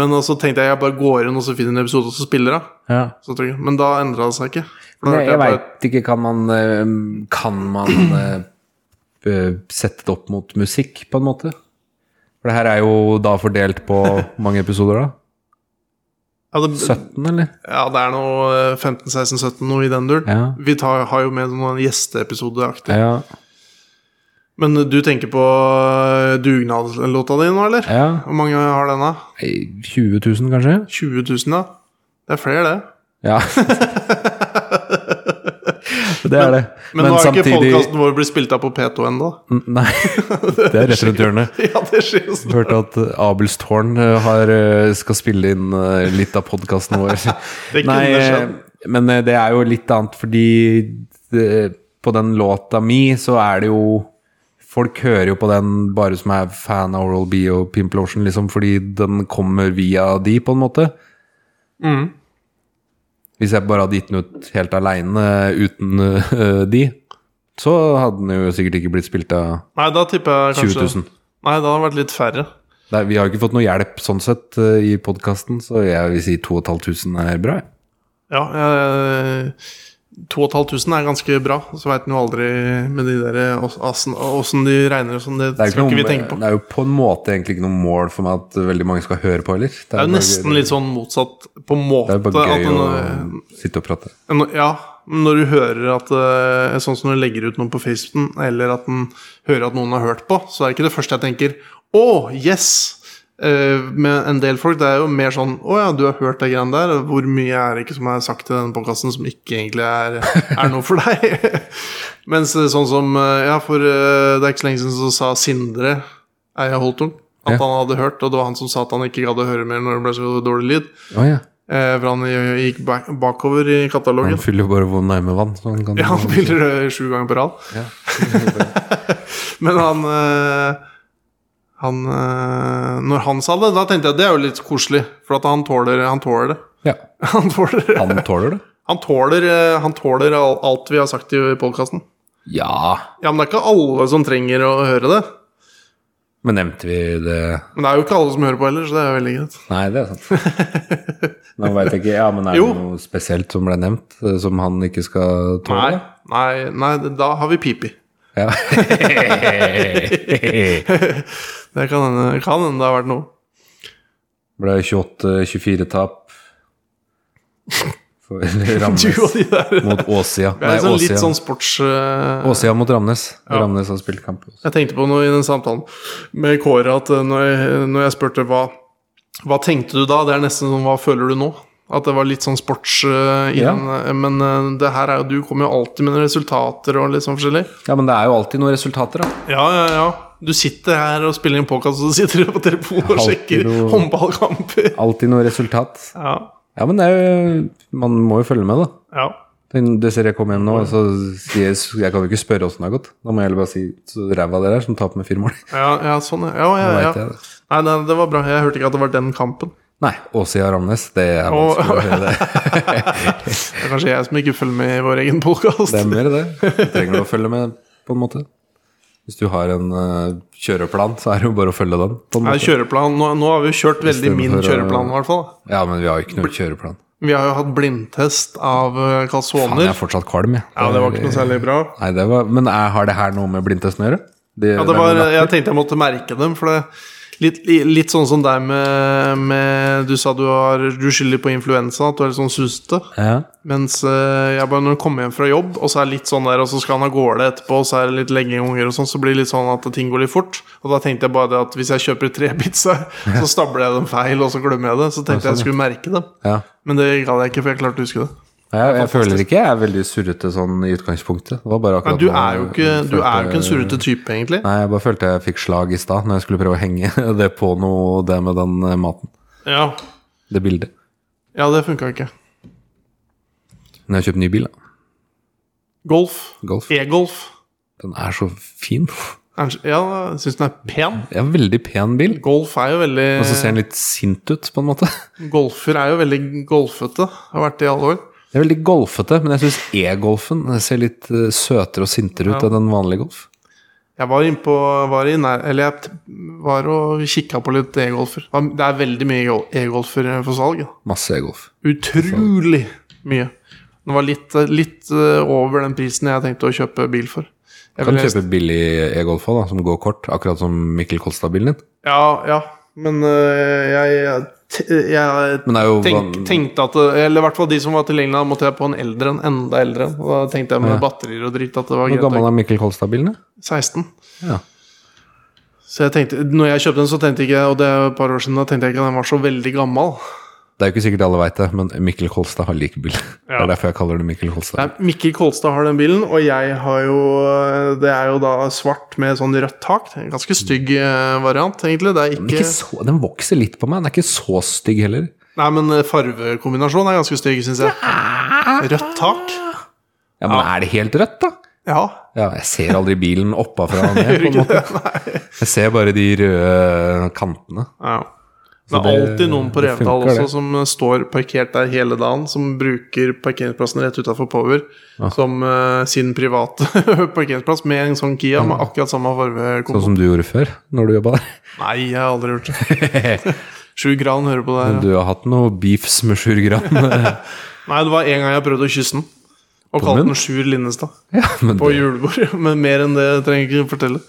Men eh, så tenkte jeg jeg bare går inn og så finner en episode og så spiller jeg.
ja.
Så tror jeg. Men da endra det seg ikke. For
Nei,
da hørte
jeg
jeg bare-
veit ikke. Kan man eh, Kan man eh, eh, sette det opp mot musikk, på en måte? For det her er jo da fordelt på mange episoder, da?
ja, det,
17, eller?
ja, det er noe eh, 15, 16, 17, noe i den duren.
Ja.
Vi tar, har jo med noen gjesteepisodeaktig.
Ja.
Men eh, du tenker på eh, dugnadslåta di nå, eller?
ja.
Hvor mange har den, da?
Nei, 20 000, kanskje?
20 000, da? Det er flere, det.
Ja. <laughs> det er det.
Men, nå har ikke podkasten vår blitt spilt av på P2 ennå. <laughs>
Nei. <laughs> Det er rett rundt hjørnet.
Ja, det skjer jo sånn.
Hørte at Abelstårn eh, har, eh, skal spille inn eh, litt av podkasten vår.
<laughs> Det kunne
Nei, eh,
skjedd.
men eh, det er jo litt annet, fordi det, på den låta mi så er det jo Folk hører jo på den bare som er fan av Oral B og Pimplotion, liksom, fordi den kommer via de, på en måte.
Mm.
Hvis jeg bare hadde gitt den ut helt aleine uten eh, de, så hadde den jo sikkert ikke blitt spilt av
Nei, da tipper jeg
20
kanskje
000.
Nei, da har det vært litt færre.
Nei, vi har jo ikke fått noe hjelp sånn sett eh, i podkasten, så jeg vil si 2500 er bra. jeg.
Ja, eh, 2500 er ganske bra. Så veit en jo aldri med de der åssen de regner og sånn. Det,
Det er,
skal
ikke
ikke vi
noe,
tenke på.
det er jo på en måte egentlig ikke noe mål for meg at veldig mange skal høre på heller.
Det er jo
bare-
nesten litt sånn motsatt på
Det
måte.
er bare
at eh,
gøy å
en,
sitte og prate.
en, ja, men når du hører at eh, Sånn som når du legger ut noe på Facebook, eller at en hører at noen har hørt på, så er det ikke det første jeg tenker Å, yes! eh, med en del folk. Det er jo mer sånn 'Å ja, du har hørt de greiene der.' og Hvor mye er det ikke som er sagt i denne podkasten som ikke egentlig er, er noe for deg? <laughs> Mens eh, sånn som eh, Ja, for eh, det er ikke så lenge siden så sa Sindre Eia Holtung at
Ja.
han hadde hørt, og det var han som sa at han ikke gadd å høre mer når det ble så dårlig lyd.
Å ja.
Eh, for han gikk bak bakover i katalogen.
Han fyller jo bare hvor nærme vann. Så han kan
Ja, han fyller eh, sju ganger på rad.
Ja.
<laughs> Men han eh, Han eh, Når han sa det, da tenkte jeg det er jo litt koselig. For at han tåler Han tåler det.
<laughs>
<laughs>
ja.
Han tåler,
Han tåler det?
han tåler, eh, han tåler al- alt vi har sagt i podkasten.
Ja.
Ja, men det er ikke alle som trenger å høre det.
Men nevnte vi det
Men det er jo ikke alle som hører på heller, så det er veldig greit.
Nei, det er
<laughs>
sant. Nå veit jeg ikke. Ja, men er det
Jo.
noe spesielt som ble nevnt, eh, som han ikke skal
Nei,
tåle?
nei, nei, da har vi pipi.
Ja.
<laughs>
<laughs>
Det kan hende kan hende det har vært noe.
ble 28-24-tap
<laughs>
for
Du og
Ramnes
de der.
mot Åsia.
Det
Nei,
er sånn, litt
Åsia.
sånn sports... eh,
Åsia mot Ramnes.
Ja.
Ramnes har spilt kamp. også.
Jeg tenkte på noe i den samtalen med Kåre at eh, når jeg, når jeg spurte hva Hva tenkte du da? Det er nesten sånn hva føler du nå? At det var litt sånn sports eh, i
Ja.
den. eh, Men eh, det her er jo Du kommer jo alltid med noen resultater og litt sånn forskjellig.
Ja, men det er jo alltid noen resultater, da.
Ja, ja, ja. Du sitter her og spiller inn podkast, og så sitter du på telefonen og
Alltid
sjekker
noe-
håndballkamper.
Alltid noe resultat.
Ja,
Ja, men det er jo Man må jo følge med, da.
ja.
Den- Det ser jeg kom hjem nå, og så sier jeg Jeg kan jo ikke spørre åssen det har gått. Da må jeg heller bare si så ræva dere er som taper med fire mål.
Ja, ja sånn, ja. Ja,
Nå
ja,
vet
ja.
jeg det.
Nei, nei, det var bra. Jeg hørte ikke at det var den <laughs> kampen.
Nei, Åsia Ramnes. Det er
Å.
vanskelig å høre det.
<laughs> Det er kanskje jeg som ikke følger med i vår egen podkast.
Det er mer det. Du trenger å følge med, på en måte. Hvis du har en eh, kjøreplan, så er det jo bare å følge den. På en
Nei,
måte.
kjøreplan, nå, nå har vi jo kjørt
Istedenfor
veldig min
å-
kjøreplan, i hvert fall.
Ja, men vi har jo ikke noe kjøreplan.
Vi har jo hatt blindtest av eh,
Faen, jeg
calzoner.
er fortsatt kvalm, jeg.
Ja, det var ikke noe særlig bra.
Nei, det var, men er, har det her noe med blindtesten å gjøre? Det-
Ja,
det
det
er
var,
noe
jeg tenkte jeg måtte merke dem, for det Litt, li- litt sånn som deg med, med Du sa du, har, du skylder på influensa, at du er litt sånn sustete.
da- Ja.
Mens eh, jeg bare når jeg kommer hjem fra jobb, og så er det litt sånn der, og så skal han av gårde etterpå, og så er det litt legging av unger og sånn, så blir det litt sånn at ting går litt fort. Og da tenkte jeg bare det at hvis jeg kjøper tre pizzaer, <laughs> så stabler jeg dem feil, og så glemmer jeg det. Så tenkte jeg jeg skulle merke dem.
sånn, ja.
Men det gadd jeg ikke, for jeg klarte å huske det.
Nei, Jeg, jeg føler ikke jeg er veldig surrete sånn i utgangspunktet. Det var bare
Nei,
akkurat
du
nå
er jo
jeg
ikke, du
følte-
er jo ikke en surrete type, egentlig.
Nei, jeg bare følte jeg fikk slag i stad når jeg skulle prøve å henge <laughs> det på noe, det med den eh, maten.
Ja,
Det bildet.
ja det funka ikke.
Når jeg kjøpte ny bil, da.
Golf.
Golf.
E-golf.
Den er så fin.
Er den- Ja, jeg syns den er pen.
Det er en veldig pen bil.
Golf er jo
Og så ser
veldig
den litt sint ut, på en måte. <laughs>
Golfer er jo veldig golfete. Har vært det i alle år.
Det er veldig golfete, men jeg syns e-golfen ser litt eh, søtere og sintere ut
Ja.
enn en vanlig golf.
Jeg var innpå var i nær, Eller jeg t- var og kikka på litt e-golfer. Det er veldig mye gol- e-golfer eh, for salg. da.
Masse e-golf.
Utrolig mye. Den var litt, litt eh, over den prisen jeg tenkte å kjøpe bil for. Jeg
Kan
ville-
kjøpe billig e-golf òg, som går kort. Akkurat som Mikkel Kolstad-bilen din.
Ja, ja. Men øh, jeg, jeg, te- jeg
Men det er jo
tenk,
van-
tenkte at det- Eller i hvert fall de som var tilgjengelige, da måtte jeg på en eldre en. Enda eldre en. Og Da tenkte jeg med
Ja.
batterier og dritt at det var
Hvor
greit.
gammel
å-
er Mikkel Kolstad-bilen? da?
16.
Ja.
Så jeg tenkte, når jeg kjøpte den, så tenkte jeg ikke Og det er et par år siden, da tenkte jeg ikke at den var så veldig gammel.
Det er jo ikke sikkert alle veit det, men Mikkel Kolstad har lik bil. <laughs> Det
Ja.
er derfor jeg kaller det Mikkel Kolstad.
Nei, Mikkel Kolstad har den bilen, og jeg har jo øh, Det er jo da svart med sånn rødt tak. Det er En ganske stygg øh, variant, egentlig. Det er
Den, er
ikke
ikke så, den vokser litt på meg. Den er ikke så stygg heller.
Nei, men øh, farvekombinasjonen er ganske stygg, syns jeg. Rødt tak.
Ja, Men er det helt rødt, da?
Ja.
Ja, jeg ser aldri bilen oppafra og ned. på en
ikke
måte. Jeg ser bare de røde kantene.
Ja.
Så
Det er
det-
alltid noen på
det
Revdal
funker,
også
det.
som eh, står parkert der hele dagen, som bruker parkeringsplassen rett utafor Power som eh, sin private <laughs> parkeringsplass med en sånn Kia med akkurat samme
Sånn
fargekombo.
som du gjorde før, når du
<laughs>
jobba der.
Nei, jeg har aldri gjort det. Sju gran hører på det her. ja.
Du har hatt noe beefs med Sjur
<laughs>
Gran.
Nei, det var en gang jeg prøvde å kysse den. Og
På
kalte den
munn?
Sjur Linnestad.
<laughs> Ja, men
På julebord. <laughs> Men mer enn det trenger jeg ikke fortelle.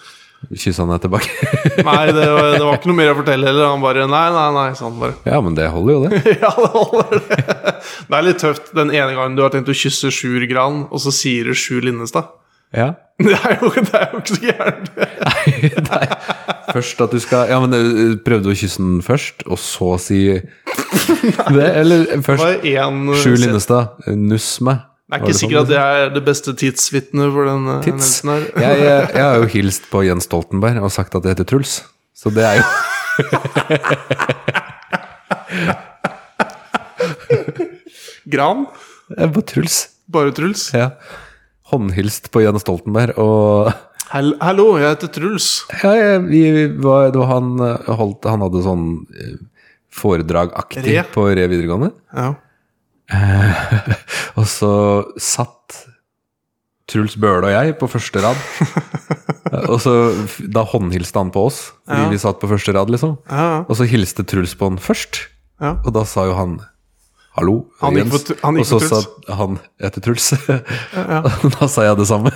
kyssa han deg tilbake. <laughs>
Nei, det var, det var ikke noe mer å fortelle heller. Han bare Nei, nei, nei, sa han bare.
Ja, men det holder jo,
<laughs>
det.
Ja, det holder det. Det er litt tøft den ene gangen du har tenkt å kysse Sjur Gran, og så sier du Sjur Linnestad. <laughs>
Ja.
Det er jo, det er jo ikke så gærent.
Nei, Først at du skal Ja, men eh, prøvde du å kysse den først, og så si det?
<laughs>
Eller
Det
først
var én eh,
Sjur
set-
Linnestad, eh, nuss meg. sånn
Jeg er ikke sikker at det er det beste tidsvitnet for den eh,
Tits.
hendelsen her.
<laughs>
<laughs>
Jeg, eh, jeg, jeg har jo hilst på Jens Stoltenberg og sagt at jeg heter Truls. Så det er jo <laughs>
Gran?
Jeg er bare Truls.
Bare Truls?
Ja. Håndhilst på Jens Stoltenberg, og
Hell Hallo, jeg heter Truls.
ja, jeg, vi, vi var, det var han, eh, holdt, han hadde sånn eh, foredragaktig
Re.
på Re videregående.
Ja.
Og så satt Truls Bøhle og jeg på første
<laughs>
rad. og så f- Da håndhilste han på oss, fordi
Ja.
vi satt på første rad, liksom.
ja. ja.
Og så hilste Truls på han først,
Ja.
og da sa jo han Hallo,
Han gikk
Jens.
på Tr- han gikk
og så
på
sa
Truls.
han Jeg heter Truls. <laughs>
ja.
Og da sa jeg det samme.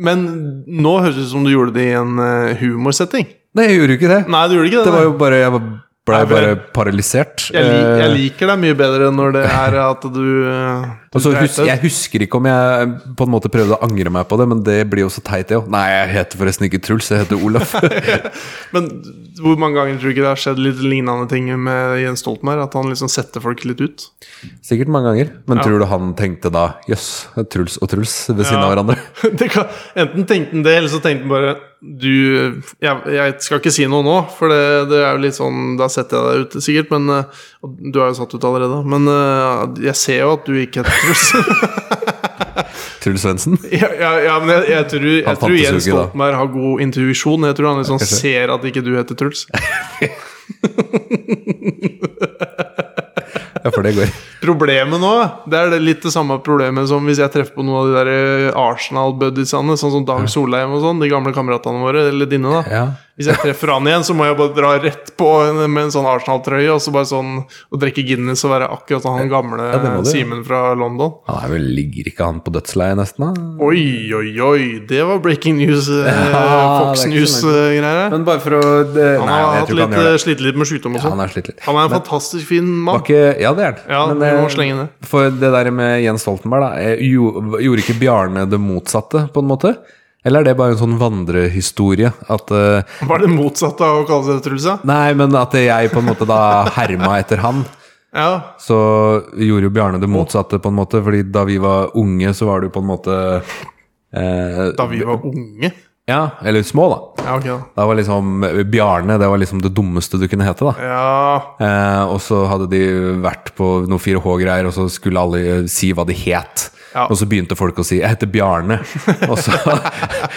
Men nå høres det ut som du gjorde det i en eh, humorsetting.
Nei, jeg gjorde jo ikke det.
Nei, du gjorde ikke det.
Det var jo
nei.
bare Jeg var-
Nei,
blei
men-
bare paralysert.
jeg, lik- jeg
Eh,
liker deg mye bedre når det er at du, eh, du
Og så
dreit
hus
ut.
jeg husker ikke om jeg på en måte prøvde å angre meg på det, men det blir jo så teit, det òg. Nei, jeg heter forresten ikke Truls, jeg heter
<laughs>
Olaf.
Men hvor mange ganger tror du ikke det har skjedd litt lignende ting med Jens Stoltenberg? At han liksom setter folk litt ut?
Sikkert mange ganger. Men
Ja.
tror du han tenkte da jøss, Truls og Truls ved siden
Ja.
av hverandre?
<laughs>
<laughs>
det kan, enten tenkte han det, eller så tenkte han bare Du, jeg, jeg skal ikke si noe nå, for det, det er jo litt sånn Da setter jeg deg ut, sikkert, men eh, og Du er jo satt ut allerede, men eh, jeg ser jo at du ikke heter Truls.
Truls Svendsen?
<laughs> ja, ja, ja, men jeg, jeg tror,
Han
jeg tror
fantes jo
Jens
ikke da.
Stoltenberg har god intuisjon. Jeg tror han liksom
Kanskje.
ser at ikke du heter Truls.
Ja, for det
<laughs>
går.
Problemet nå, det er det litt det samme problemet som hvis jeg treffer på noen av de der eh, Arsenal-buddiesene, sånn som Dag Solheim og sånn, de gamle kameratene våre, eller dine, da.
Ja.
Hvis jeg treffer han igjen, så må jeg bare dra rett på en- med en sånn Arsenal-trøye og så bare sånn, og drikke Guinness og være akkurat sånn han gamle
det må du.
Simen fra London.
Han er vel, ligger ikke han på dødsleiet nesten? da?
Oi, oi, oi! Det var breaking news, eh,
Ja,
Fox
det er ikke så langt.
News-greier.
Men bare for å det,
Han
Nei,
har
jeg
hatt
tror ikke
litt,
han gjør
eh,
det.
slitt litt med sykdom og
Ja, han
sånn.
er slitt litt.
Han er en fantastisk fin
Var
mann.
ikke, ja, det er han.
Ja,
Men,
vi må
eh,
slenge det.
For det der med Jens Stoltenberg, da. eh, jo- Gjorde ikke Bjarne det motsatte, på en måte? Eller er det bare en sånn vandrehistorie? At eh,
Var det motsatt av å kalle seg Truls, ja?
Nei, men at jeg på en måte da herma etter han.
Ja.
så gjorde jo Bjarne det motsatte, på en måte. Fordi da vi var unge, så var det jo på en måte eh,
Da vi var unge.
Ja, eller små, da.
Ja, ok, da.
Da var liksom Bjarne det var liksom det dummeste du kunne hete, da.
Ja,
Eh, og så hadde de vært på noen 4H-greier, og så skulle alle eh, si hva de het.
Ja.
Og så begynte folk å si 'jeg heter Bjarne', og så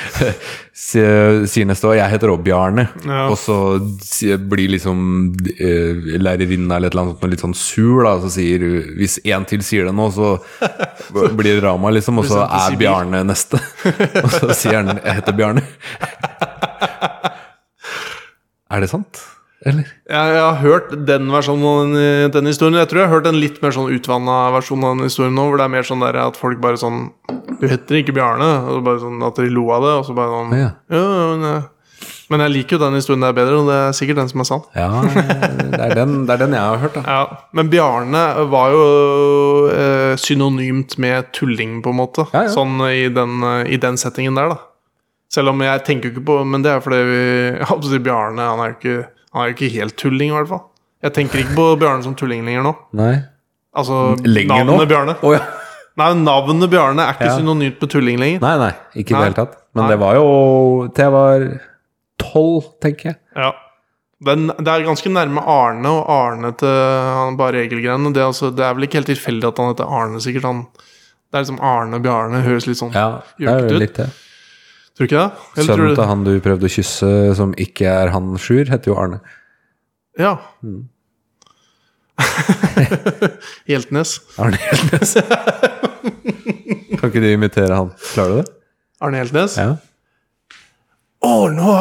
<laughs> sier sier neste år 'jeg heter òg Bjarne',
Ja.
og så sier- blir liksom eh, lærerinna eller et eller annet sånt litt sånn sur, da, og så sier hun 'hvis én til sier det nå, så blir det rama', liksom, og så
sendt til
er
Sibir.
Bjarne neste. Og så sier han 'jeg heter Bjarne'. Er det sant, eller?
jeg, jeg har hørt den versjonen av den, eh, den historien. Jeg tror jeg har hørt en litt mer sånn utvanna versjon av den historien nå, hvor det er mer sånn der at folk bare sånn Du heter ikke Bjarne. Og så bare sånn at de lo av det, og så bare sånn
Ja.
Ja, men, eh, men jeg liker jo den historien der bedre, og det er sikkert den som er sann.
Ja, det er den, det er den jeg har hørt, da.
Ja, Men Bjarne var jo eh, synonymt med tulling, på en måte.
Ja, ja.
Sånn i den, eh, i den settingen der, da. Selv om jeg tenker jo ikke på Men det er fordi vi, <laughs> jeg holdt på å si Bjarne han er jo ikke, han er jo ikke helt tulling, i hvert fall. Jeg tenker ikke på Bjarne som tulling lenger nå.
Nei.
Altså
Lenger nå?
navnet Bjarne.
Å, ja.
Nei, navnet Bjarne er ikke
Ja.
synonymt med tulling lenger.
Nei, nei, ikke i det
Nei.
hele tatt. Men
Nei.
det var jo til jeg var tolv, tenker jeg.
Ja. Den, det er ganske nærme Arne og Arne til han bare regelgreiene. Det, er altså, det er vel ikke helt tilfeldig at han heter Arne, sikkert. Han, det er liksom Arne Bjarne høres litt sånn
Ja, det er
Gjør
jo
ikke
litt det.
Tror du ikke det? Eller tror
Sønnen
du
til han du prøvde å kysse, som ikke er han Sjur, heter jo Arne.
Ja.
Mm.
<laughs> Hjeltnes.
Arne
<laughs>
Hjeltnes. kan ikke du imitere han? Klarer du det?
Arne Hjeltnes? Å,
Ja.
nå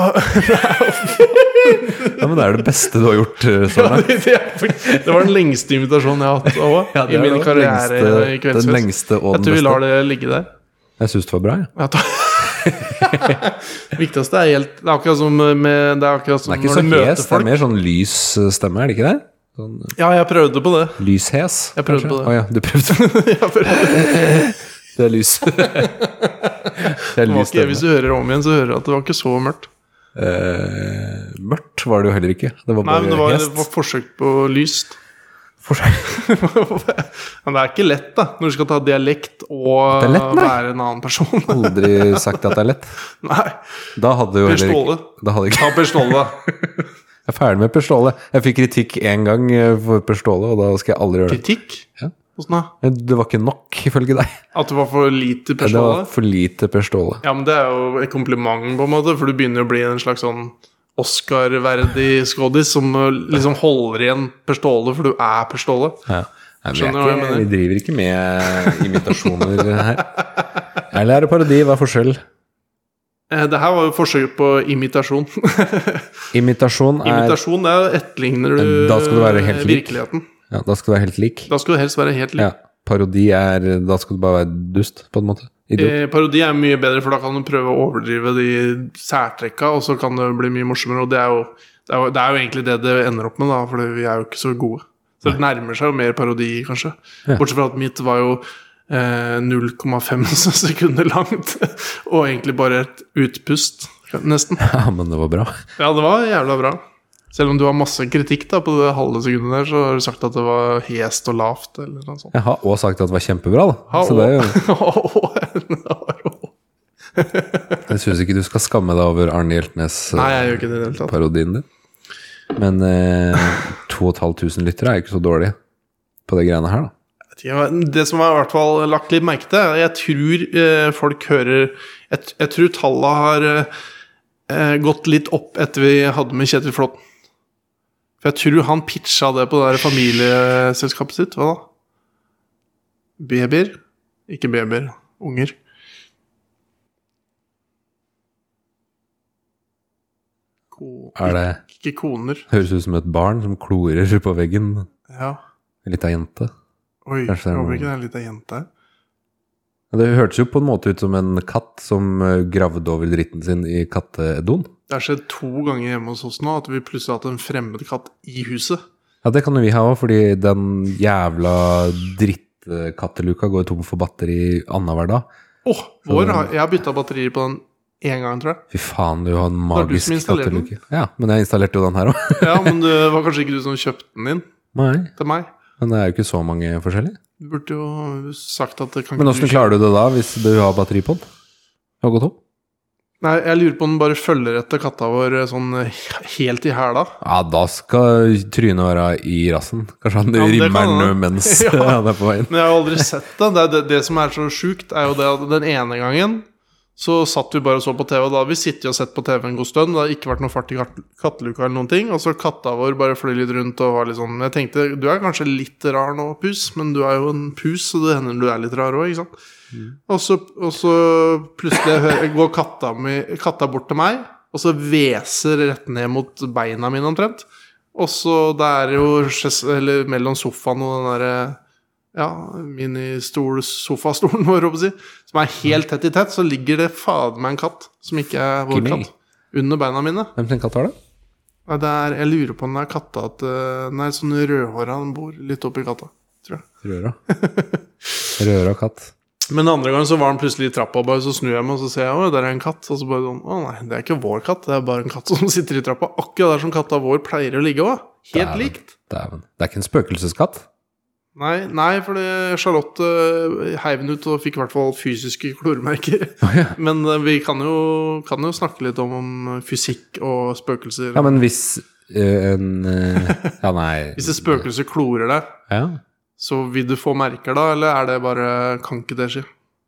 ja, men det er det beste du har gjort, eh, Søren.
<laughs> det, det var den lengste invitasjonen jeg har hatt også,
Ja, det
i
er
min
den
karriere i
lengste- Den
Kveldsfest.
lengste og
Jeg
den
tror vi lar
beste.
det ligge der.
Jeg syns det var bra, jeg.
Ja, takk. det <laughs> viktigste er helt Det er akkurat som med Det er akkurat som
Den er ikke
når
så
du møter
hes, det er
folk.
mer sånn lys eh, stemme, er det ikke det? Sånn
Ja, jeg prøvde på det. <laughs>
lyshes?
Jeg prøvde
kanskje?
på det.
Å ja, du prøvde.
Jeg prøvde.
<laughs> Det er
<laughs>
lys. det er
Det var
lys
ikke,
stemme.
hvis du hører om igjen, så hører du at det var ikke så mørkt.
Eh, mørkt var det jo heller ikke. Det var
Nei,
bare
men det var, det
hest.
var forsøk på lyst. <laughs> men det er ikke lett, da, når du skal ta dialekt og
Det er lett, nei.
være en annen person. <laughs>
Aldri sagt at det er lett.
nei.
Da hadde jo
Per
heller ikke
Ståle.
da hadde ikke,
Ta Per Ståle.
<laughs> Jeg er ferdig med Per Ståle. Jeg fikk kritikk én gang eh, for Per Ståle, og da skal jeg aldri gjøre det.
Kritikk?
Ja.
Hvordan da?
Men Det var ikke nok, ifølge deg.
At det var for lite Per
Det var
Ståle?
for lite Per Ståle.
Ja, men det er jo et kompliment, på en måte, for du begynner å bli en slags sånn Oscar-verdig skådis som uh, liksom holder igjen Per Ståle, for du er Per Ståle.
Ja. Nei, men vi er
Skjønner hva jeg
ikke-
mener.
Vi driver ikke med eh, imitasjoner her. Eller er det parodi? Hva er forskjell?
Eh, Det her var jo forsøk på imitasjon. <laughs>
Imitasjon er
imitasjon, det er etterligner du
Da skal du være helt lik.
virkeligheten.
ja, Da skal du være helt lik.
Da skal du helst være helt lik.
Ja. Parodi er Da skal du bare være dust, på en måte. Idiot.
Eh, parodi er mye bedre, for da kan du prøve å overdrive de særtrekka, og så kan det bli mye morsommere. Og det er jo, det er jo, det er jo egentlig det det ender opp med, da, for vi er jo ikke så gode. Så det nærmer seg jo mer parodi, kanskje.
Ja.
Bortsett fra at mitt var jo eh, 0,5 <laughs> sekunder langt, og egentlig bare et utpust, nesten.
<laughs> Ja, men det var bra.
Ja, det var jævla bra. Selv om du har masse kritikk da på det halve sekundet der, så har du sagt at det var hest og lavt, eller noe sånt.
Jeg har òg sagt at det var kjempebra, da.
Ha,
Så det er jo
<laughs> å.
Jeg syns ikke du skal skamme deg over Arne Hjeltnes. eh,
Nei, jeg gjør ikke det i det hele tatt.
parodien din. Men eh, 2500 lyttere er jo ikke så dårlig på det greiene her, da.
Ja, Det som jeg i hvert fall har lagt litt merke til, jeg tror eh, folk hører Jeg, jeg tror tallene har eh, eh, gått litt opp etter vi hadde med Kjetil Flåtten. For jeg tror han pitcha det på det der familieselskapet sitt. Hva da? Babyer? Ikke babyer. Unger. Ko
Er det
ikke koner.
Høres ut som et barn som klorer på veggen.
Ja.
En lita jente.
Oi,
Kanskje det er
jeg
noen-
håper ikke det er ei lita jente her.
Ja, Det hørtes jo på en måte ut som en katt som eh, gravde over dritten sin i kattedoen.
Det har skjedd to ganger hjemme hos oss nå at vi plutselig har hatt en fremmed katt i huset.
Ja, det kan jo vi ha òg, fordi den jævla drittkatteluka går tom for batteri annenhver dag.
Åh, vår har, Jeg har bytta batterier på den én gang, <laughs> tror jeg.
Fy faen, du har en
var du
magisk
som installerte den.
katteluke. Ja, men jeg installerte jo den her òg.
Ja, Men det var kanskje ikke du som kjøpte den inn
<laughs> Nei,
til meg?
men det er jo ikke så mange forskjellige.
Du burde jo sagt at det kan
Men
ikke du
åssen klarer du det da, hvis du har batteri på den? Det har gått tom?
kjøpe- Nei, Jeg lurer på om den bare følger etter katta vår sånn eh, helt i hæla.
Ja, da skal trynet være i rassen. Kanskje han
Ja, men det
rimmer
kan
den
han.
mens
<laughs> Ja.
han er på veien.
Men jeg har jo aldri sett det. Det, er det. det som er så sjukt, er jo det at den ene gangen så satt vi bare og så på TV, og da hadde vi sittet og sett på TV en god stund. Det har ikke vært noe fart i kat- katteluka eller noen ting. Og så katta vår bare fløy litt rundt og var litt sånn Jeg tenkte du er kanskje litt rar nå, pus, men du er jo en pus, så det hender du er litt rar òg, ikke sant. Og, så, og så plutselig hø- går katta, mi, katta bort til meg, og så hveser rett ned mot beina mine omtrent. Og så det er jo sjes- eller mellom sofaen og den derre ja, ministol, <laughs> sofastolen vår, håper jeg å si, som er helt tett i tett, så ligger det fader meg en katt som ikke er vår
Ikke meg.
katt, under beina mine.
Hvem sin katt var det?
Nei, det er, jeg lurer på om det er katta at eh, Nei, sånn rødhåra han bor litt oppi katta, tror jeg. <laughs>
Røra. Røra katt.
Men den andre gangen så var han plutselig i trappa, og bare så snur jeg meg og så ser jeg, å, der er en katt. Og så bare sånn, å nei, det er ikke vår katt, det er bare en katt <laughs> som sitter i trappa. Akkurat der som katta vår pleier å ligge òg. Helt
Dæven.
likt.
Dæven. Det er ikke en spøkelseskatt?
Nei, nei, for det- Charlotte eh, heiv den ut og fikk i hvert fall fysiske
<laughs>
kloremerker. Men eh, vi kan jo, kan jo snakke litt om, om fysikk og spøkelser.
Ja, men hvis eh, en eh, Ja, nei.
Hvis et spøkelse klorer deg,
Ja.
så vil du få merker da, eller er det bare Kan ikke det skje?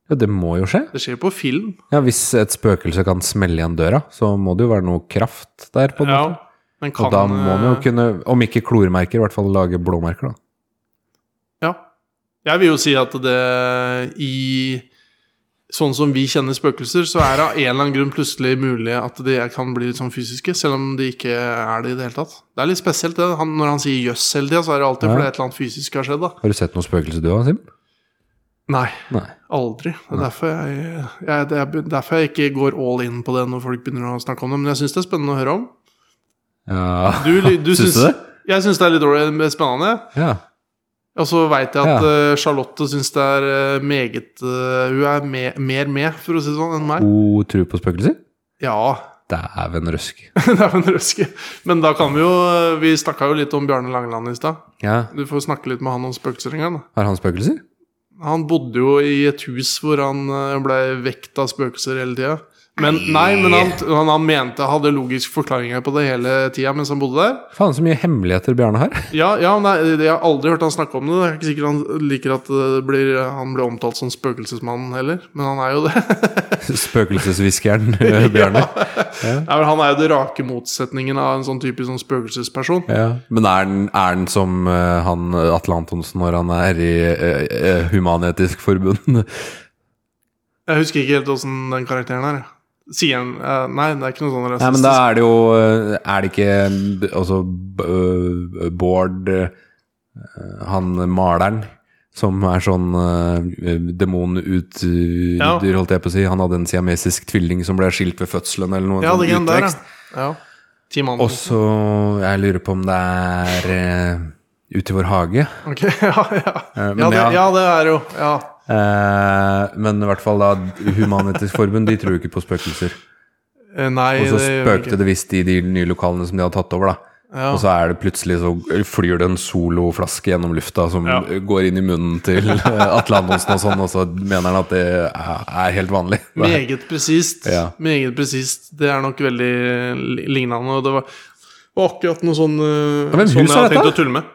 ja, det må jo skje.
Det skjer på film.
Ja, Hvis et spøkelse kan smelle igjen døra, så må det jo være noe kraft der. på en måte.
men
Og da må man jo
eh,
kunne, om ikke klormerker, i hvert fall lage blåmerker, da.
Ja. Jeg vil jo si at det i Sånn som vi kjenner spøkelser, så er det av en eller annen grunn plutselig mulig at de kan bli litt sånn fysiske, selv om de ikke er det i det hele tatt. Det er litt spesielt, det. Han, når han sier 'jøss' hele tida, så er det alltid
Ja.
fordi et eller annet fysisk har skjedd, da.
Har du sett noe spøkelse du har, Simen?
Nei,
Nei.
aldri. Det er derfor jeg, jeg, det er derfor jeg ikke går all in på det når folk begynner å snakke om det. Men jeg syns det er spennende å høre om.
Ja.
Du, du
Syns
syns
du det?
Jeg syns det er litt dårlig men spennende.
ja.
Og så veit jeg at eh, Charlotte syns det er eh, meget eh, Hun er me, mer med, for å si det sånn, enn meg.
God tro på spøkelser?
Ja, <laughs>
Dæven røsk.
det er jo en røske. Men da kan vi jo eh, Vi snakka jo litt om Bjarne Langeland i stad.
<laughs> Ja.
Du får snakke litt med han om spøkelser en gang. da.
Har han spøkelser?
Han bodde jo i et hus hvor han eh, ble vekt av spøkelser hele tida. Men nei, men han, han, han mente hadde logisk forklaringer på det hele tida mens han bodde der.
Faen, så mye hemmeligheter Bjarne har. <laughs>
Ja, ja nei, Jeg har aldri hørt han snakke om det. Det er ikke sikkert han liker at det blir, han blir omtalt som spøkelsesmannen heller, men han er jo det.
<laughs> Spøkelseshviskeren eh, Bjarne.
<laughs> Nei, men han er jo det rake motsetningen av en sånn typisk sånn spøkelsesperson.
Ja. Men er den, er den som eh, han eh, Atle Antonsen når han er i eh, eh, Human-Etisk Forbund?
Jeg husker ikke helt åssen den karakteren er. Sier han eh, Nei, det er ikke noe sånn
Nei, men
rasistisk.
da er det jo eh, Er det ikke eh, altså b- øh, Bård eh, Han maleren som er sånn uh, demonutryder,
Ja.
holdt jeg på å si. Han hadde en siamesisk tvilling som ble skilt ved fødselen eller noe. en
ja,
sånn
det er den der,
utvekst.
ja. ja. Team
Og
Antonsen.
så Jeg lurer på om det er eh, Ute i vår hage.
Ok, <laughs> ja, ja.
Eh, men
Ja det,
ja.
ja, det er jo ja.
Eh, men i hvert fall da Human-Etisk Forbund de tror jo ikke på spøkelser.
Eh, Nei,
Og så
det gjør vi
spøkte det visst i de nye lokalene som de hadde tatt over, da.
Ja.
Og så er det plutselig så flyr det en soloflaske gjennom lufta som
Ja.
går inn i munnen <laughs> til eh, Atle Antonsen og sånn, og så mener han at det er er helt vanlig. Det er-
Meget presist.
Ja.
Meget presist. Det er nok veldig li- lignende. Og det var, var akkurat noe sånn, eh,
Ja, men
sånn
hus
jeg
er
hadde tenkt
dette?
å tulle med.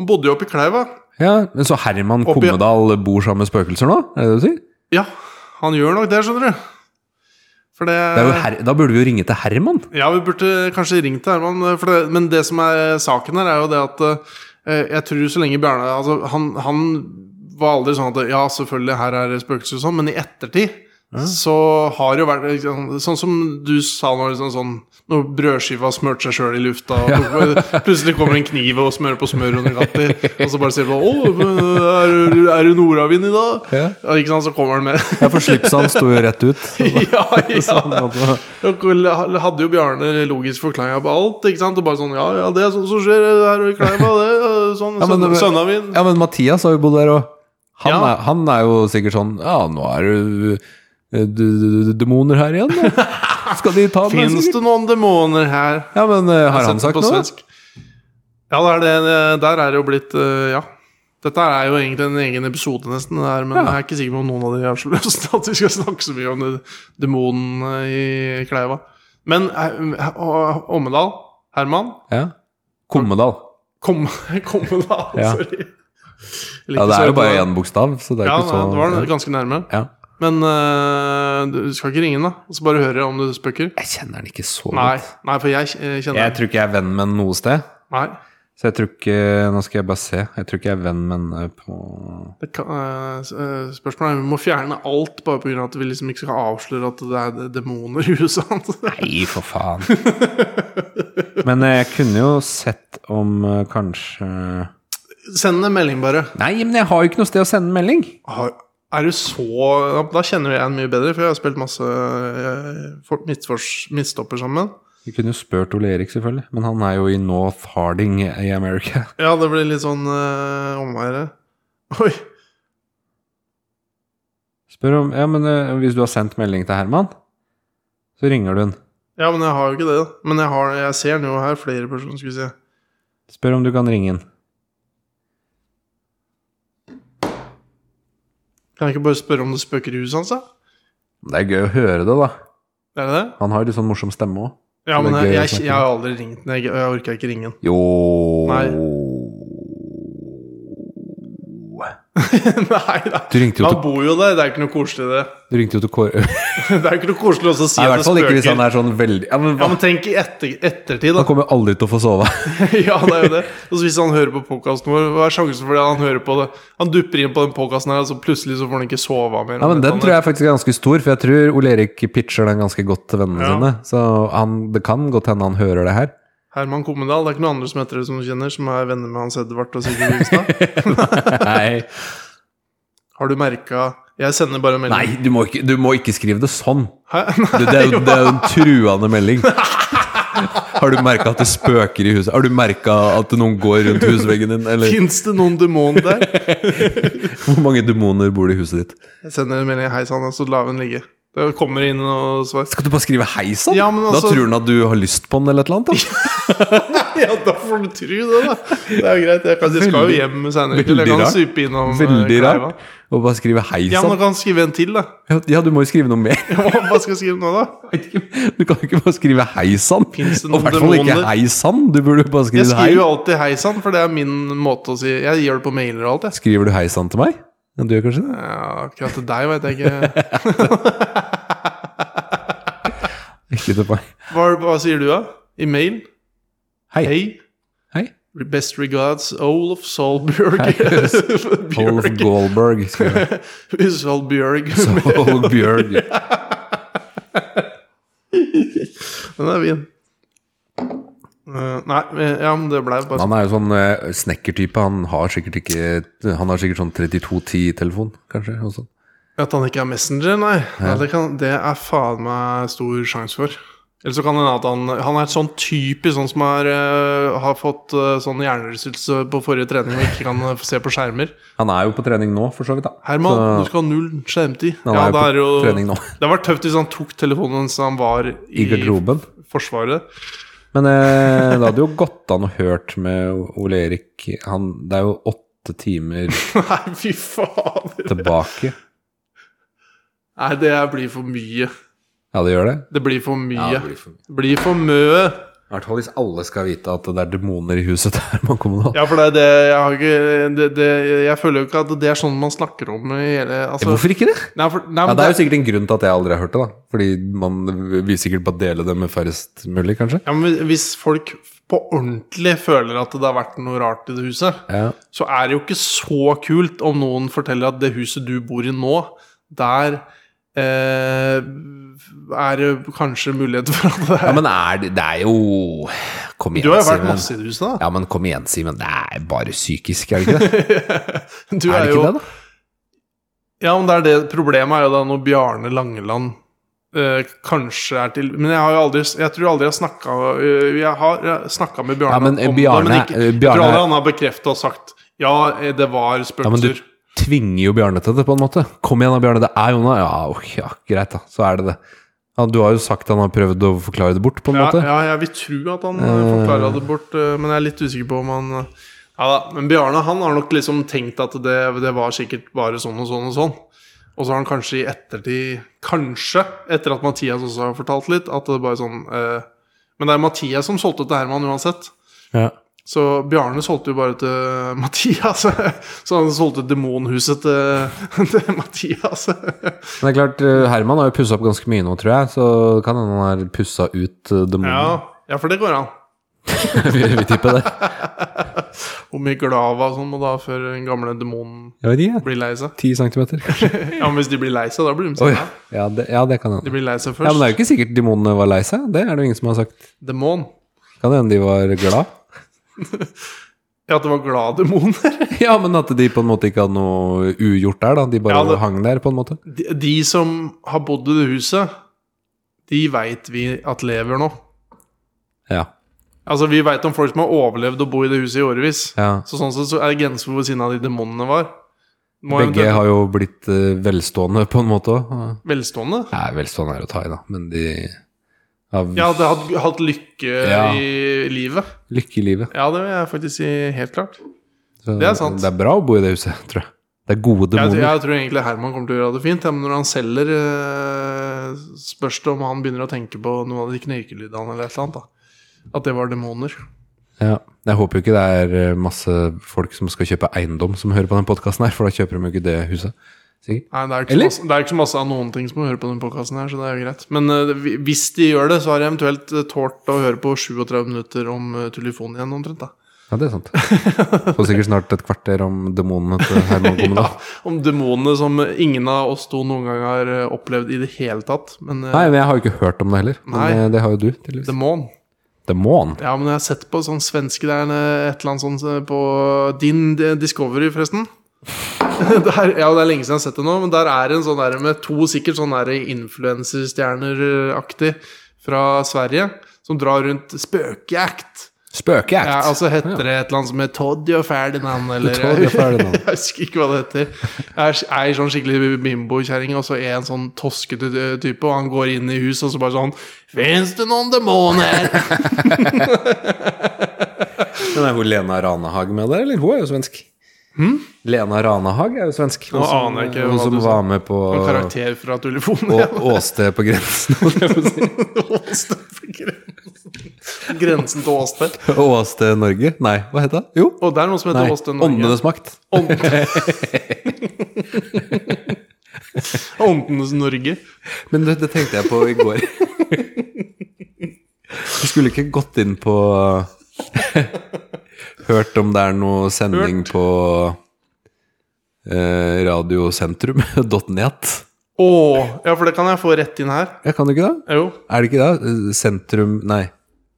Han bodde jo oppe i Kleiva.
Ja, Men så Herman
Oppi-
Kommedal bor sammen med spøkelser nå? Er det det du sier?
Ja, han gjør nok det, skjønner du. For det,
Det er jo her da burde vi jo ringe til Herman.
Ja, vi burde kanskje ringt til Herman. For det, men det som er saken her, er jo det at eh, jeg tror så lenge Bjarne altså, han, han var aldri sånn at ja, selvfølgelig, her er det spøkelser og sånn, men i ettertid så har det jo vært liksom, Sånn som du sa nå, liksom, sånn, når brødskiva smørte seg sjøl i lufta. Og plutselig kommer en kniv og smører på smør under katter, og så bare sier du 'Å, er, du- er du nordavind i dag?'
Ja.
Og ikke sant, så kommer han med.
Ja, for slipset hans sto jo rett ut. <laughs>
<laughs> ja, ja.
Sånn at det-
Dere hadde jo Bjarne logisk forklaring på alt. ikke sant? Og bare sånn Ja, ja, det er sånn som skjer her og i Kleiva. Det er sånn,
Ja, men-
sønn- Sønna min
Ja, men Mathias har jo bodd der, og han,
Ja.
er, han er jo sikkert sånn Ja, nå er det eh, d- d- d- demoner her igjen, da. <laughs> Skal de ta meg,
Fins
sikkert?
det noen demoner her?
Ja, men eh, har han sagt
Jeg setter på
noe?
svensk. Ja, det er det, det- der er det jo blitt eh, Ja. Dette er jo egentlig en egen episode, nesten. Det her, men
Ja.
jeg er ikke sikker på om noen av dere har så lyst til <laughs> at vi skal snakke så mye om det- demonene i Kleiva. Men eh, Å- Ommedal, Herman
Ja. Kommedal.
Kom, <laughs> kom da,
Ja.
sorry.
Ja, det er jo bare én bokstav, så det er
Ja,
ikke så
det var den ganske nærme.
Ja.
Men øh, du skal ikke ringe den, da? Og så bare høre om du spøker?
Jeg kjenner den ikke så
Nei,
godt.
nei for jeg eh, kjenner
Jeg tror ikke jeg er venn med den noe sted.
Nei.
Så jeg tror ikke Nå skal jeg bare se. Jeg tror ikke jeg er venn med henne på
Det kan, eh, s- eh, spørsmålet er om vi må fjerne alt bare pga. at vi liksom ikke skal avsløre at det er demoner i huset hans.
Nei, for faen. Men eh, jeg kunne jo sett om eh, kanskje Nei,
<laughs> Send en melding, bare.
men jeg har jo ikke noe sted å sende melding.
Har- Er du så Da kjenner jeg en mye bedre, for jeg har spilt masse eh, for- midtfors- midtstopper sammen.
Vi kunne jo spurt Ole Erik, selvfølgelig, men han er jo i North Harding i America.
Ja, det blir litt sånn uh, omveier. Oi!
Spør om Ja, men eh, hvis du har sendt melding til Herman, så ringer du han.
Ja, men jeg har jo ikke det. da. Men jeg, har, jeg ser den jo her, flere personer, skulle vi si.
Spør om du kan ringe han.
Kan jeg ikke bare spørre om det spøker i huset hans, da?
Det er gøy å høre det, da.
Er det det?
Han har jo litt sånn morsom stemme òg. Det
Ja,
er
men
gøy
jeg,
å
jeg,
snakke
jeg har aldri ringt den. Jeg, jeg orker ikke ringe den. <laughs>
Jo
Nei. nei, nei.
Du ringte jo
Han
til,
bor jo der, det er ikke noe koselig, det. <laughs>
du ringte jo til Kåre Nei,
Det er ikke noe koselig også å
<laughs>
si
I
at
hvert
det
fall ikke hvis han
spøker.
er sånn veldig Ja, men
Ja,
hva?
men tenk i etter, ettertid,
Han
da.
kommer jo aldri til å få sove.
<laughs> ja, det er jo det. Og så hvis han hører på podkasten vår, hva er sjansen for det? Han hører på det Han dupper inn på den podkasten her, og så plutselig så får han ikke sove av mer.
Ja, men Den tror jeg faktisk er ganske stor, for jeg tror Ole Erik pitcher den ganske godt til vennene
Ja.
sine. Så han, det kan godt hende han hører det her.
<laughs> Herman Kommendal, det er ikke noen andre som heter det som du kjenner, som er venner med Hans Edvard og Sigurd Vigstad.
Nei,
Har du merka Jeg sender bare melding.
Nei du, må ikke, du må ikke skrive det sånn!
Hæ? <laughs>
Det, det, er, jo, det er jo en truende melding. Har du merka at det spøker i huset? Har du merka at noen går rundt husveggen din? Eller
Fins det noen demon der?
hvor mange demoner bor det i huset ditt?
Jeg sender en melding 'hei sann', og så lar vi den ligge. Det kommer inn noe svar. <laughs>
Skal du bare skrive 'hei sann'?
Ja, men altså-
Da tror han at du har lyst på den eller et eller annet.
<laughs>
Da.
Ja, da får du tru det, da. Det er jo greit. Jeg, kan, jeg skal jo hjem senere.
veldig
Jeg kan
rart.
supe innom eh,
Veldig
Kleiva.
rart. Og bare skrive 'hei
Ja, men
sann'.
du kan skrive en til, da. <laughs>
Ja, ja, du må jo skrive noe mer. <laughs>
Hva skal jeg skrive nå, da?
Du kan jo ikke bare skrive 'hei sann'.
Finnes det
Og i
noen
hvert fall ikke
demoner?
'hei sann'. Du burde jo bare
Jeg
skrive 'hei'.
skriver jo alltid 'hei sann', for det er min måte å si Jeg gjør det på mailer og alt, jeg.
Skriver du 'hei sann' til meg? Ja, du gjør kanskje det?
Ja, akkurat til deg vet jeg
<laughs>
ikke.
Ikke til meg.
Hva, hva sier du, da? I mail?
Hei.
Hei.
Hei.
Best regards, Olaf Solbjørg. <laughs>
Hei. Olaf
Bjørg.
Goldberg. skriver
<laughs>
jeg.
Solbjørg. <laughs>
Så Olaf Bjørg.
Den er fin. Eh, nei, men- ja, men det blei bare
Han er jo sånn eh, snekkertype. Han har sikkert ikke Han har sikkert sånn 3210-telefon, kanskje. Og sånn.
At han ikke er messenger, nei. nei det, kan, det er faen meg stor sjanse for. Eller så kan det hende at han, han er et sånn typisk sånn som er, eh, har fått eh, sånn hjernerystelse på forrige trening og ikke kan eh, se på skjermer.
Han er jo på trening nå, for så vidt. da
Herman,
Så-
du skal ha null skjermtid.
Han
Ja,
er jo
det
på
er jo
trening nå.
Det var tøft hvis han tok telefonen mens han var i,
I garderoben.
Forsvaret. <laughs>
Men eh, det hadde jo gått an å hørt med Ole Erik han, Det er jo åtte timer
Nei, fy fader.
tilbake.
Nei, det her blir for mye.
Ja, det gjør det?
Det blir for mye.
det blir for mye.
det blir for mye.
I hvert fall hvis alle skal vite at det er demoner i huset der man kommer nå.
Ja, for det er det Jeg har ikke det, det, Jeg føler jo ikke at det er sånn man snakker om i hele altså,
Hvorfor ikke det?
Nei, for, nei,
Ja,
men
Det er jo
det,
sikkert en grunn til at jeg aldri har hørt det. da Fordi man vil sikkert bare dele det med færrest mulig, kanskje.
ja, men hvis folk på ordentlig føler at det har vært noe rart i det huset,
Ja.
så er det jo ikke så kult om noen forteller at det huset du bor i nå, der eh, er det kanskje muligheter for at det
Ja,
er
men er det, det er jo Kom igjen,
Du har jo vært
Simen.
masse i det huset, <laughs> da.
Ja, men kom igjen, Simen. Det er bare psykisk, er det ikke
<laughs>
det?
Du
er det ikke det, da?
Ja, men det er det problemet er jo da når Bjarne Langeland eh, kanskje er til Men jeg har jo aldri Jeg tror aldri jeg har snakka Jeg har snakka med Bjarne
Ja, men, eh,
om
Bjarne-
det, men ikke,
eh,
jeg tror
Bjarne-
aldri han har bekrefta og sagt ja, eh, det var
Ja, men du
spøkelser.
tvinger jo Bjarne til det, på en måte. Kom igjen da, Bjarne. Det er jo noe. Ja, ok, ja, greit, da. Så er det det. Ja, du har jo sagt han har prøvd å forklare det bort, på en
Ja,
måte.
ja, jeg vil tro at han eh, forklara det bort, eh, men jeg er litt usikker på om han eh, Ja da, men Bjarne han har nok liksom tenkt at det, det var sikkert bare sånn og sånn og sånn. Og så har han kanskje i ettertid Kanskje, etter at Mathias også har fortalt litt, at det bare sånn eh, Men det er Mathias som solgte til Herman uansett.
Ja.
Så Bjarne solgte jo bare til <laughs> Mathias. Så han solgte demonhuset til, <laughs> til Mathias.
Men det er klart, eh, Herman har jo pussa opp ganske mye nå, tror jeg. Så kan hende han har pussa ut eh,
Ja,
demonen.
ja, for det går an.
<laughs> Vi vi tipper det.
Hvor mye glava som må da før den gamle demonen
Jeg vet ikke.
blir lei seg.
Ti centimeter.
Ja, men hvis de blir lei seg, da blir de
Oi.
sinna.
Ja, det, ja, det kan
De
hende.
blir lei seg
Ja, men
først.
det er jo ikke sikkert demonene var lei seg. Det er det jo ingen som har sagt.
Demon.
Kan hende de var glad. <laughs>
Ja, at det var glad demoner.
Ja, men at de på en måte ikke hadde noe ugjort der, da. De bare
Ja, det-
hang der, på en måte.
<laughs> De, de som har bodd i det huset, de veit vi at lever nå.
Ja.
Altså, vi veit om folk som har overlevd å bo i det huset i årevis.
ja.
Så sånn sett så er det grenser for hvor sinna de demonene var. Må
Begge
eventuelt-
har jo blitt eh, velstående, på en måte òg.
Velstående?
Nei, velstående er å ta i, da. Men de har
Ja, det hadde hatt lykke
Ja.
i livet.
lykke i livet.
Ja, det vil jeg faktisk si helt klart.
Så
det er sant.
Det er bra å bo i det huset, tror jeg. Det er gode
Jeg,
demoner.
jeg tror egentlig Herman kommer til å gjøre det fint. Ja, men når han selger, eh, spørs det om han begynner å tenke på noen av de knirkelydene eller et eller annet. da At det var demoner.
Ja. Jeg håper jo ikke det er eh, masse folk som skal kjøpe eiendom som hører på den podkasten her, for da kjøper de jo ikke det huset. Sikkert.
Nei, det er, ikke så
Eller?
masse, det er ikke så masse av noen ting som hører på den podkasten her, så det er jo greit. Men eh, vi- hvis de gjør det, så har jeg eventuelt eh, tålt å høre på 37 minutter om uh, telefonen igjen, omtrent. da
Ja, det er
<laughs>
sant. Får sikkert snart et kvarter om demonene til Herman kommer, da.
Ja, om demonene som ingen av oss to noen gang har eh, opplevd i det hele tatt. Men eh,
Nei, men jeg har jo ikke hørt om det heller. Men
Nei.
eh, det har jo du, tydeligvis.
demon
Demon?
Ja, men jeg har sett på sånn svenske Det er en, eh, et eller annet sånt eh, på din eh, Discovery, forresten. <laughs> Der, ja, Det er lenge siden jeg har sett det nå, men der er en sånn der med to sikkert sånn der influenserstjerner-aktig fra Sverige som drar rundt spøkejakt.
Spøkejakt.
Ja, altså heter det et eller annet som heter Toddy og Ferdinand, eller
Toddy og Ferdinand.
<laughs> Jeg husker ikke hva det heter. Jeg er ei sånn skikkelig bimbokjerring, og så er jeg en sånn toskete type, og han går inn i huset, og så bare sånn Fins det noen demoner?
Men er hun Lena Ranehag med der, eller? Hun er jo svensk. Lena Ranehag er jo svensk. Hun
Hmm? Nå
som-
aner jeg ikke
Hun
hva
som
du sa.
var med på
En karakter fra Tullifonen.
Å- Åsted på grensen. holdt jeg på å
<laughs>
si.
Åsted på grensen. <laughs> Grensen til Åsted.
Åsted Norge? Nei, hva het det? Jo.
Og det er noe som
Nei,
heter Åsted Norge.
Åndenes makt.
Ånd- <laughs> Åndenes Norge.
Men det, det tenkte jeg på i går. Du skulle ikke gått inn på <laughs> Hørt om det er noe sending på eh, <laughs> radiosentrum.net?
Å, ja, for det kan jeg få rett inn her.
Jeg kan du ikke det?
Jo.
Er det ikke det? Eh, Sentrum Nei.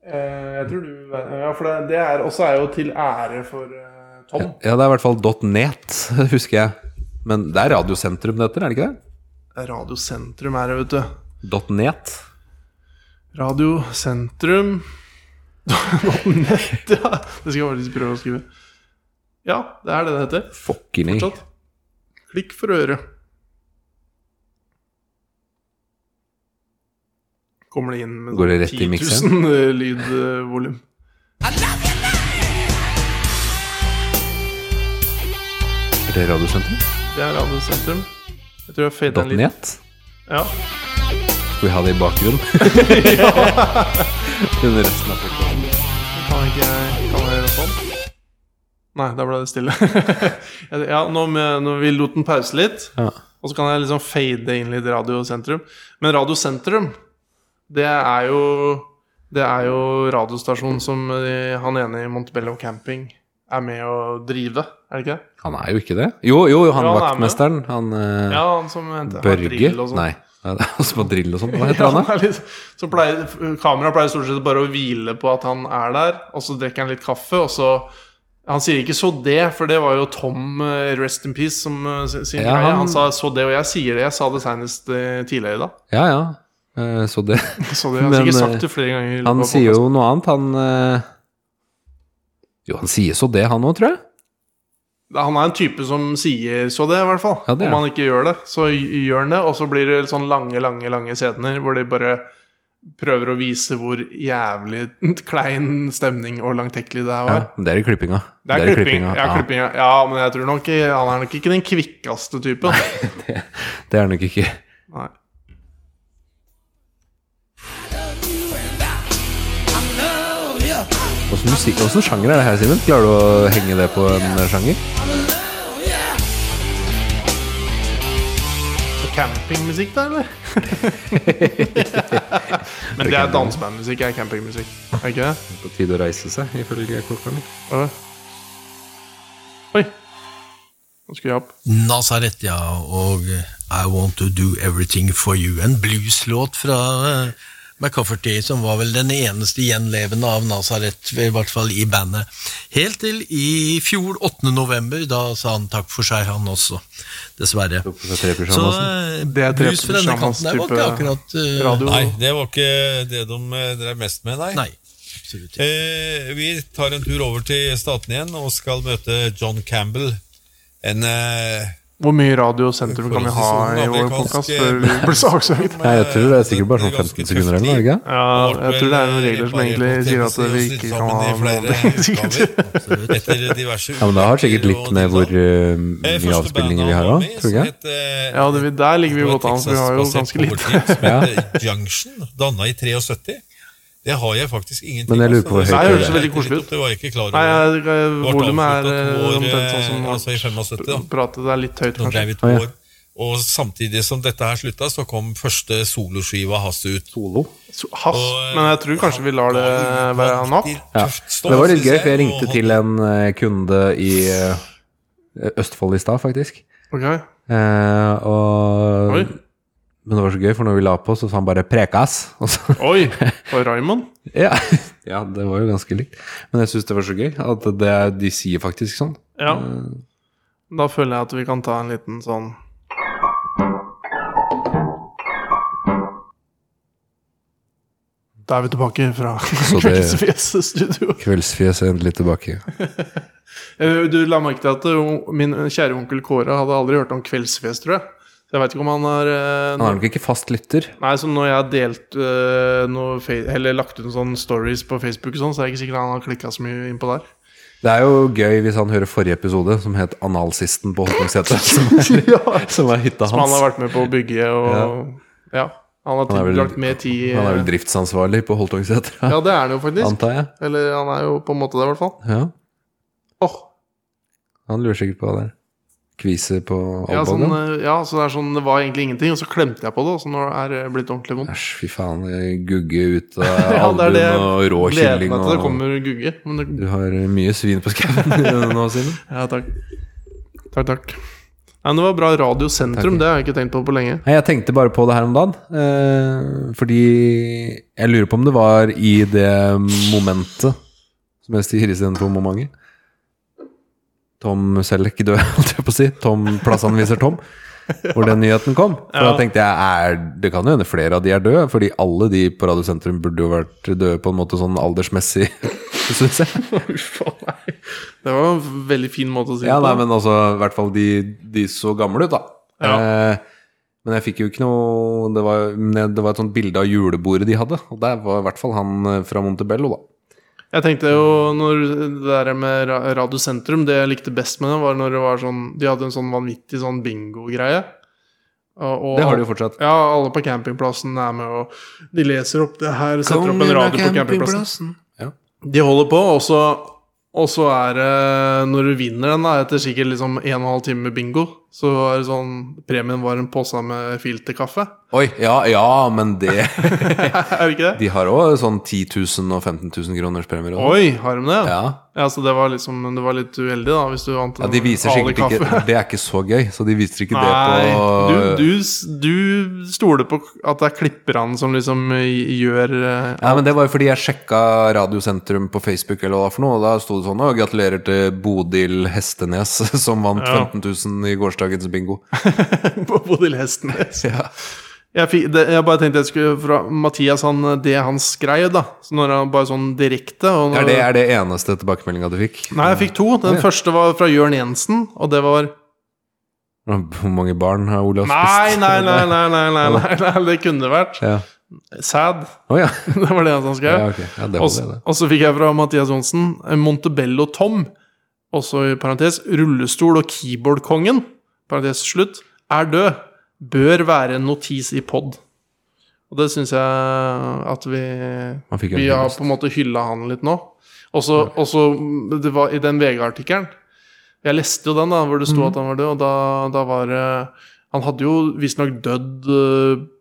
Eh, jeg tror du Ja, for det, det er også er jo til ære for eh, Tom.
Ja, det er i hvert fall .net, <laughs> husker jeg. Men det er Radiosentrum det heter, er det ikke det?
Radiosentrum er det, vet du.
.net.
<laughs> Radiosentrum Nett, ja. Det skal jeg faktisk prøve å skrive. Ja, det er det det heter.
Fuckini.
Fortsatt. Klikk for øret. Kommer det inn med sånn
Går det rett i mikseren?
10 000 eh, lydvolum.
Er det Radiosentrum?
Det er Radiosentrum. Jeg tror jeg fader den litt.
.net?
Ja.
Skal vi ha det i
<laughs>
bakgrunnen? Under resten av programmet.
Kan ikke jeg kan jeg gjøre sånn? Nei, da ble det stille. <laughs> ja, nå, med, nå vi lot den pause litt.
Ja.
Og så kan jeg liksom fade inn litt Radiosentrum. Men Radiosentrum, det er jo Det er jo radiostasjonen som eh, han ene i Montebello camping er med å drive, er det ikke det?
Han er jo ikke det. Jo, jo, han
Jo, han er
vaktmesteren. Han eh,
Ja, han som henter har
Børge.
drill og sånn.
Nei, <laughs> Ja, det er han som har drill og sånn. Hva heter
<laughs> Ja,
han,
han
da?
er litt, så pleier, kamera pleier stort sett bare å hvile på at han er der, og så drikker han litt kaffe, og så Han sier ikke 'så det', for det var jo Tom eh, Rest in Peace som eh, sin sin
Ja,
greie. Han,
han-
sa 'så det', og jeg sier det. Jeg sa det senest eh, tidligere i dag.
Ja, ja. Eh, Så det
Så det, jeg har
Men,
sikkert
eh,
sagt det flere ganger. i løpet
Han
av
sier jo noe annet, han eh, Jo, han sier så det, han òg, tror jeg.
podcasten. Han er en type som sier 'så det', i hvert fall.
Ja, det er
Om han ikke gjør det, så gjør han det. Og så blir det sånn lange, lange lange scener hvor de bare prøver å vise hvor jævlig <laughs> klein stemning og langtekkelig det her
Ja,
var.
det er i klippinga.
Det er,
i
klipping.
klippinga.
Ja,
Ja,
klipping. Ja. ja, men jeg tror nok ikke- han er nok ikke den kvikkeste typen.
det er nok ikke
Nei.
Åssen musikk, åssen sjanger er det her, Simen? Klarer du å henge det på en sjanger?
Så Campingmusikk, da, <laughs> eller? men det er dansebandmusikk, er campingmusikk. Er det ikke det?
På tide å reise seg, ifølge klokka mi.
Ja. Oi. Nå skulle jeg opp.
Nazareth, ja, og eh, I Want To Do Everything For You. En blueslåt fra eh, McCafferty, som var vel den eneste gjenlevende av Nazareth, i hvert fall i bandet. Helt til i fjor, 8. november, da sa han takk for seg, han også. Dessverre.
Tok på seg tre
Så
pysjamasen.
eh,
Det er
blues fra denne
Trepsjamans
kanten der var
type
ikke akkurat eh,
radio.
Nei, det var ikke det de eh, drev mest med, nei.
Nei. Absolutt ikke.
Eh, vi tar en tur over til statene igjen og skal møte John Campbell. En eh,
Hvor mye radiosentrum kan vi ha i
sånn
vår podkast før vi
eh, <laughs>
blir saksøkt?
Nei, jeg tror det er sikkert bare sånn
ganske
15 sekunder
tøff
eller noe, er det ikke?
Ja, jeg tror det er noen regler
eh,
som egentlig sier at vi ikke kan ha <laughs>
<laughs> Etter diverse
Ja, men det har sikkert litt med hvor eh,
Eh,
mye
første
avspillinger vi
bandet
har
han var
òg,
med i,
tror du
som
ikke?
het, eh,
Ja, det, vi- der ligger vi
Det var
godt an, for vi har jo
Texas-basert
ganske lite. <laughs>
powertrip som heter Junction, danna i 73. Det har jeg faktisk ingenting
Men jeg lurer
av,
på hvor
så
høyt
Nei, det høres veldig
er.
koselig ut.
Det var jeg ikke klar over.
Nei, jeg-
Det ble
volumet er
avsluttet
eh,
vår,
omtrent sånn som
eh, Altså i 75, da.
Pratet er litt høyt,
Nå
kanskje.
drev
Å,
vi to
ja.
år. Og samtidig som dette her slutta, så kom første soloskiva hans ut.
Solo.
Så- Hass, men jeg tror kanskje vi lar det være nok.
Ja.
Tøft stoff,
Det var litt
synes
gøy, for jeg
og
ringte
han-
til en eh, kunde i eh, Østfold i stad, faktisk.
Ok,
Eh, og
Oi,
Men det var så gøy, for når vi la på, så sa han bare 'prekas'. <laughs> Og så
oi,
<laughs>
og Raymond?
Ja. ja, det var jo ganske likt. Men jeg syns det var så gøy at det er, de sier faktisk sånn.
Ja. Da føler jeg at vi kan ta en liten sånn Da er vi tilbake fra <laughs>
Så det-
Kveldsfjes studio.
Kveldsfjes er endelig tilbake.
Eh, Du la merke til at eh, min kjære onkel Kåre hadde aldri hørt om Kveldsfjes, tror jeg. Så jeg veit ikke om han har eh,
Han er nok ikke fast lytter.
Nei, så når jeg har delt eh, noe fe Eller lagt ut sånne stories på Facebook og sånn, så er jeg ikke sikker han har klikka så mye innpå der.
Det er jo gøy hvis han hører forrige episode, som het 'Analsisten på Hotningseter', <laughs> som, er- som er hytta
Som han har
hans.
vært med på å bygge og Ja. Han har
Han er vel-
tilbrakt mer tid i- eh,
Han er vel driftsansvarlig på Holtungseter,
Ja, det er han jo faktisk.
antar jeg.
Eller han er jo på en måte det, i hvert fall.
Ja,
Åh,
Han lurer sikkert på hva det er. Kvise på
ja, sånn,
albuen.
eh, ja, så det er sånn Det var egentlig ingenting, og så klemte jeg på det, og så nå er det blitt ordentlig vondt.
Æsj, fy faen. det Gugge ut av
eh, <laughs> Ja, det er
albuen
det jeg
og rå
Gleder
kylling
meg til det
og
kommer gugge. Men det,
Du har mye svin på skauen <laughs> nå, Simen.
ja, takk. Takk, takk. Nei, men det var bra radiosentrum,
Takk.
det har jeg ikke tenkt på på lenge.
Nei, jeg tenkte bare på det her om dagen. Eh, fordi jeg lurer på om det var i det momentet som helst i istedenfor momentet. Tom Selleck død, <laughs> holdt jeg på å si. Tom Plassanviser Tom. Hvor den nyheten kom. For
Ja.
da tenkte jeg er, det kan jo hende flere av de er døde. Fordi alle de på Radio Sentrum burde jo vært døde på en måte sånn aldersmessig, <laughs> syns jeg.
Uff a meg. Det var en veldig fin måte å si
Ja,
det
nei,
på.
men altså, i hvert fall de, de så gamle ut, da. Eh, men jeg fikk jo ikke noe det var, men det var et sånt bilde av julebordet de hadde, og der var i hvert fall han eh, fra Montebello, da.
Jeg tenkte jo når det der med ra- Radiosentrum Det jeg likte best med det, var når det var sånn De hadde en sånn vanvittig sånn bingo-greie. Og- og-
Det har de jo fortsatt.
Ja, alle på campingplassen er med, og de leser opp det her. Setter opp en radio på campingplassen.
Ja.
De holder på, og så og så er det, når du vinner den, da, etter sikkert liksom en og en halv time med bingo, så er det sånn Premien var en pose med filterkaffe. <laughs>
Oi, ja, ja, men det <laughs>
er det ikke det?
De har òg sånn 10 000 og 15 000 kroners premier. og-
Oi, har de det?
Ja.
Ja, så det var, liksom, det var litt uheldig, da, hvis du vant
ja, de viser
vanlig
sikkert ikke
kaffe.
Det er ikke så gøy, så de viser ikke det på
Nei, du, du, s- du stoler på at det er klipperne som liksom gjør eh,
Ja, men Det var jo fordi jeg sjekka Radiosentrum på Facebook, eller hva det var for noe, og da sto det sånn «Å, 'Gratulerer til Bodil Hestenes, <laughs> som vant
Ja.
15 000 i gårsdagens bingo'.
<laughs> på Bodil Hestenes.
Ja.
Jeg, fikk, det, jeg bare tenkte jeg skulle fra Mathias, han, eh, det han skrev, da. Så når han bare sånn direkte og når,
Er det, er det eneste tilbakemeldinga du fikk?
Nei, jeg fikk to. Den
Oi.
første var fra Jørn Jensen, og det var
Hvor mange barn har Olav
Nei,
spist?
nei, nei, nei, nei, nei, nei, nei det kunne vært.
<laughs> Ja.
Sad. <laughs>
Å ja.
Det var det han skrev.
ja, ok. ja, det
Og
holder,
så-
det.
og så fikk jeg fra Mathias Johnsen eh, Montebello Tom, også i parentes, rullestol- og keyboardkongen, parentes slutt, er død. Bør være en notis i pod. Og det syns jeg at vi
Man fikk jo
vi
en
har
hyllest.
på en måte hylla han litt nå. Og så og så- det var i den VG-artikkelen Jeg leste jo den, da, hvor det sto
Mhm.
at han var død, og da, da var det Han hadde jo visstnok dødd øh,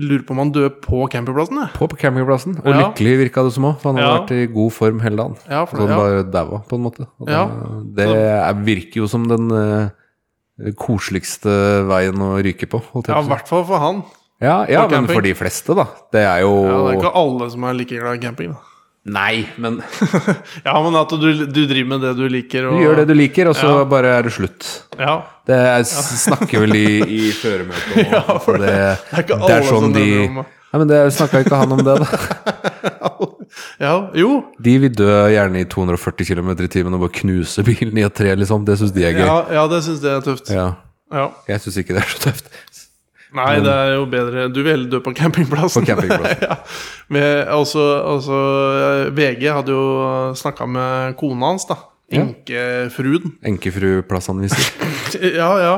Lurer på om han døde på campingplassen, jeg.
På på campingplassen. Og
Ja.
lykkelig virka det som òg, for han hadde
Ja.
vært i god form hele dagen.
Ja, for,
Så han
ja.
bare daua, på en måte. Og
Ja.
Det, det er, virker jo som den eh, koseligste veien å ryke på. holdt jeg på å
ja, i
si.
hvert fall for han.
Ja, ja
På
men
camping.
for de fleste, da. Det er jo
Ja, det er ikke alle som er like glad i camping. Da. <laughs>
Nei, men
Ja, men at du, du driver med det du liker.
du
Og,
gjør det du liker, og så
Ja.
bare er det slutt.
Ja. <laughs>
Det er, snakker vel i, i føremøtet om.
Ja, for
for det,
Det er ikke
det
alle
er sånn
som
de
drømmer om å-
Nei, men det snakka ikke han om det, da.
Ja, jo.
De vil dø gjerne i 240 km i timen og bare knuse bilen i et tre, liksom. Det syns de er gøy.
Ja, ja, det syns jeg er tøft.
Ja.
Ja.
Jeg syns ikke det er så tøft.
Nei, det er jo bedre Du vil heller dø på campingplassen.
På campingplassen.
<laughs> ja. Men også, også, eh, VG hadde jo snakka med kona hans, da.
Ja.
Enkefruen.
Enkefruplassanviser.
<laughs> Ja, ja.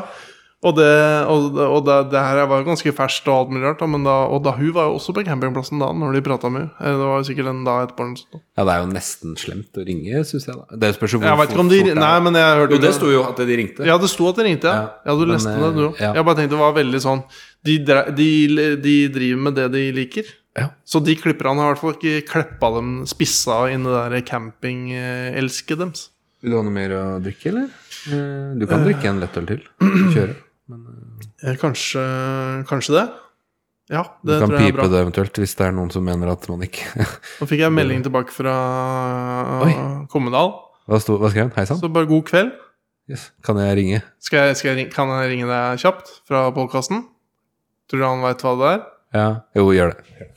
Og det, og, og det, det her var jo ganske ferskt og alt mulig rart, da, men da, og da hun var jo også på campingplassen da når de prata med henne. Eh, Det var jo sikkert en dag etterpå. eller noe sånt.
Ja, det er jo nesten slemt å ringe, syns jeg, da. Det spørs jo hvor
Jeg vet ikke om de
fort det er.
Nei, men jeg hørte
Jo, det sto jo at de ringte.
Ja, det sto at de ringte, ja.
Ja,
ja du
men,
leste det, du òg.
eh, ja.
Jeg bare tenkte det var veldig sånn de, dre- de, de driver med det de liker.
Ja.
Så de klipperne har i hvert fall ikke kleppa dem spissa inn det der campingelske deres.
Vil du ha noe mer å drikke, eller? Eh, Du kan drikke en lettøl til.
<clears throat>
Kjøre.
Eh, Kanskje, kanskje det? Ja,
Du
det
kan
tror jeg er
pipe
bra.
det eventuelt, hvis det er noen som mener at man ikke <laughs>
Nå fikk jeg en melding tilbake fra
Oi.
Kommedal.
Hva, sto, hva skrev han? Hei sann?
Så bare god kveld.
Yes. Kan jeg ringe?
Skal jeg, skal jeg ring, kan jeg ringe deg kjapt fra podkasten? Tror du han veit hva det er?
Ja. Jo, gjør det.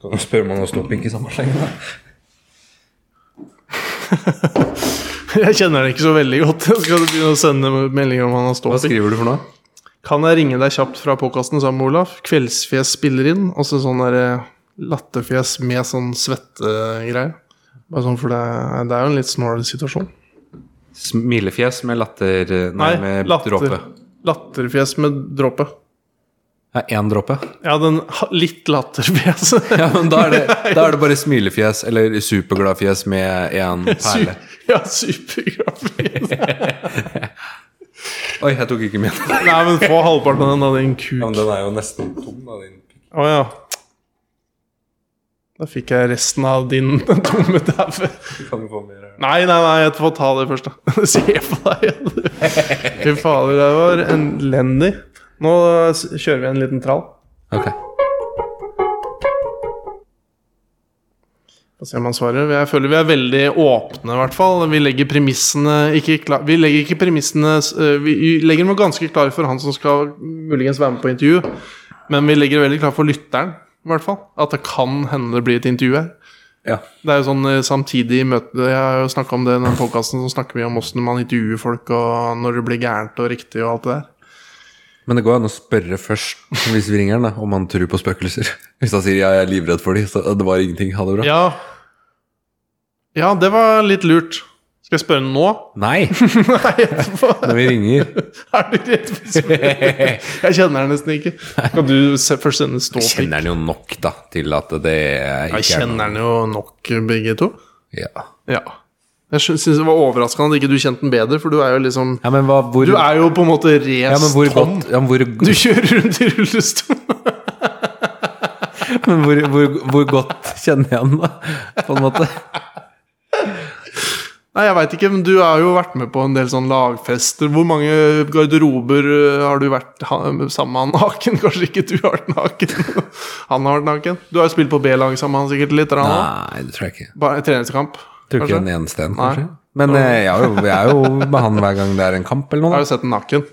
Kan du spørre om han har ståpikk i samme sleng? da?
<laughs> Jeg kjenner den ikke så veldig godt. <laughs> Jeg skal begynne å sende meldinger om han har
Hva
stått i.
skriver du for noe?
Kan jeg ringe deg kjapt fra påkasten sammen med Olaf? Kveldsfjes spiller inn, og så sånn der eh, latterfjes med sånn svettegreier. Bare sånn, for det, er- det er jo en litt snål situasjon.
Smilefjes med latter Nei, med dråpe.
Latterfjes med dråpe.
Ja, én dråpe?
Ja, den ha- litt latterfjes. <laughs>
Ja, men da er, <laughs> det, da er det bare smilefjes eller supergladfjes med én <laughs> perle.
Su- <laughs> Ja, supergrafisk.
Oi, jeg tok ikke med den.
<laughs> Nei, men få halvparten av den, da, din kuk.
men den er jo nesten tom, da, din
Å ja. Da fikk jeg resten av din <laughs> tomme daue.
Kan du få mer?
Nei, nei, nei, jeg får ta det først, da. <laughs> Se på deg. Fy fader, det var elendig. Nå eh, s- kjører vi en liten trall.
Ok.
Få se om han svarer. Jeg føler vi er veldig åpne, i hvert fall. Vi legger premissene ikke klar. Vi legger ikke premissene s- eh, Vi legger dem ganske klare for han som skal muligens være med på intervju, men vi legger det veldig klart for lytteren, i hvert fall. At det kan hende det blir et intervju her.
Ja.
Det er jo sånn eh, samtidig møte Jeg har jo snakka om det i den podkasten som snakker mye om åssen man intervjuer folk, og når det blir gærent og riktig og alt det der.
Men det går an å spørre først, hvis vi ringer han, da, om han tror på spøkelser. Hvis han sier ja, jeg er livredd for de, så eh, det var ingenting, ha det bra.
Ja. ja, det var litt lurt. Skal jeg spørre nå? <laughs>
Nei,
Nei, etterpå.
når vi <laughs> ringer.
Er du redd for <laughs> spørsmål? Jeg kjenner den nesten ikke. Kan du se, først sende ståpikk?
Kjenner han jo nok, da, til at det ikke
Jeg kjenner den jo nok, begge to.
Ja.
Ja. Jeg sy- syns det var overraskende at ikke du kjente den bedre, for du er jo liksom
ja, men hva, hvor,
Du er jo på en måte race
ja, men hvor
tom.
godt ja, men hvor,
Du kjører rundt i rullestol.
<laughs> men hvor, hvor, hvor godt kjenner jeg han, da? På en måte.
Nei, jeg veit ikke, men du har jo vært med på en del sånne lagfester. Hvor mange garderober ø, har du vært ha, sammen med han naken? <laughs> Kanskje ikke du har vært naken? <laughs> Han har vært naken. Du har jo spilt på B-lag sammen med han sikkert litt? eller han også?
Nei, det tror jeg ikke.
Bare en treningskamp?
Tror ikke
kanskje?
en eneste en,
Nei.
kanskje. Men eh, jeg er, jo, jeg er jo
<laughs>
med han hver gang det er en kamp eller
Jeg
noe.
har jo sett den naken.
Da.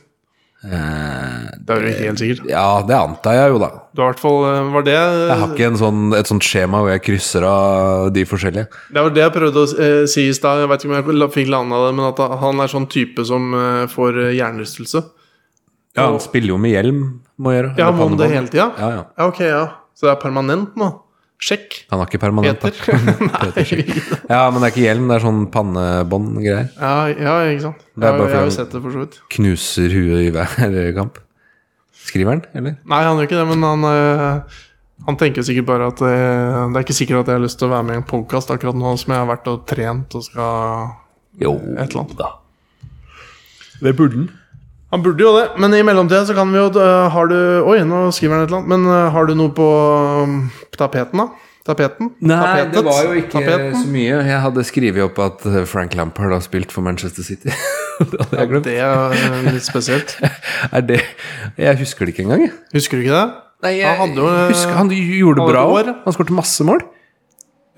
Eh,
Det er jo helt sikkert.
Ja, det antar jeg jo, da.
Du har i hvert fall ø, Var det
Jeg har ikke en sånn, et sånt skjema hvor jeg krysser av de forskjellige.
Det var det jeg prøvde å eh, si i stad. Jeg vet ikke om jeg la- fikk landa det, men at han er sånn type som eh, får eh, hjernerystelse.
Ja, Han spiller jo med hjelm, må jeg gjøre.
Ja,
eller
må han det
pannebånd.
hele tida?
Ja, ja.
ja, ok, ja. Så det er permanent nå? Sjekk.
Han har ikke permanent, da. <laughs>
Peter. <laughs> Nei.
Ja, men det er ikke hjelm, det er sånn pannebånd-greier.
Ja, ja, ikke sant.
Det er
Jeg,
bare
jeg har jo
fordi-
sett det for så vidt.
Knuser huet i hver <laughs> kamp. Skriver han, eller?
Nei, han gjør ikke det, men han, øh, han tenker sikkert bare at øh, det er ikke sikkert at jeg har lyst til å være med i en podkast akkurat nå som jeg har vært og trent og skal
Jo
et eller annet.
da. Det burde han.
Han burde jo det, men i mellomtida så kan vi jo øh, Har du Oi, nå skriver han et eller annet. Men øh, har du noe på øh, tapeten, da? Tapeten?
Nei, det
Tapetet?
var jo ikke
Tapeten?
så mye. Jeg hadde skrevet opp at eh, Frank Lampard har spilt for Manchester City. <laughs> det hadde jeg glemt.
Det er øh, litt spesielt.
Er det Jeg husker det ikke engang, jeg.
Husker du ikke det?
Nei,
jeg- Han hadde jo, eh,
husker, han gjorde
han
det bra
hadde
år.
år.
Han skåret masse mål.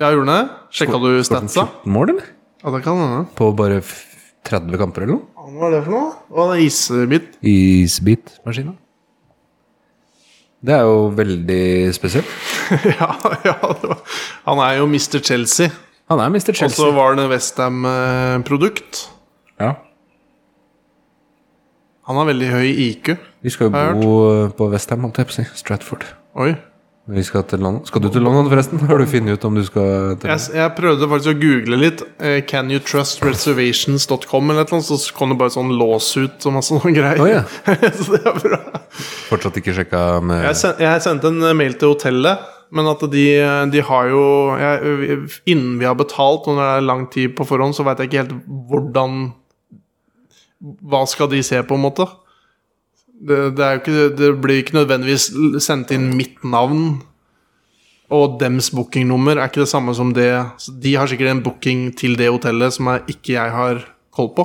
Ja, gjorde han det? Sjekka du
Skåret han
statsa?
14 mål, eller?
Ja, det kan hende.
På bare f- 30 kamper eller noe?
Hva var det for noe? Hva var det isbit?
Isbitmaskina. Det er jo veldig spesielt.
<laughs> Ja, ja det var. Han er jo Mr. Chelsea.
Han er Mr.
Og så
Chelsea.
var det eh, Westham-produkt.
Ja.
Han har veldig høy IQ.
Vi skal
Har
jo
jeg
bo eh, på Westham, holdt jeg på å si. Stratford.
Oi.
Vi skal, til London. skal du til London, forresten? Har du funnet ut om du skal til
Jeg, jeg prøvde faktisk å google litt. eh, Can you trust reservations.com eller et eller annet, så kom det bare sånn lawsuit og masse sånne greier.
Å, ja.
<laughs> så det er bra.
Fortsatt ikke sjekka med
Jeg, sen, jeg sendte en mail til hotellet, men at de, de har jo jeg, Innen vi har betalt, og når det er lang tid på forhånd, så veit jeg ikke helt hvordan Hva skal de se, på en måte? Det, det, er jo ikke, det blir ikke nødvendigvis sendt inn mitt navn. Og dems bookingnummer er ikke det samme som det så De har sikkert en booking til det hotellet som jeg, ikke jeg har koll på.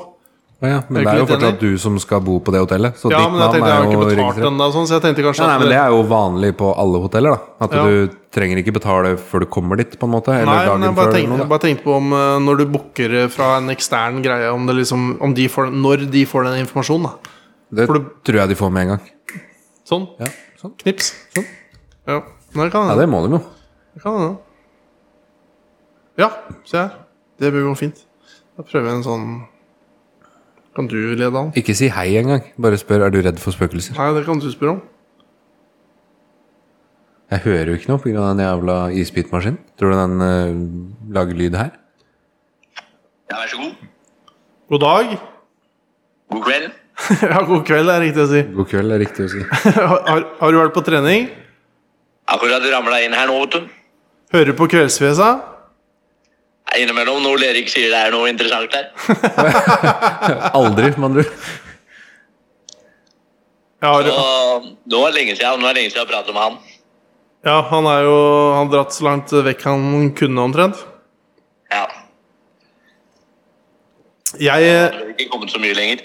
Ja, men det er
Er du ikke
jo
litt
fortsatt du som skal bo på det hotellet. Så
Ja,
ditt
men
navn
jeg tenkte jeg har
er jo
ikke betalt
registrert.
ennå, sånn, så jeg tenkte kanskje
Nei, nei,
at
men Det er jo vanlig på alle hoteller. da At
Ja.
du trenger ikke betale før du kommer dit. på en måte Eller
Nei, men
dagen
jeg bare
før eller
tenkte,
noe,
jeg bare tenkte på om eh, når du booker eh, fra en ekstern greie, om det liksom, om de får, når de får den informasjonen. da
da. Det
for du-
tror jeg de får med en gang.
Sånn.
Ja, sånn.
Knips.
Sånn.
Ja, Nei, det kan
ja
hende.
det må de jo.
Det kan hende. Ja, se her. Det blir jo fint. Da prøver jeg en sånn Kan du lede an?
Ikke si hei engang. Bare spør er du redd for spøkelser.
Nei, det kan du spørre om.
Jeg hører jo ikke noe pga. den jævla isbitmaskinen. Tror du den eh, lager lyd her?
Ja, vær så god.
God dag. <laughs>
God kveld.
ja, god kveld, er riktig å si. <laughs>
God kveld, er riktig å si.
har, har, har du vært på trening?
Akkurat ramla inn her nå, vet du.
Hører på Kveldsfjesa?
Innimellom når Erik sier det er noe interessant der.
Aldri, med andre ord.
Jeg har,
Og det var lenge siden, det var lenge siden jeg pratet med han.
Ja, han er jo Han har dratt så langt vekk han kunne, omtrent.
Ja,
Jeg eh,
det har ikke kommet så mye lenger.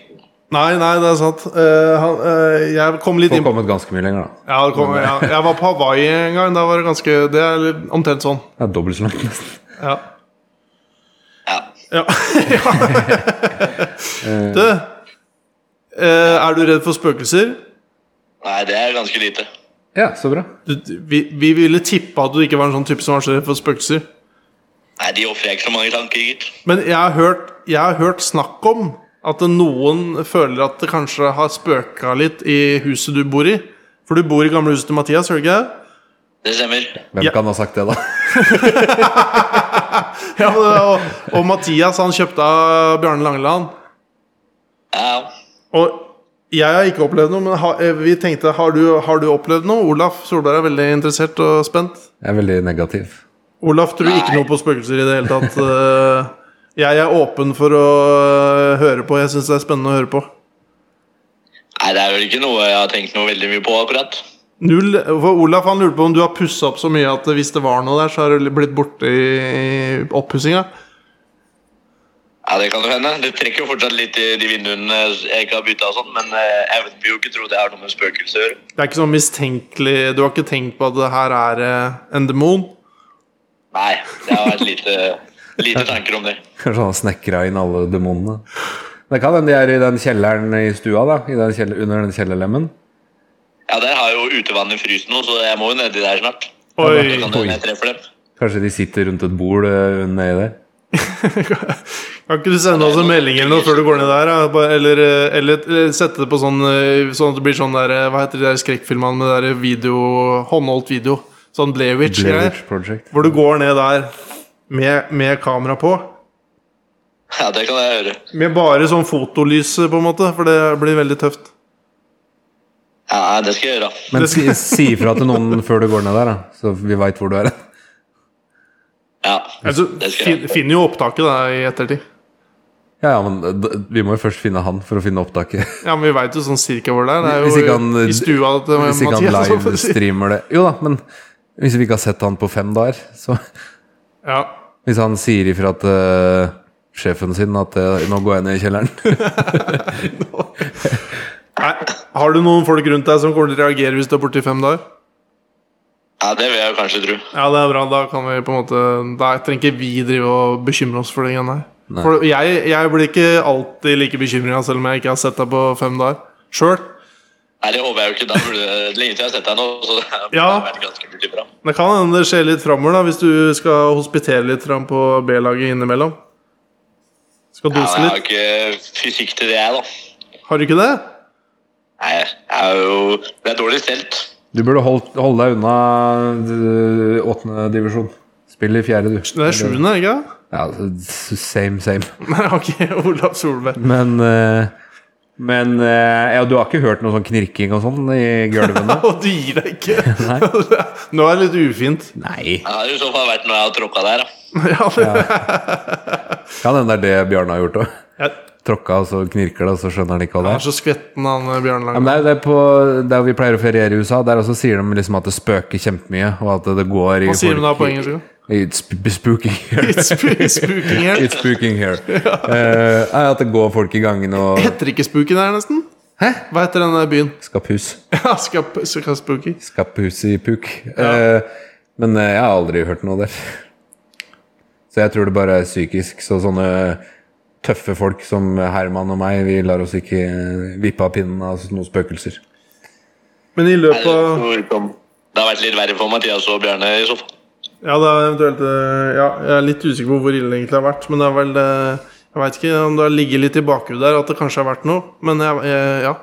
Nei, nei, det er sant. Eh, han, eh, jeg kom litt
Får
inn på
kommet ganske mye lenger, da.
ja, det kom, ja, Jeg var på Hawaii en gang. Da var det ganske Det er litt- omtrent sånn.
Det er dobbelt så langt, nesten.
Ja.
Ja.
ja. du eh, Er du redd for spøkelser?
Nei, det er ganske lite.
Ja, så bra.
Du, vi, vi ville tippe at du ikke var en sånn type som var så redd for spøkelser.
Nei, de offrer ikke så mange tanker, gitt.
Men jeg har hørt, jeg har hørt snakk om at noen føler at det kanskje har spøka litt i huset du bor i. For du bor i gamle huset til Mathias, gjør du ikke det?
Det stemmer.
Hvem
Ja.
kan ha sagt det, da?
Ja, men det- og, og Mathias han kjøpte av Bjarne Langeland.
Ja,
Og jeg har ikke opplevd noe, men har, eh, vi tenkte har du, har du opplevd noe? Olaf Solberg er veldig interessert og spent.
Jeg er veldig negativ. <laughs>
Olaf tror ikke
Nei.
noe på spøkelser i det hele tatt. Eh, Jeg er åpen for å eh, høre på. Jeg syns det er spennende å høre på.
Nei, det er vel ikke noe jeg har tenkt noe veldig mye på akkurat.
Null, for Olaf han lurte på om du har pussa opp så mye at hvis det var noe der, så har det blitt borte i, i oppussinga.
Ja, det kan jo hende. Det trekker jo fortsatt litt i de vinduene jeg ikke har bytta og sånn, men eh, jeg vil jo ikke tro det har noe med spøkelser å gjøre.
Det er ikke sånn mistenkelig Du har ikke tenkt på at det her er eh, en demon?
Nei, det har vært lite, lite tanker om det.
Kanskje han har snekra inn alle demonene. Det kan hende de er i den kjelleren i stua, da. I den kjell- under den kjellerlemmen.
Ja, der har jo utevannet fryst nå, så jeg må jo nedi der snart. Det
Oi!
kan hende jeg treffer dem.
Kanskje de sitter rundt et bord eh, nedi der.
Kan ikke du sende oss en melding eller noe før du går ned der? da? Bare- Eller, eh, eller, eller sette det på sånn eh, Sånn at det blir sånn der eh, Hva heter de der skrekkfilmene med der video håndholdt video? Sånn
Blair
Blaywitch-greier?
Witch Project.
Hvor du går ned der med, med kamera på.
Ja, det kan jeg gjøre.
Med bare sånn fotolys, på en måte, for det blir veldig tøft.
Ja, det skal jeg gjøre.
Men si, si ifra til
<laughs>
noen før du går ned der, da. Så vi veit hvor du er. <laughs>
Ja.
Altså,
Det skal jeg.
fin, finner jo opptaket da i ettertid.
Ja, ja, men d- vi må jo først finne han for å finne opptaket.
Ja, men Vi veit jo sånn cirka hvor det er. Det er jo
Hvis ikke han,
i stua
<laughs>
til
Hvis ikke han
Mathias. så å si.
livestreamer det Jo da, men hvis vi ikke har sett han på fem dager, så <laughs>
Ja.
Hvis han sier ifra til eh, sjefen sin at eh, 'nå går jeg ned i kjelleren'
Nei, har du noen folk rundt deg som kommer til å reagere hvis du er borte i fem dager?
ja, det vil jeg jo kanskje tro.
Ja, det er bra. Da kan vi på en måte Da trenger ikke vi drive og bekymre oss for det greiene her.
Nei.
For jeg, jeg blir ikke alltid like bekymra selv om jeg ikke har sett deg på fem dager. Sjøl.
Nei, det håper jeg jo ikke. Da burde lenge siden jeg har sett deg nå, så det har
Ja.
vært ganske mye bra.
Det kan hende det skjer litt framover da, hvis du skal hospitere litt fram på B-laget innimellom. Skal
Ja,
dose
men jeg har
litt.
ikke fysikk til det, jeg, da.
Har du ikke det?
Nei, jeg er jo Det er dårlig stelt.
Du burde holdt, holde deg unna åttende divisjon. Spill i fjerde, du.
Det er sjuende, er det ikke det? <laughs>
Ja, s- same, same.
Nei, ok, Olav Solberg.
Men eh, Men eh, ja, du har ikke hørt noe sånn knirking og sånn i gulvene?
Og du gir deg ikke! <laughs> Nå er det litt ufint.
<laughs>
<laughs>
Nei.
Det har i så fall vært når jeg har tråkka der, da.
Ja, det,
Kan hende det er det Bjarne har gjort òg.
jeg
Tråkka, og så knirker det, og så skjønner han ikke hva det
er
er.
så skvetten, han eh, Bjørn
Ja, men
Lang.
det er, det er på, der vi pleier å feriere i USA, der også sier de liksom at det spøker kjempemye. Og at det går i
Hva sier de da
folk
på
i-
engelsk? da? <laughs>
It's sp- spooky here.
It's sp- spooking here.
It's spooking here. Eh, nei, at det går folk i gangen og
Heter ikke Spooken her, nesten?
Hæ?
Hva heter den der byen? <laughs>
Skapphus.
Ja, Skap- Skap- Spooky.
Skapphus i puk. Eh, men eh, jeg har aldri hørt noe der. <laughs> Så jeg tror det bare er psykisk. Så sånne tøffe folk som Herman og meg, vi lar oss ikke eh, vippe av pinnen av noen spøkelser.
Men i
Nei,
løpet av
Det det har vært litt verre for Mathias og Bjarne i
<laughs>
så fall.
Ja, det er eventuelt eh, Ja, jeg er litt usikker på hvor ille det egentlig har vært, men det er vel eh, Jeg veit ikke om det har ligget litt i bakhodet der at det kanskje har vært noe, men jeg, jeg, ja.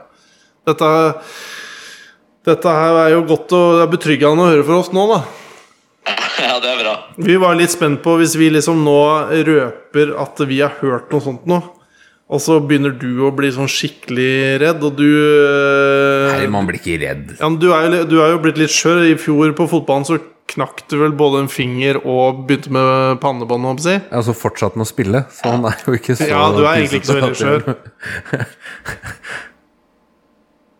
Dette Dette her er jo godt og det er betryggende å høre for oss nå, da.
Ja, det er bra.
Vi var litt spent på hvis vi liksom nå røper at vi har hørt noe sånt nå. Og så begynner du å bli sånn skikkelig redd, og du eh,
Nei, man blir ikke redd.
ja, men du, er jo, li- du er jo blitt litt skjør. I fjor på fotballen så knakk du vel både en finger og begynte med pannebånd, holdt jeg på å si.
Og så fortsatte han altså å spille, så han er jo ikke så
Ja, du er egentlig ikke så veldig skjør.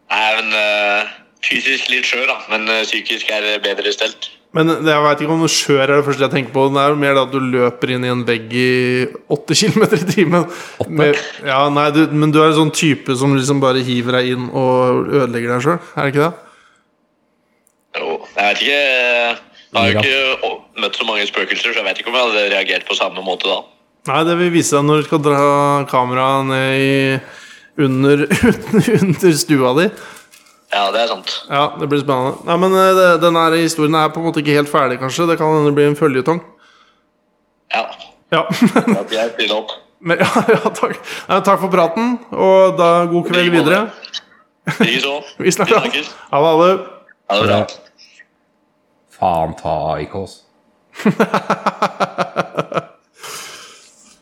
Nei, men eh, Fysisk litt skjør, da, men eh, psykisk er det bedre stelt.
Men det, jeg veit ikke om skjør er det første jeg tenker på. Det er jo mer det at du løper inn i en vegg i <laughs> 8 km i timen. Med, ja, nei, du, men du er en sånn type som liksom bare hiver deg inn og ødelegger deg sjøl, er det ikke det?
Jo, jeg vet ikke eh, Jeg har jo ikke å, møtt så mange spøkelser, så jeg vet ikke om jeg hadde reagert på samme måte da.
Nei, det vil vise deg når du skal dra kameraet ned i under, <laughs> under stua di.
Ja, det er sant.
Ja, det blir spennende. Nei, men eh, det, denne her historien er på en måte ikke helt ferdig, kanskje. Det kan hende det blir en føljetong.
Ja.
Ja, men,
At jeg stiller opp.
<laughs> men ja, <laughs> ja, takk. Nei, takk for praten, og da god kveld
Like måte.
videre.
Ikke så.
Vi snakkes. Ha det, alle.
Ha det bra.
Faen ta ikke oss. <laughs>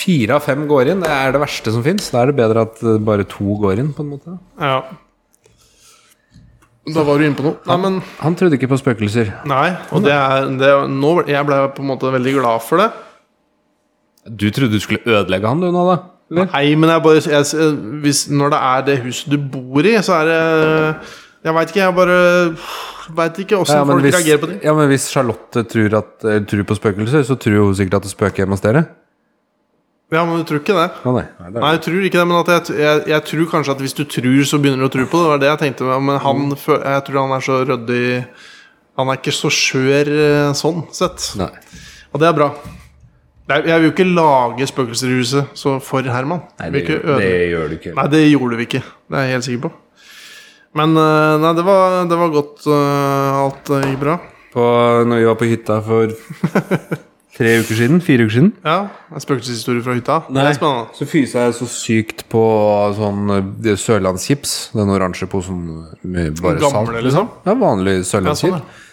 Fire av fem går inn. Det er det verste som fins. Da er det bedre at eh, bare to går inn, på en måte.
Ja. Da var du inne på noe. Nei, men
Han trodde ikke på spøkelser.
Nei, og det er, det er nå, Jeg ble på en måte veldig glad for det.
Du trodde du skulle ødelegge han, du nå, da? Eller?
Nei, men jeg bare jeg, hvis, Når det er det huset du bor i, så er det Jeg veit ikke, jeg bare Veit ikke åssen
Ja, men
folk
hvis,
reagerer på det.
ja, men hvis Charlotte tror, at, eh, tror på spøkelser, så tror hun sikkert at det spøker hjemme hos dere?
Ja, men du tror ikke det?
Å, nei. Nei,
Nei, jeg tror ikke det, men at jeg, jeg, jeg tror kanskje at hvis du tror, så begynner du å tro på det. Det var det jeg tenkte. men- Men han, fø- jeg tror han er så ryddig Han er ikke så skjør eh, sånn sett. Og det er bra. Det er- Jeg vil jo ikke lage spøkelser i huset så for Herman. Jeg vil ikke ødelegge-
gjør du ikke.
Nei, det gjorde vi ikke. Det er jeg helt sikker på. Men eh, nei, det var, det var godt. eh, Alt eh, gikk bra.
På, når vi var på hytta for <laughs> tre uker siden, fire uker siden
Ja, en Spøkelseshistorie fra hytta. Det er spennende.
Så fysa jeg så sykt på sånn eh, det sørlandschips. Den oransje posen med bare
Gamle,
salt.
liksom?
Ja, vanlig
Ja, sånn,
sørlandschips.
ja.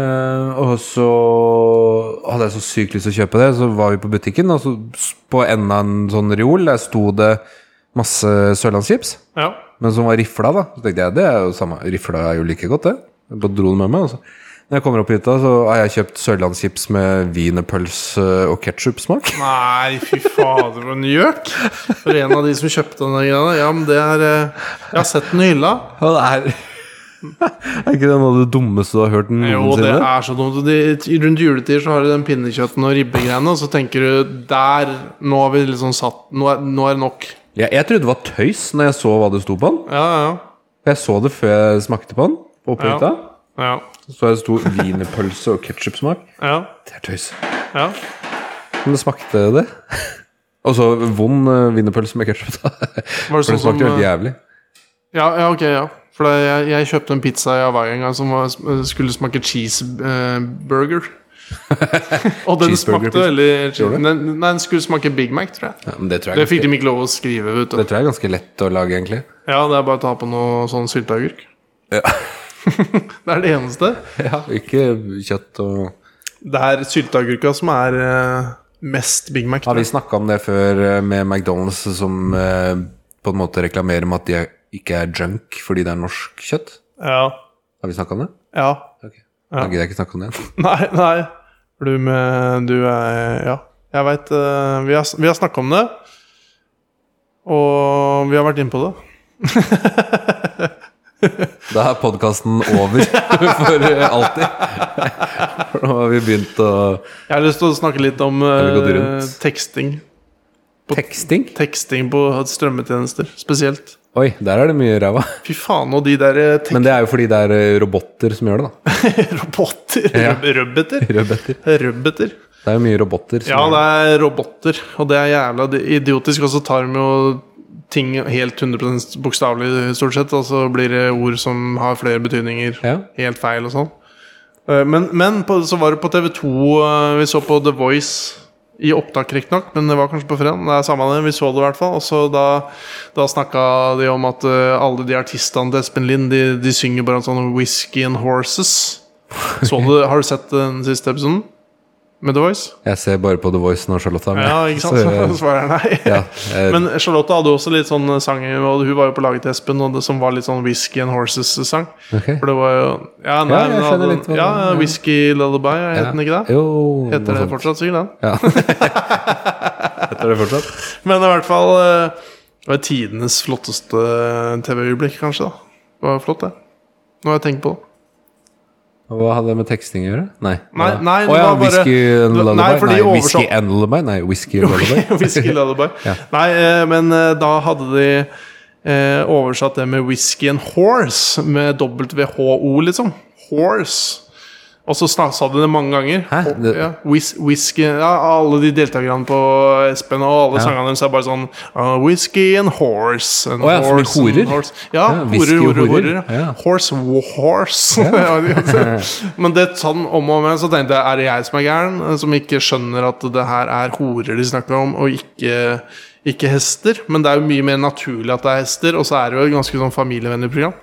Eh, og så hadde jeg så sykt lyst til å kjøpe det, så var vi på butikken, og så s- på enden av en sånn reol der sto det masse sørlandschips,
ja.
men som var rifla, da. Så tenkte jeg det er jo samme, rifla er jo like godt, det. Jeg bare dro det med meg. Og så. Når jeg kommer opp hit, da, så har jeg kjøpt sørlandschips med wienerpølse og ketsjupsmak.
Nei, fy fader, for en gjøk! For en av de som kjøpte den greia der. Ja, men det er eh, Jeg har sett den i hylla.
Ja, det er <laughs> Er ikke det noe av det dummeste du har hørt
Jo, det
noensinne?
er så dumt. Og de- Rundt juletider så har du den pinnekjøtten og ribbegreiene, og så tenker du der Nå har vi liksom satt Nå er, nå er det nok.
Ja, jeg trodde det var tøys når jeg så hva det sto på den.
Ja, ja.
Jeg så det før jeg smakte på den. Og på
Ja.
hytta.
Ja.
Så jeg det sto wienerpølse og ketsjupsmak.
ja,
Det er tøys.
ja.
Men det smakte det. <laughs> Og så vond eh, wienerpølse med ketsjup. For
Var det
det
sånn som
smakte jo helt
eh,
jævlig.
Ja, ja, ok, ja. For det- jeg, jeg kjøpte en pizza i Hawaii en gang som var, skulle
<laughs>
smake cheeseburger. og den
Cheeseburger
smakte
pizza.
veldig
Gjorde
den, Nei, den skulle smake Big Mac, tror jeg.
Ja, men det tror
Det
jeg,
fikk
ganske,
de ikke lov å skrive, vet
det
du.
tror jeg er ganske lett å lage, egentlig.
Ja, det er bare å ta på noe sånn sylteagurk.
Ja.
<laughs> det er det eneste.
Ikke kjøtt og
Det er sylteagurka som er eh, mest Big Mac.
Har
tror
vi
jeg.
snakka om det før eh, med McDonald's, som eh, på en måte reklamerer med at de er- ikke er junk fordi det er norsk kjøtt?
Ja.
Har vi snakka om det?
ja.
Da gidder jeg ikke snakke om det igjen. <laughs>
Nei, nei. For Du med Du er Ja. Jeg veit Vi har, vi har snakka om det. Og vi har vært inne på det.
Da er podkasten over <laughs> for eh, alltid. <laughs> For nå har vi begynt å
Jeg har lyst til å snakke litt om
vi gått
eh,
rundt?
teksting.
Teksting?
Teksting på strømmetjenester spesielt.
Oi, der er det mye ræva. <laughs>
Fy faen, og de der eh, tek- <laughs>
Men det er jo fordi det er eh, roboter som gjør det, da.
roboter
Ja.
røb- Røbbeter.
Roboter.
Røbbeter.
Det er jo mye roboter. Som
Ja,
gjør
det er roboter, og det er jævla idiotisk. Og så tar de jo ting helt 100 bokstavelig, stort sett, og så blir det ord som har flere betydninger.
Ja.
Helt feil og sånn. Eh, Men, men på, så var det på TV2 eh, Vi så på The Voice i opptak, riktignok, men det var kanskje på fredag. Det er samme det, vi så det i hvert fall. Og så da, da snakka de om at eh, alle de artistene til Espen Lind, de, de synger bare sånn 'Whisky and Horses'. Så du, har du sett den siste episoden med The Voice?
Jeg ser bare på The Voice når Charlotte er med. <laughs>
Ja, ikke sant? <laughs>
Så, eh,
Så svarer jeg nei.
ja, eh, jeg,
Men Charlotte hadde også litt sånn sang og Hun var jo på laget til Espen, og det som var litt sånn Whisky and Horses-sang.
ok.
For det var jo Ja,
Ja,
nei,
jeg
men
skjønner
hadde-
litt hva det-
ja,
ja.
Whisky Lullaby, het den ikke det?
Jo, noe
Heter det
sånt.
fortsatt sikkert den?
Heter det fortsatt?
Men i hvert fall eh, Det var tidenes flotteste TV-øyeblikk, kanskje. da Det var flott, det. Nå har jeg tenkt på det.
Hva hadde det med teksting å gjøre? Nei.
Nei,
hva da?
nei, det
Å ja,
var bare-
Whisky and
Nei,
Lullaby?
fordi
Nei,
oversatt-
Whisky and Lullaby? Nei, Whisky and
<laughs>
Lullaby. <laughs>
Whisky Lullaby.
Ja.
Nei, eh, men eh, da hadde de eh, oversatt det med Whisky and Horse, med WHO, liksom. Horse. Og så snak- sa de det mange ganger.
Hæ?
Og-
Det-
Ja, whis, whisky, ja, alle de deltakerne på Espen og alle
Ja.
sangene deres er bare sånn uh, Whisky and horse and
Å ja, som i
horse and
horer?
horse. Ja,
Ja, whisky
horer,
og
horer,
horer.
horer.
Ja.
Horse, wo- horse. <laughs> Men det sånn om og om igjen, så tenkte jeg er det jeg som er gæren, eh, som ikke skjønner at det her er horer de snakker om, og ikke, ikke hester? Men det er jo mye mer naturlig at det er hester, og så er det jo et ganske sånn familievennlig program.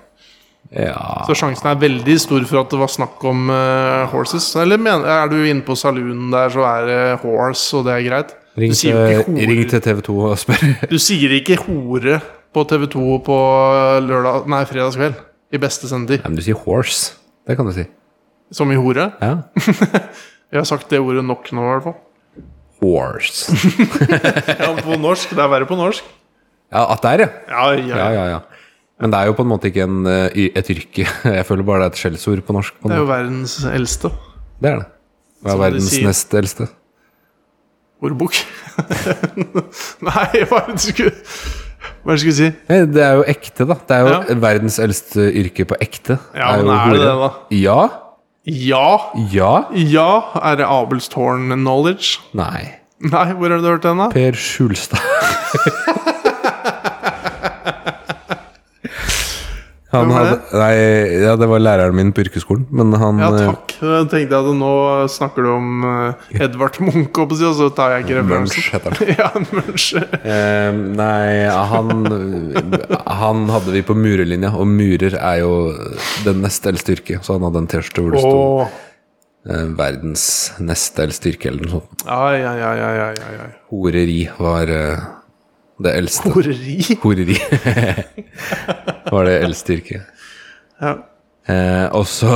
Ja.
Så sjansen er veldig stor for at det var snakk om eh, horses. Eller men, er du inne på saloonen der, så er det horse, og det er greit.
Ring
Du sier jo
til,
ikke hore.
Eh, ring til TV 2 og spør.
<laughs> Du sier ikke hore på TV2 på lørdag, nei, fredagskveld. I beste sendetid.
Nei, men du sier horse. Det kan du si.
Som i hore.
Ja.
Jeg har sagt det ordet nok nå, i hvert fall.
Horse.
Ja, på norsk. Det er verre på norsk.
Ja, at der, ja.
Ja, ja,
Ja, ja, ja. Men det er jo på en måte ikke en, eh, y- et yrke. <laughs> Jeg føler bare det er et skjellsord på norsk. På
Det er
det,
jo verdens eldste
det er det. Det
Som
er
de
verdens
sier.
nest eldste.
ordbok. <laughs> Nei, hva er det du skulle Hva er det du skulle si?
Nei, Det er jo ekte, da. Det er jo
Ja.
verdens eldste yrke på ekte.
Ja, men er det det, da?
Ja.
Ja.
Ja.
Ja. Er det Abelstårn knowledge?
Nei.
Nei, hvor har du hørt den, da?
Per Skjulstad. Han
Hvem var
hadde, nei, ja, det var læreren min på yrkesskolen, men han
Ja,
eh,
takk. Jeg tenkte at nå snakker du om eh, Edvard Munch, holdt på å si, og så tar jeg ikke referansen. <laughs>
Munch heter han.
ja, Munch.
Eh, nei, han Han hadde vi på murelinja, og murer er jo den nest eldste yrket. Så han hadde en T-skjorte hvor det sto
Åh.
eh, 'verdens nest eldste yrke' eller noe sånt.
Ai, ai, ai, ai, ai, ai, ai.
Horeri var eh, det eldste.
Horeri.
Horeri <laughs> var det eldste yrket.
Ja.
Eh, og så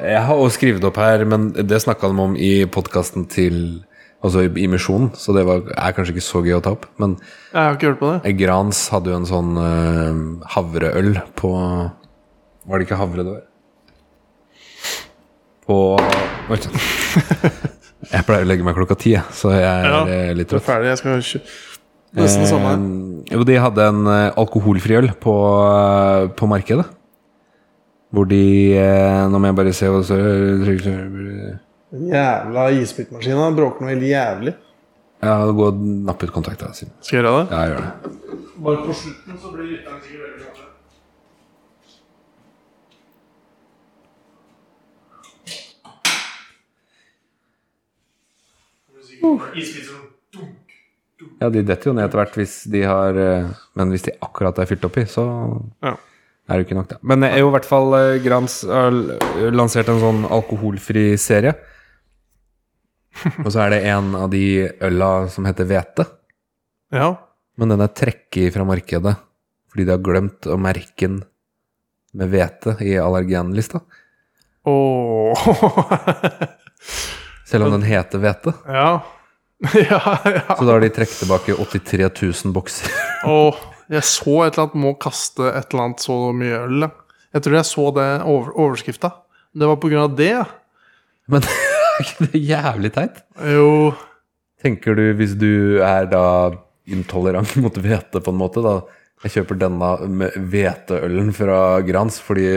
Jeg har også skrevet opp her, men det snakka de om i podkasten til Altså i, i Misjonen, så det var, er kanskje ikke så gøy å ta opp. Men
Jeg har ikke hørt på det.
Grans hadde jo en sånn eh, havreøl på Var det ikke havre det var? På Oi
<laughs>
sann. Jeg pleier å legge meg klokka ti, jeg, så jeg er
Ja,
eh, litt
Du er
trøtt.
ferdig, jeg skal kjø- Nesten samme her.
Eh, Jo, de hadde en eh, alkoholfri øl på, eh, på markedet. Hvor de eh, Nå må jeg bare se hva det står
Den Jævla isbitmaskina bråker noe helt jævlig.
Ja, gå og napp ut kontakta. Simen.
Skal jeg gjøre det?
Ja, gjør det.
Bare på slutten så blir lytterne sikkert veldig glade.
Ja, de detter jo ned etter hvert hvis de har eh, Men hvis de akkurat er fylt oppi, så
Ja.
er det jo ikke nok, da. Men jeg er jo i hvert fall eh, Grans har l- lansert en sånn alkoholfri <laughs> serie. Og så er det en av de øla som heter hvete.
Ja.
Men den er trekket fra markedet fordi de har glemt å merke den med hvete i allergenlista.
Åh.
Selv om den heter hvete.
<laughs> ja. <laughs> ja, ja.
Så da har de trukket tilbake 83 000 bokser. <laughs>
Åh, jeg så et eller annet må kaste et eller annet så mye øl. da. Jeg tror jeg så det over, overskrifta. Det var på grunn av det. ja.
Men <laughs> er ikke det jævlig teit?
Jo
Tenker du, hvis du er da intolerant <laughs> mot hvete, på en måte, da Jeg kjøper denne med hveteølen fra Grans, fordi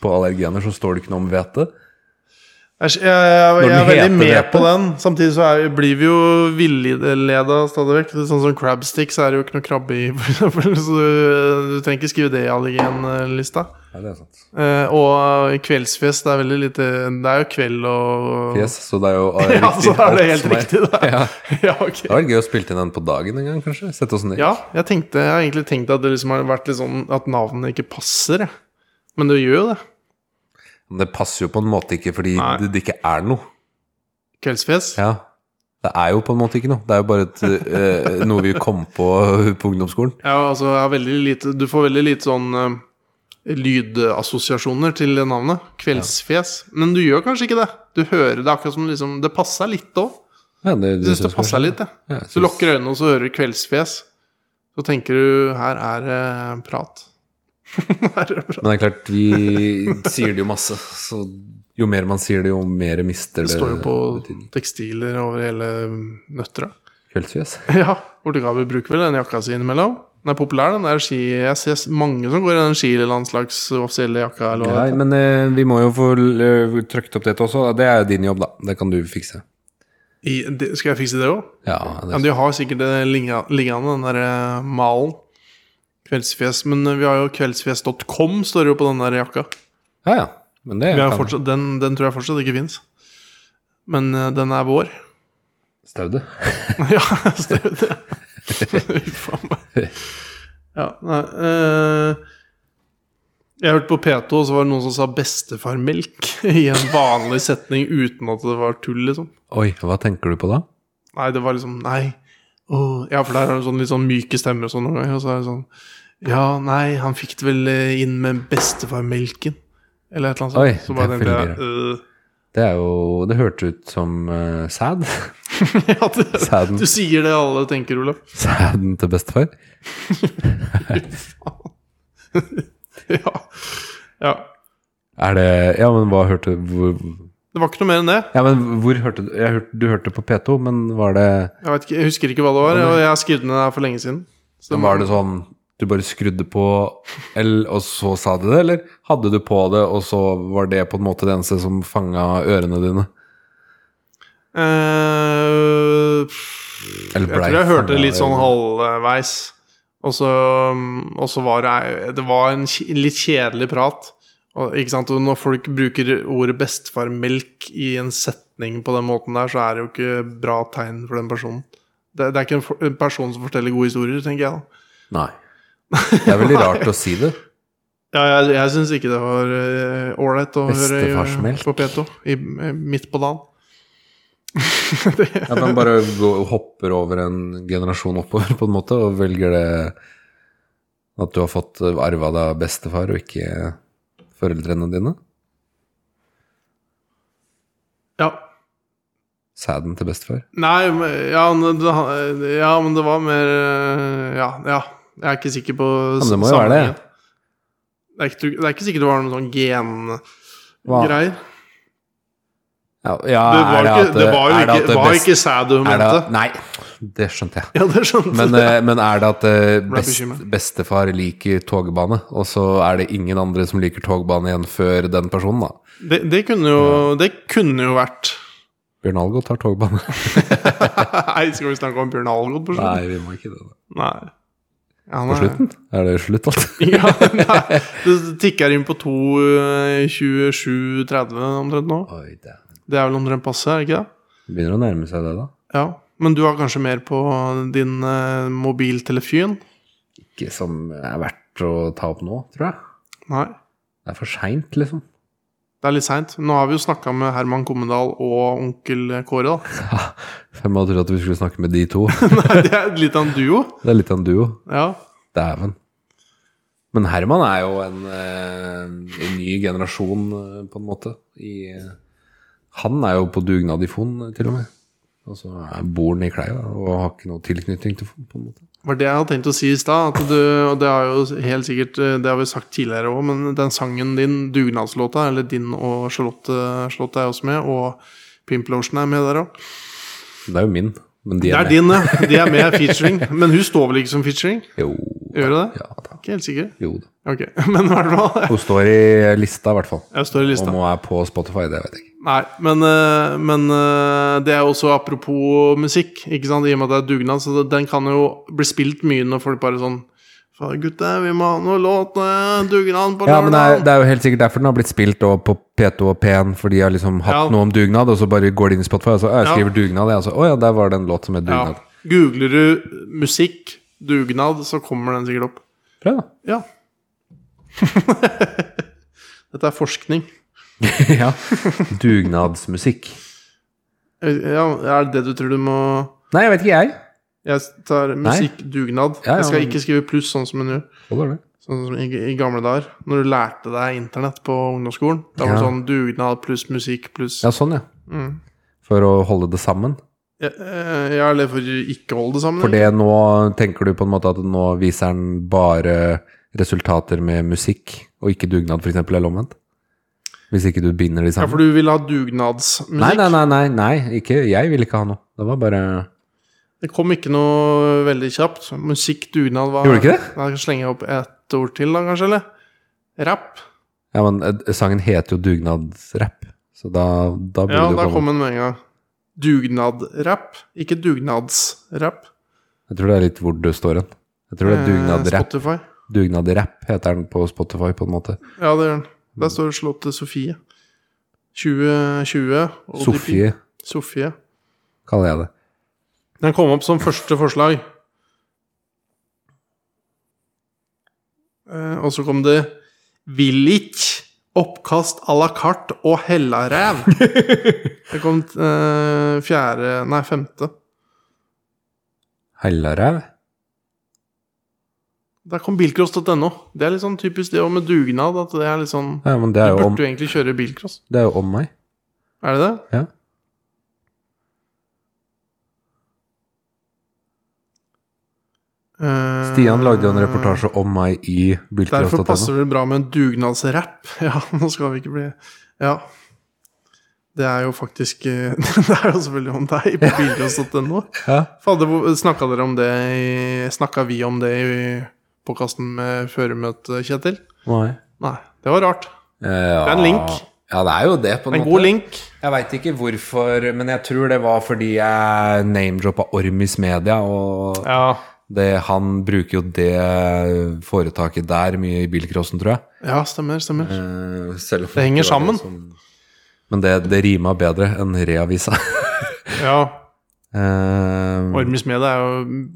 på allergener så står det ikke noe om hvete.
Jeg, jeg, jeg, jeg
den
er veldig
heter
med
det.
på den. Samtidig så er, blir vi jo villeda stadig vekk. Det er Sånn som crabstick, så er det jo ikke noe krabbe i, <laughs> for eksempel. Så du, du trenger ikke skrive det i allergenlista.
Ja, det er sant.
Eh, og kveldsfjes, det er veldig lite Det er jo kveld og <laughs>
Yes, så det er jo riktig.
Ja, så er det
alt
helt
som er-
riktig, da.
<laughs> Ja.
<laughs> Ja,
Det
ok.
hadde vært gøy å spille inn en på dagen en gang, kanskje? Sette oss ned.
Ja, jeg, tenkte, jeg har egentlig tenkt at det liksom har vært litt sånn at navnet ikke passer. jeg. Men det gjør jo det.
Men det passer jo på en måte ikke, fordi
Nei.
det, det ikke er noe.
Kveldsfjes.
Ja. Det er jo på en måte ikke noe. Det er jo bare et, eh, noe vi kom på på ungdomsskolen.
Ja, altså, jeg har veldig lite, du får veldig lite sånn eh, lydassosiasjoner til det navnet. Kveldsfjes. Men du gjør kanskje ikke det. Du hører det akkurat som liksom Det passer litt òg.
Ja, det,
Jeg syns det passer litt, jeg.
Ja, jeg
Du
synes-
lukker øynene, og så hører du kveldsfjes. Så tenker du her er det prat. her er det prat.
Men det er klart, vi sier det jo masse. Så jo mer man sier det, jo mer mister
Det
det
står jo på
betydning.
tekstiler over hele
<laughs>
Nøtterøy.
Kveldsfjes.
Ja, Portugal bruker vel den jakka si innimellom. Den er populær, den der ski... Jeg ser mange som går i den skilandslags offisielle jakka. Eller hva
Nei,
det heter.
men eh, vi må jo få eh, trøkt opp dette også. Det er jo din jobb, da. Det kan du fikse.
I, det, skal jeg fikse det òg?
Ja,
Ja,
det,
de har sikkert det ligga- liggende, den der eh, malen. Kveldsfjes. Men eh, vi har jo kveldsfjes.com, står det jo på den der jakka.
ja, ja. Men det
Vi har
kan-
fortsatt, den, den tror jeg fortsatt ikke fins. Men eh, den er vår.
Staude.
<laughs> ja, stemmer det. Uff a meg. Ja, nei eh, Jeg hørte på P2, og så var det noen som sa 'bestefarmelk' <laughs> i en vanlig setning uten at det var tull, liksom.
Oi, hva tenker du på da?
Nei, det var liksom Nei. Åh. Ja, for der er det sånn litt sånn myke stemmer og sånn noen ganger. Og så er det sånn Ja, nei, han fikk det vel eh, inn med bestefarmelken. Eller et eller annet sånt.
Oi,
så bare
det er
tenkte jeg øh,
Det er jo Det hørtes ut som eh, sæd. <laughs>
eh, <laughs> ja, det,
Sæden.
Du sier det alle tenker, Olav. <laughs>
Sæden til bestefar.
ja. ja.
Er det Ja, men hva hørte hvor,
Det var ikke noe mer enn det.
Ja, men hvor hørte du jeg hørte, Du hørte på P2, men var det
Jeg, vet ikke, jeg husker ikke hva det var, og jeg har skrevet ned det her for lenge siden. Så
Var det sånn du bare skrudde på L, og så sa du det, eller hadde du på det, og så var det på en måte det eneste som fanga ørene dine?
Eh,
Eller
Jeg
blei
tror jeg hørte det
fanget
litt sånn
av
halvveis. Og så, mm, og så var det Det var en kj- litt kjedelig prat. Og, ikke sant? og når folk bruker ordet bestefarmelk i en setning på den måten der, så er det jo ikke bra tegn for den personen. Det, det er ikke en, for, en person som forteller gode historier, tenker jeg. da.
Nei. Det er veldig rart å si <laughs> det.
Ja, jeg jeg syns ikke det var eh, ålreit å høre i-
Bestefarsmelk.
på P2 i, eh, midt på dagen. det,
At man bare går, hopper over en generasjon oppover, på en måte, og velger det At du har fått arva det av bestefar, og ikke foreldrene dine.
ja.
Sæden til bestefar.
Nei, men- ja, men det- ja, men det var mer eh, Ja, ja. Jeg er ikke sikker på
men det må jo være det.
Det er, ikke, det er ikke sikkert det var noen sånn
Hva?
gengreier.
Ja, ja,
Det var,
er det
ikke,
at,
det var jo
er det
ikke,
at
var
best-
ikke sæd hun
er det at-
mente.
Nei, det skjønte jeg.
<laughs> Ja, det sånn. skjønte
Men,
jeg.
eh, men er det at eh,
Ble
best,
bekymret.
bestefar liker togbane, og så er det ingen andre som liker togbane igjen før den personen, da?
Det, det, kunne jo, det kunne jo vært <laughs>
Bjørn Algo tar togbane.
Nei, skal vi snakke om Bjørn Algodt på
<laughs>
slutten?
Nei, vi må ikke det. da.
Nei. Ja,
På
nei.
slutten? Er det slutt, alt?
<laughs> ja, nei. Det tikker inn på eh, 2.27,30 omtrent nå.
Oi, damn.
Det er vel omtrent passe, er det ikke det?
Begynner å nærme seg det, da.
Ja, men du har kanskje mer på din eh, mobiltelefon?
Ikke som er verdt å ta opp nå, tror jeg.
Nei,
Det er for seint, liksom.
det er litt seint. Nå har vi jo snakka med Herman Kommendal og onkel Kåre, da. <laughs>
Hvem hadde trodd at vi skulle snakke med de to?
Nei, det er litt av en duo.
Det er litt av en duo.
Ja.
Dæven. Men Herman er jo en, eh, en ny generasjon, eh, på en måte. I, eh, han er jo på dugnad i Fon, eh, til og med. Og så er- bor han i Kleia og har ikke noe tilknytning til Fon, på en måte.
var det jeg hadde tenkt å si i stad. at du- Og det har jo helt sikkert eh, Det har vi sagt tidligere òg, men den sangen din, dugnadslåta, eller din og Charlotte, Charlotte er også med, og Pimplotion er med der òg.
Det er jo min, men de
Det
er,
er
med.
din, ja. De er med featuring. Men hun står vel ikke som featuring?
Jo,
Gjør hun det?
ja da.
Ikke helt sikker.
Jo da.
Ok, <laughs> Men i hvert fall.
Hun står i lista, i hvert fall.
Jeg står i lista.
Om hun er på Spotify, det vet jeg ikke.
Nei, men, eh, men eh, det er jo også apropos musikk, ikke sant? i og med at det er dugnad, så det- den kan jo bli spilt mye når folk bare sånn Faen, gutter, vi må ha noe låt, eh, dugnad på
Ja, men det er,
lørdag.
det er jo helt sikkert derfor den har blitt spilt og på P2 og P1, for de har liksom hatt
Ja.
noe om dugnad, og så bare går de inn i Spotify og så «Å, jeg skriver dugnad, jeg, og så Å ja, der var det en låt som het
Ja.
dugnad.
Googler du musikk, dugnad, så kommer den sikkert opp.
Bra, da.
Ja. <laughs> Dette er forskning.
<laughs> ja. Dugnadsmusikk.
Eh, Ja, er det det du tror du må
Nei, jeg vet ikke, jeg.
Jeg tar musikk, dugnad.
Ja, ja,
Jeg skal
men-
ikke skrive pluss, sånn som hun gjør.
Holder det.
Sånn som i, i gamle dager, når du lærte deg internett på ungdomsskolen. Da var det
Ja.
sånn dugnad pluss musikk pluss
Ja, sånn, ja.
Mm.
For å holde det sammen.
Ja, eh, ja, eller for å ikke holde det sammen.
For det nå tenker du på en måte at nå viser den bare resultater med musikk, og ikke dugnad, f.eks., eller omvendt? Hvis ikke du binder de
Ja,
sammen?
for du vil ha dugnadsmusikk?
nei, nei, nei, nei, nei, ikke Jeg vil ikke ha noe. Det var bare
Det kom ikke noe veldig kjapt. Musikk, dugnad var
Gjorde det ikke det?
Da slenger jeg opp ett ord til, da, kanskje? Eller? Rapp.
Ja, men eh, sangen heter jo dugnadsrapp, så da, da burde
Ja,
det
da
jo komme
kom den med en gang. Dugnadrapp, ikke dugnadsrapp.
Jeg tror det er litt hvor du står hen. Jeg tror det er
Eh,
dugnadrapp.
Spotify.
Dugnadrapp heter den på Spotify, på en måte.
Ja, det gjør den. Der står det Slottet Sofie. 2020. og de-
Sofie
Sofie.
kaller jeg det.
Den kom opp som første forslag. Eh, og så kom det Villich, oppkast à la carte og
<laughs>
hellaræv. Det kom eh, fjerde Nei, femte.
Hellaræv?
Der kom bilcross.no. Det er litt sånn typisk det òg med dugnad. At det er litt sånn
Ja, men det
Du
er jo om,
burde jo egentlig kjøre bilcross.
det er jo om meg.
Er det det?
Ja.
Eh,
Stian lagde jo en reportasje om meg i
Derfor passer
bilcross.no.
det bra med en dugnadsrapp. <laughs> Ja, nå skal vi ikke bli Ja. Det er jo faktisk <laughs> eh, Det er jo selvfølgelig om deg på bilcross.no.
Ja.
Fader, hvor- snakka dere om det i Snakka vi om det i påkasten med føremøte, Kjetil?
Nei.
Nei, det var rart.
Ja.
Det er en link.
Ja, det er jo det, på en,
En
måte.
god link.
Jeg veit ikke hvorfor, men jeg tror det var fordi jeg name-droppa Ormis Media, og
Ja.
det, han bruker jo det foretaket der mye i bilcrossen, tror jeg.
Ja, stemmer, stemmer.
Eh, selv om
Det henger
ikke var
sammen.
det som- Men det, det rima bedre enn reavisa. <laughs>
Ja,
Eh,
Ormis Media er jo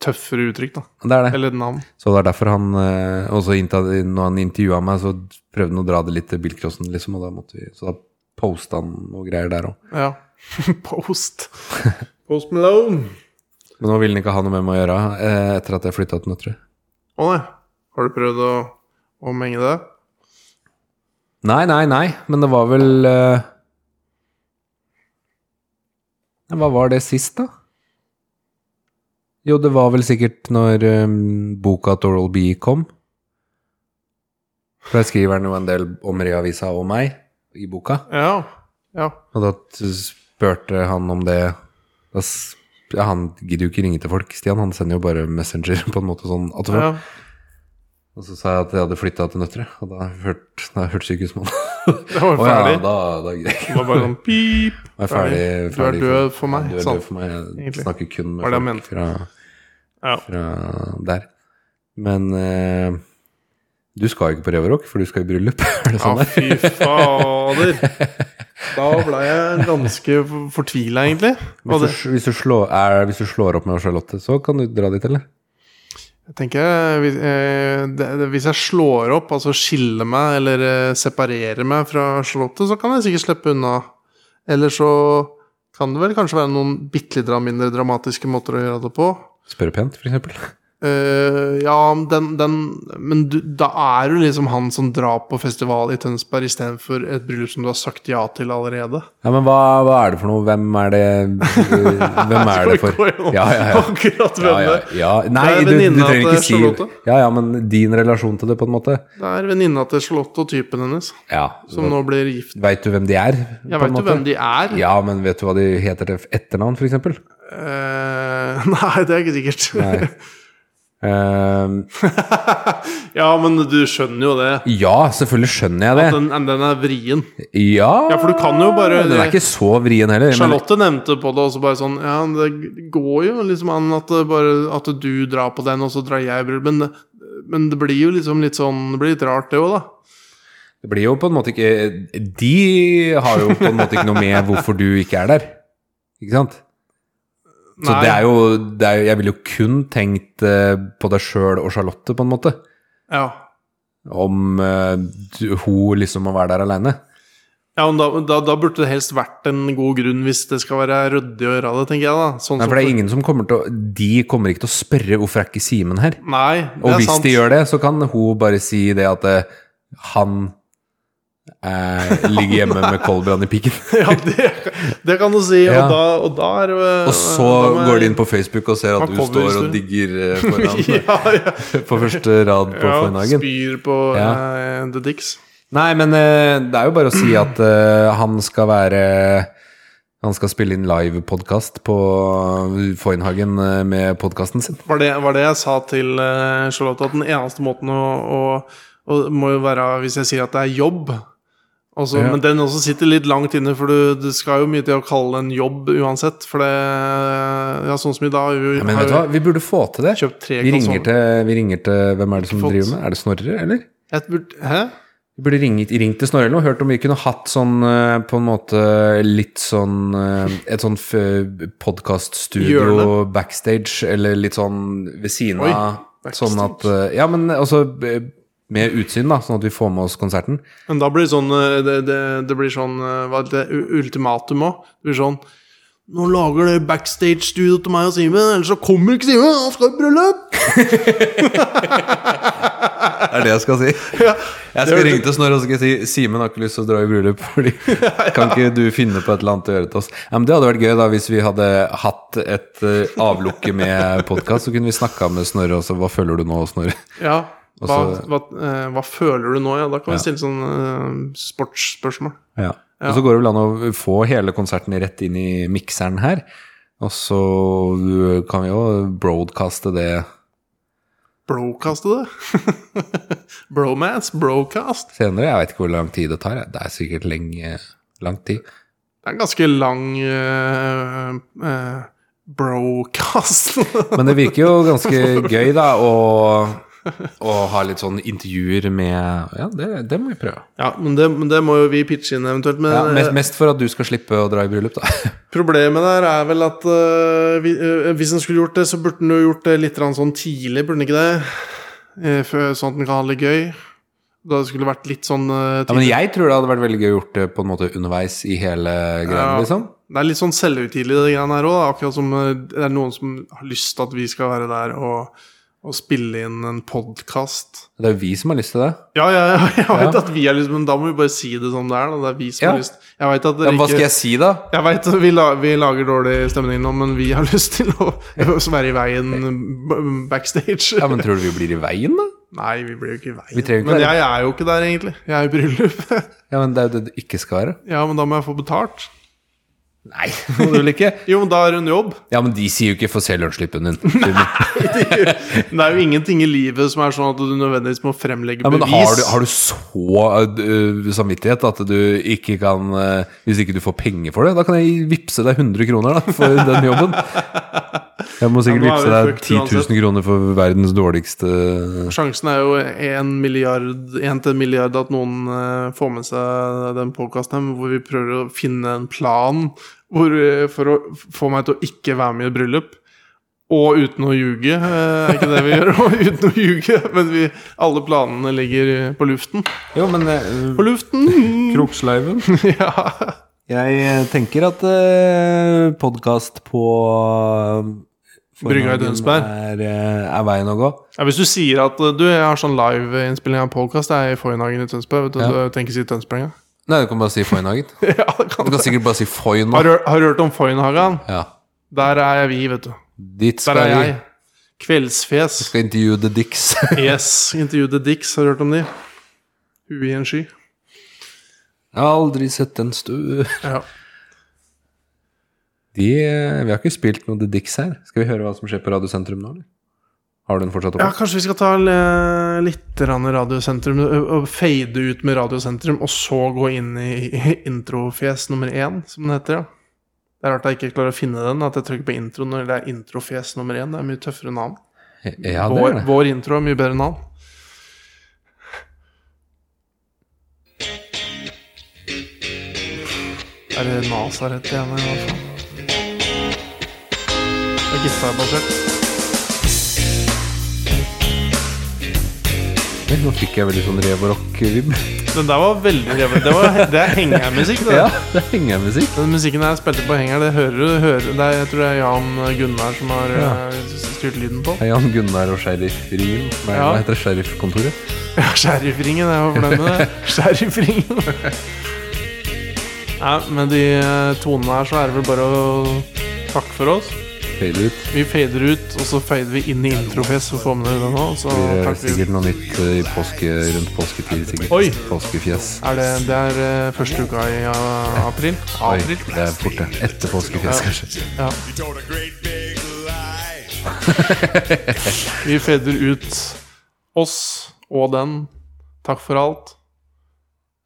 tøffere uttrykk, da.
det er det.
Eller navn.
Så det er derfor han eh, også innta, Når han intervjua meg, så prøvde han å dra det litt til bilcrossen, liksom, og da måtte vi Så da posta han noe greier der òg.
Ja. <laughs> Post. Post Malone.
Men nå ville han ikke ha noe med meg å gjøre eh, etter at jeg flytta til Nøtterøy.
Å nei. Har du prøvd å, å menge det?
Nei, nei, nei, men det var vel eh, Nei, Hva var det sist, da? Jo, det var vel sikkert når eh, boka til Oral B kom. For jeg skriver den jo en del om Reavisa og meg i boka.
Ja. ja.
Og da t- spurte han om det da, s- ja, Han gidder jo ikke ringe til folk, Stian. Han sender jo bare Messenger <laughs> på en måte sånn. At,
ja.
Og så sa jeg at jeg hadde flytta til Nøtterøy, og da hørte da hørte
<laughs>
sykehusmannen
Det
Å
var jo
ja,
ferdig.
da, da gidder jeg
Det var bare sånn pip.
Jeg er ferdig,
Du er
ferdig
død for meg,
Du er
sant?
død for meg. Jeg
Egentlig.
snakker kun med
Var det jeg
folk
mente?
fra,
Ja.
fra der. Men eh, du skal jo ikke på Reverock, for du skal i bryllup. <laughs> Er det
Ja,
sånn det er?
fy fader.
<laughs>
Da ble jeg ganske fortvila, egentlig. Og det,
Hvis, du- hvis, du slår, er, hvis du slår opp med Charlotte, så kan du dra dit, eller?
jeg tenker, eh, hvis- eh, det- det- Hvis jeg slår opp, altså skiller meg eller eh, separerer meg fra Charlotte, så kan jeg sikkert slippe unna. Eller så kan det vel kanskje være noen bitte litt mindre dramatiske måter å gjøre det på.
Spørre pent, for eksempel.
Eh, ja, men den, den Men du, da er du liksom han som drar på festival i Tønsberg istedenfor et bryllup som du har sagt ja til allerede.
Ja, men hva, hva er det for noe? Hvem er
<laughs>
det Hvem er det for? Ja, ja, ja. ja,
Akkurat hvem
ja,
det er.
ja. Nei,
Det er
du, du
venninna
trenger
til
ikke si
Charlotte.
Ja, ja, men din relasjon til det, på en måte.
Det er venninna til Charlotte og typen hennes
Ja.
som nå blir gift.
Veit du hvem de er?
Jeg veit jo hvem de er.
Ja, men vet du hva de heter til etternavn, f.eks.?
Eh, <laughs> nei, det er ikke sikkert.
Uh,
<laughs> ja, men du skjønner jo det.
ja, selvfølgelig skjønner jeg det.
Den, den er vrien.
Ja,
Ja, for du kan jo bare-
Den er ikke så vrien heller. men-
Charlotte nevnte på det også bare sånn Ja, det går jo liksom an at, det bare, at du drar på den, og så drar jeg i bryllup. Men, det- men det blir jo liksom litt sånn Det blir litt rart, det òg, da.
Det blir jo på en måte ikke De har jo på en måte ikke noe med hvorfor du ikke er der. Ikke sant? Så
Nei.
det er jo, det er, jo- Jeg ville jo kun tenkt eh, på deg sjøl og Charlotte, på en måte.
Ja.
Om eh, du, hun liksom må være der aleine.
ja men da, da, da burde det helst vært en god grunn hvis det skal være ryddig å gjøre det, tenker jeg, da. Sånn
Nei,
som-
for det er ingen som kommer til å De kommer ikke til å spørre hvorfor er ikke Simen her.
Nei, det
Og
er
hvis
sant.
de gjør det, så kan hun bare si det at eh, han eh, ligger hjemme med koldbrann i
<laughs>
pikken.
<laughs> Ja, det, det kan du si.
Ja.
Og, da, og da er det-
Og så
da må jeg-
går de inn på Facebook og ser at
Han
du
kommer en
står og
stund.
digger
<laughs>
eh, foran.
ja, ja.
på første rad på
ja,
fornagen.
spyr på
Ja.
eh, The Dicks.
Nei, men eh, det er jo bare å si at eh, han skal være Han skal spille inn livepodkast på Foynhagen eh, med podkasten sin.
var det, var det jeg sa til eh, Charlotte, at den eneste måten å, å, å må jo være hvis jeg sier at det er jobb. Også,
Ja.
Men den også sitter litt langt inne, for du, du skal jo mye til å kalle det en jobb uansett. For det Ja, sånn som i dag. Vi,
Ja, men vet
har
du hva,
jo
vi burde få til det.
kjøpt tre
Vi ringer
konsoler.
til, vi ringer til Hvem er det som
Ikke fått.
driver med Er det Snorre, eller?
Jeg burde, hæ?
Vi burde ringt, ringt til Snorre eller noe, hørt om vi kunne hatt sånn eh, på en måte litt sånn eh, Et sånn podkaststudio
Hjørne.
backstage, eller litt sånn ved siden
Oi,
av. Sånn at eh, Ja, men altså eh, med utsyn, da, sånn at vi får med oss <laughs> konserten.
Men da blir det sånn eh, Det, det, det blir sånn eh, Hva heter det? u- Ultimatum òg. Det blir sånn Nå lager dere backstage-studio til meg og Simen, ellers så kommer ikke Simen! Han skal i bryllup! <laughs>
Det er det jeg skal si. Jeg skal ringe til Snorre og så skal jeg si Simen har ikke lyst til å dra i bryllup. <laughs> Fordi Kan ikke du finne på et eller annet å gjøre til oss? Ja, men Det hadde vært gøy da hvis vi hadde hatt et eh, avlukke med podkast. Så kunne vi snakka med Snorre og så Hva føler du nå, Snorre?
Ja. Hva,
Og så-
hva, eh, hva føler du nå? Ja, da kan vi stille sånn eh, sportsspørsmål.
Ja. Og så går det vel an å få hele konserten rett inn i mikseren her. Og så kan vi jo broadcaste det
Brocaste det? <laughs> Bromance, brocast.
senere. Jeg veit ikke hvor lang tid det tar. jeg. Det er sikkert lenge, lang tid.
Det er en ganske lang eh, eh, brocast. <laughs>
Men det virker jo ganske gøy, da, å, å ha litt sånn intervjuer med Ja, det, det må vi prøve.
ja, men det, men det må jo vi pitche inn eventuelt. Men
Ja, mest,
eh,
mest for at du skal slippe å dra i bryllup, da.
problemet der er vel at eh, vi, eh, hvis en skulle gjort det, så burde en jo gjort det litt grann sånn tidlig, burde en ikke det? Eh, før- sånn at en kan ha det litt gøy. Da skulle det vært litt sånn eh,
Ja, men
tidlig.
jeg tror det hadde vært veldig gøy å gjort det på en måte underveis i hele greia,
Ja.
liksom.
Det er litt sånn selvhøytidelig, det greiene her òg. Akkurat som eh, det er noen som har lyst til at vi skal være der og, og spille inn en podkast.
Det er jo vi som har lyst til det.
Ja, ja, <laughs> ja, jeg vet
Ja.
at vi er liksom Men da må vi bare si det som det er, da. Det er vi som
Ja.
har lyst. Jeg vet at
Ja,
dere
men hva skal
ikke
jeg si, da?
Jeg vet at vi, la, vi lager dårlig stemning nå, men vi har <laughs> lyst til å å være i veien b- backstage.
Ja, men tror du vi blir i veien, da?
Nei, vi blir jo ikke i
Vi trenger
veien.
ikke
Men
være-
jeg er jo ikke der, egentlig. Jeg er i bryllup. <laughs>
Ja, men det er jo det det ikke skal være.
Ja, men da må jeg få betalt.
Nei, <laughs> må du vel ikke?
Jo, men da er det en jobb.
Ja, men de sier jo ikke 'få se lønnsslippen din'. Simen.
Det er jo ingenting i livet som er sånn at du nødvendigvis må fremlegge
Ja, men
bevis.
har du, har du så øh, samvittighet at du ikke kan øh, Hvis ikke du får penger for det, da kan jeg vippse deg 100 kroner da, for <laughs> den jobben. Jeg må sikkert
Ja, nå
vippse
er vi
deg
fucked
10 000 kroner for verdens dårligste
Sjansen er jo en milliard, en til en milliard at noen eh, får med seg den podkasten hvor vi prøver å finne en plan hvor, eh, for å få meg til å ikke være med i et bryllup. Og uten å ljuge, eh, er ikke det vi gjør? <laughs> Og uten å ljuge, men vi, alle planene ligger på luften.
Jo, men
På luften!
Kroksleiven
<laughs>
<laughs>
Ja.
eh, Jeg tenker at uh, podkast på
Brygga i Dønsberg.
Er, eh, er veien å gå.
Ja, hvis du sier at eh, du, jeg har sånn liveinnspilling av en podcast jeg er i Foynhagen i Tønsberg, vet du,
Ja.
du tenker å si
<laughs>
Tønsberg engang.
Nei, du kan bare si Foynhagen. Du
ja, det kan.
kan sikkert bare si Foyn
Har,
nå.
du, har du hørt om Foynhagen?
Ja.
Der er jeg vi, vet du.
Dit
Der
skal
er
vi.
jeg. Kveldsfjes.
Skal intervjue The Dicks. <laughs>
Yes. Intervju The Dicks, har du hørt om de? Huet i en sky.
Jeg har aldri sett den stø...
Ja.
De, eh, vi har ikke spilt noe The Dicks her. Skal vi høre hva som skjer på Radiosentrum nå, eller? Har du den fortsatt
Ja,
oppe?
kanskje vi skal ta eh, litt grann Radiosentrum ø- og fade ut med Radiosentrum, og så gå inn i introfjes nummer én, som det heter. Ja. Det er rart jeg ikke klarer å finne den, at jeg trykker på intro når det er introfjes nummer én. Det er mye tøffere navn.
Eh, Ja, det er
vår,
det.
vår intro er mye bedre navn. Er det Nasaret igjen, i hvert fall? Det er gitarbasert.
Vel, Nå fikk jeg veldig sånn rev og rock-vibb.
<laughs> Den der var veldig revet. Det, var, det er hengermusikk. det
<laughs>
der.
Ja, det er hengermusikk.
Den musikken jeg spilte på henger, det hører du hører, det er, Jeg tror det er Jan Gunnar som har
Ja.
eh, styrt lyden på.
Det er Jan Gunnar og Sheriff-ringen. Hva er det
Ja.
det heter Sheriffkontoret?
Ja, Sheriffringen, jeg var fornøyd
<laughs>
med det. Sheriffringen. Nei, med de eh, tonene her, så er det vel bare å takke for oss.
Fade ut.
Vi fader ut, og så fader vi inn i introfest for å få med dere det nå. Så
Blir det
takker vi.
sikkert noe nytt eh, i påske, rundt påsketid, sikkert.
Oi!
Påskefjes.
Er det, det er eh, første uka i eh, april?
Oi,
April?
det er fort, det. Etter påskefjes, kanskje.
Ja. Vi fader ut oss og den. Takk for alt.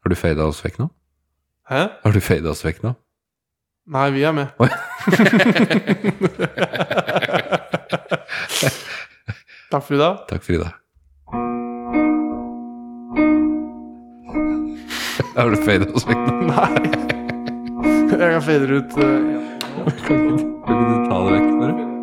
Har du fada oss vekk nå?
Hæ?
Har du fada oss vekk nå?
Nei, vi er med.
Oi. <laughs>
Takk for i dag. <laughs>
Takk for i dag. Har du fada oss vekk nå?
Jeg kan fade ut. eh, igjen.
Kan ikke du ta det vekk, bare?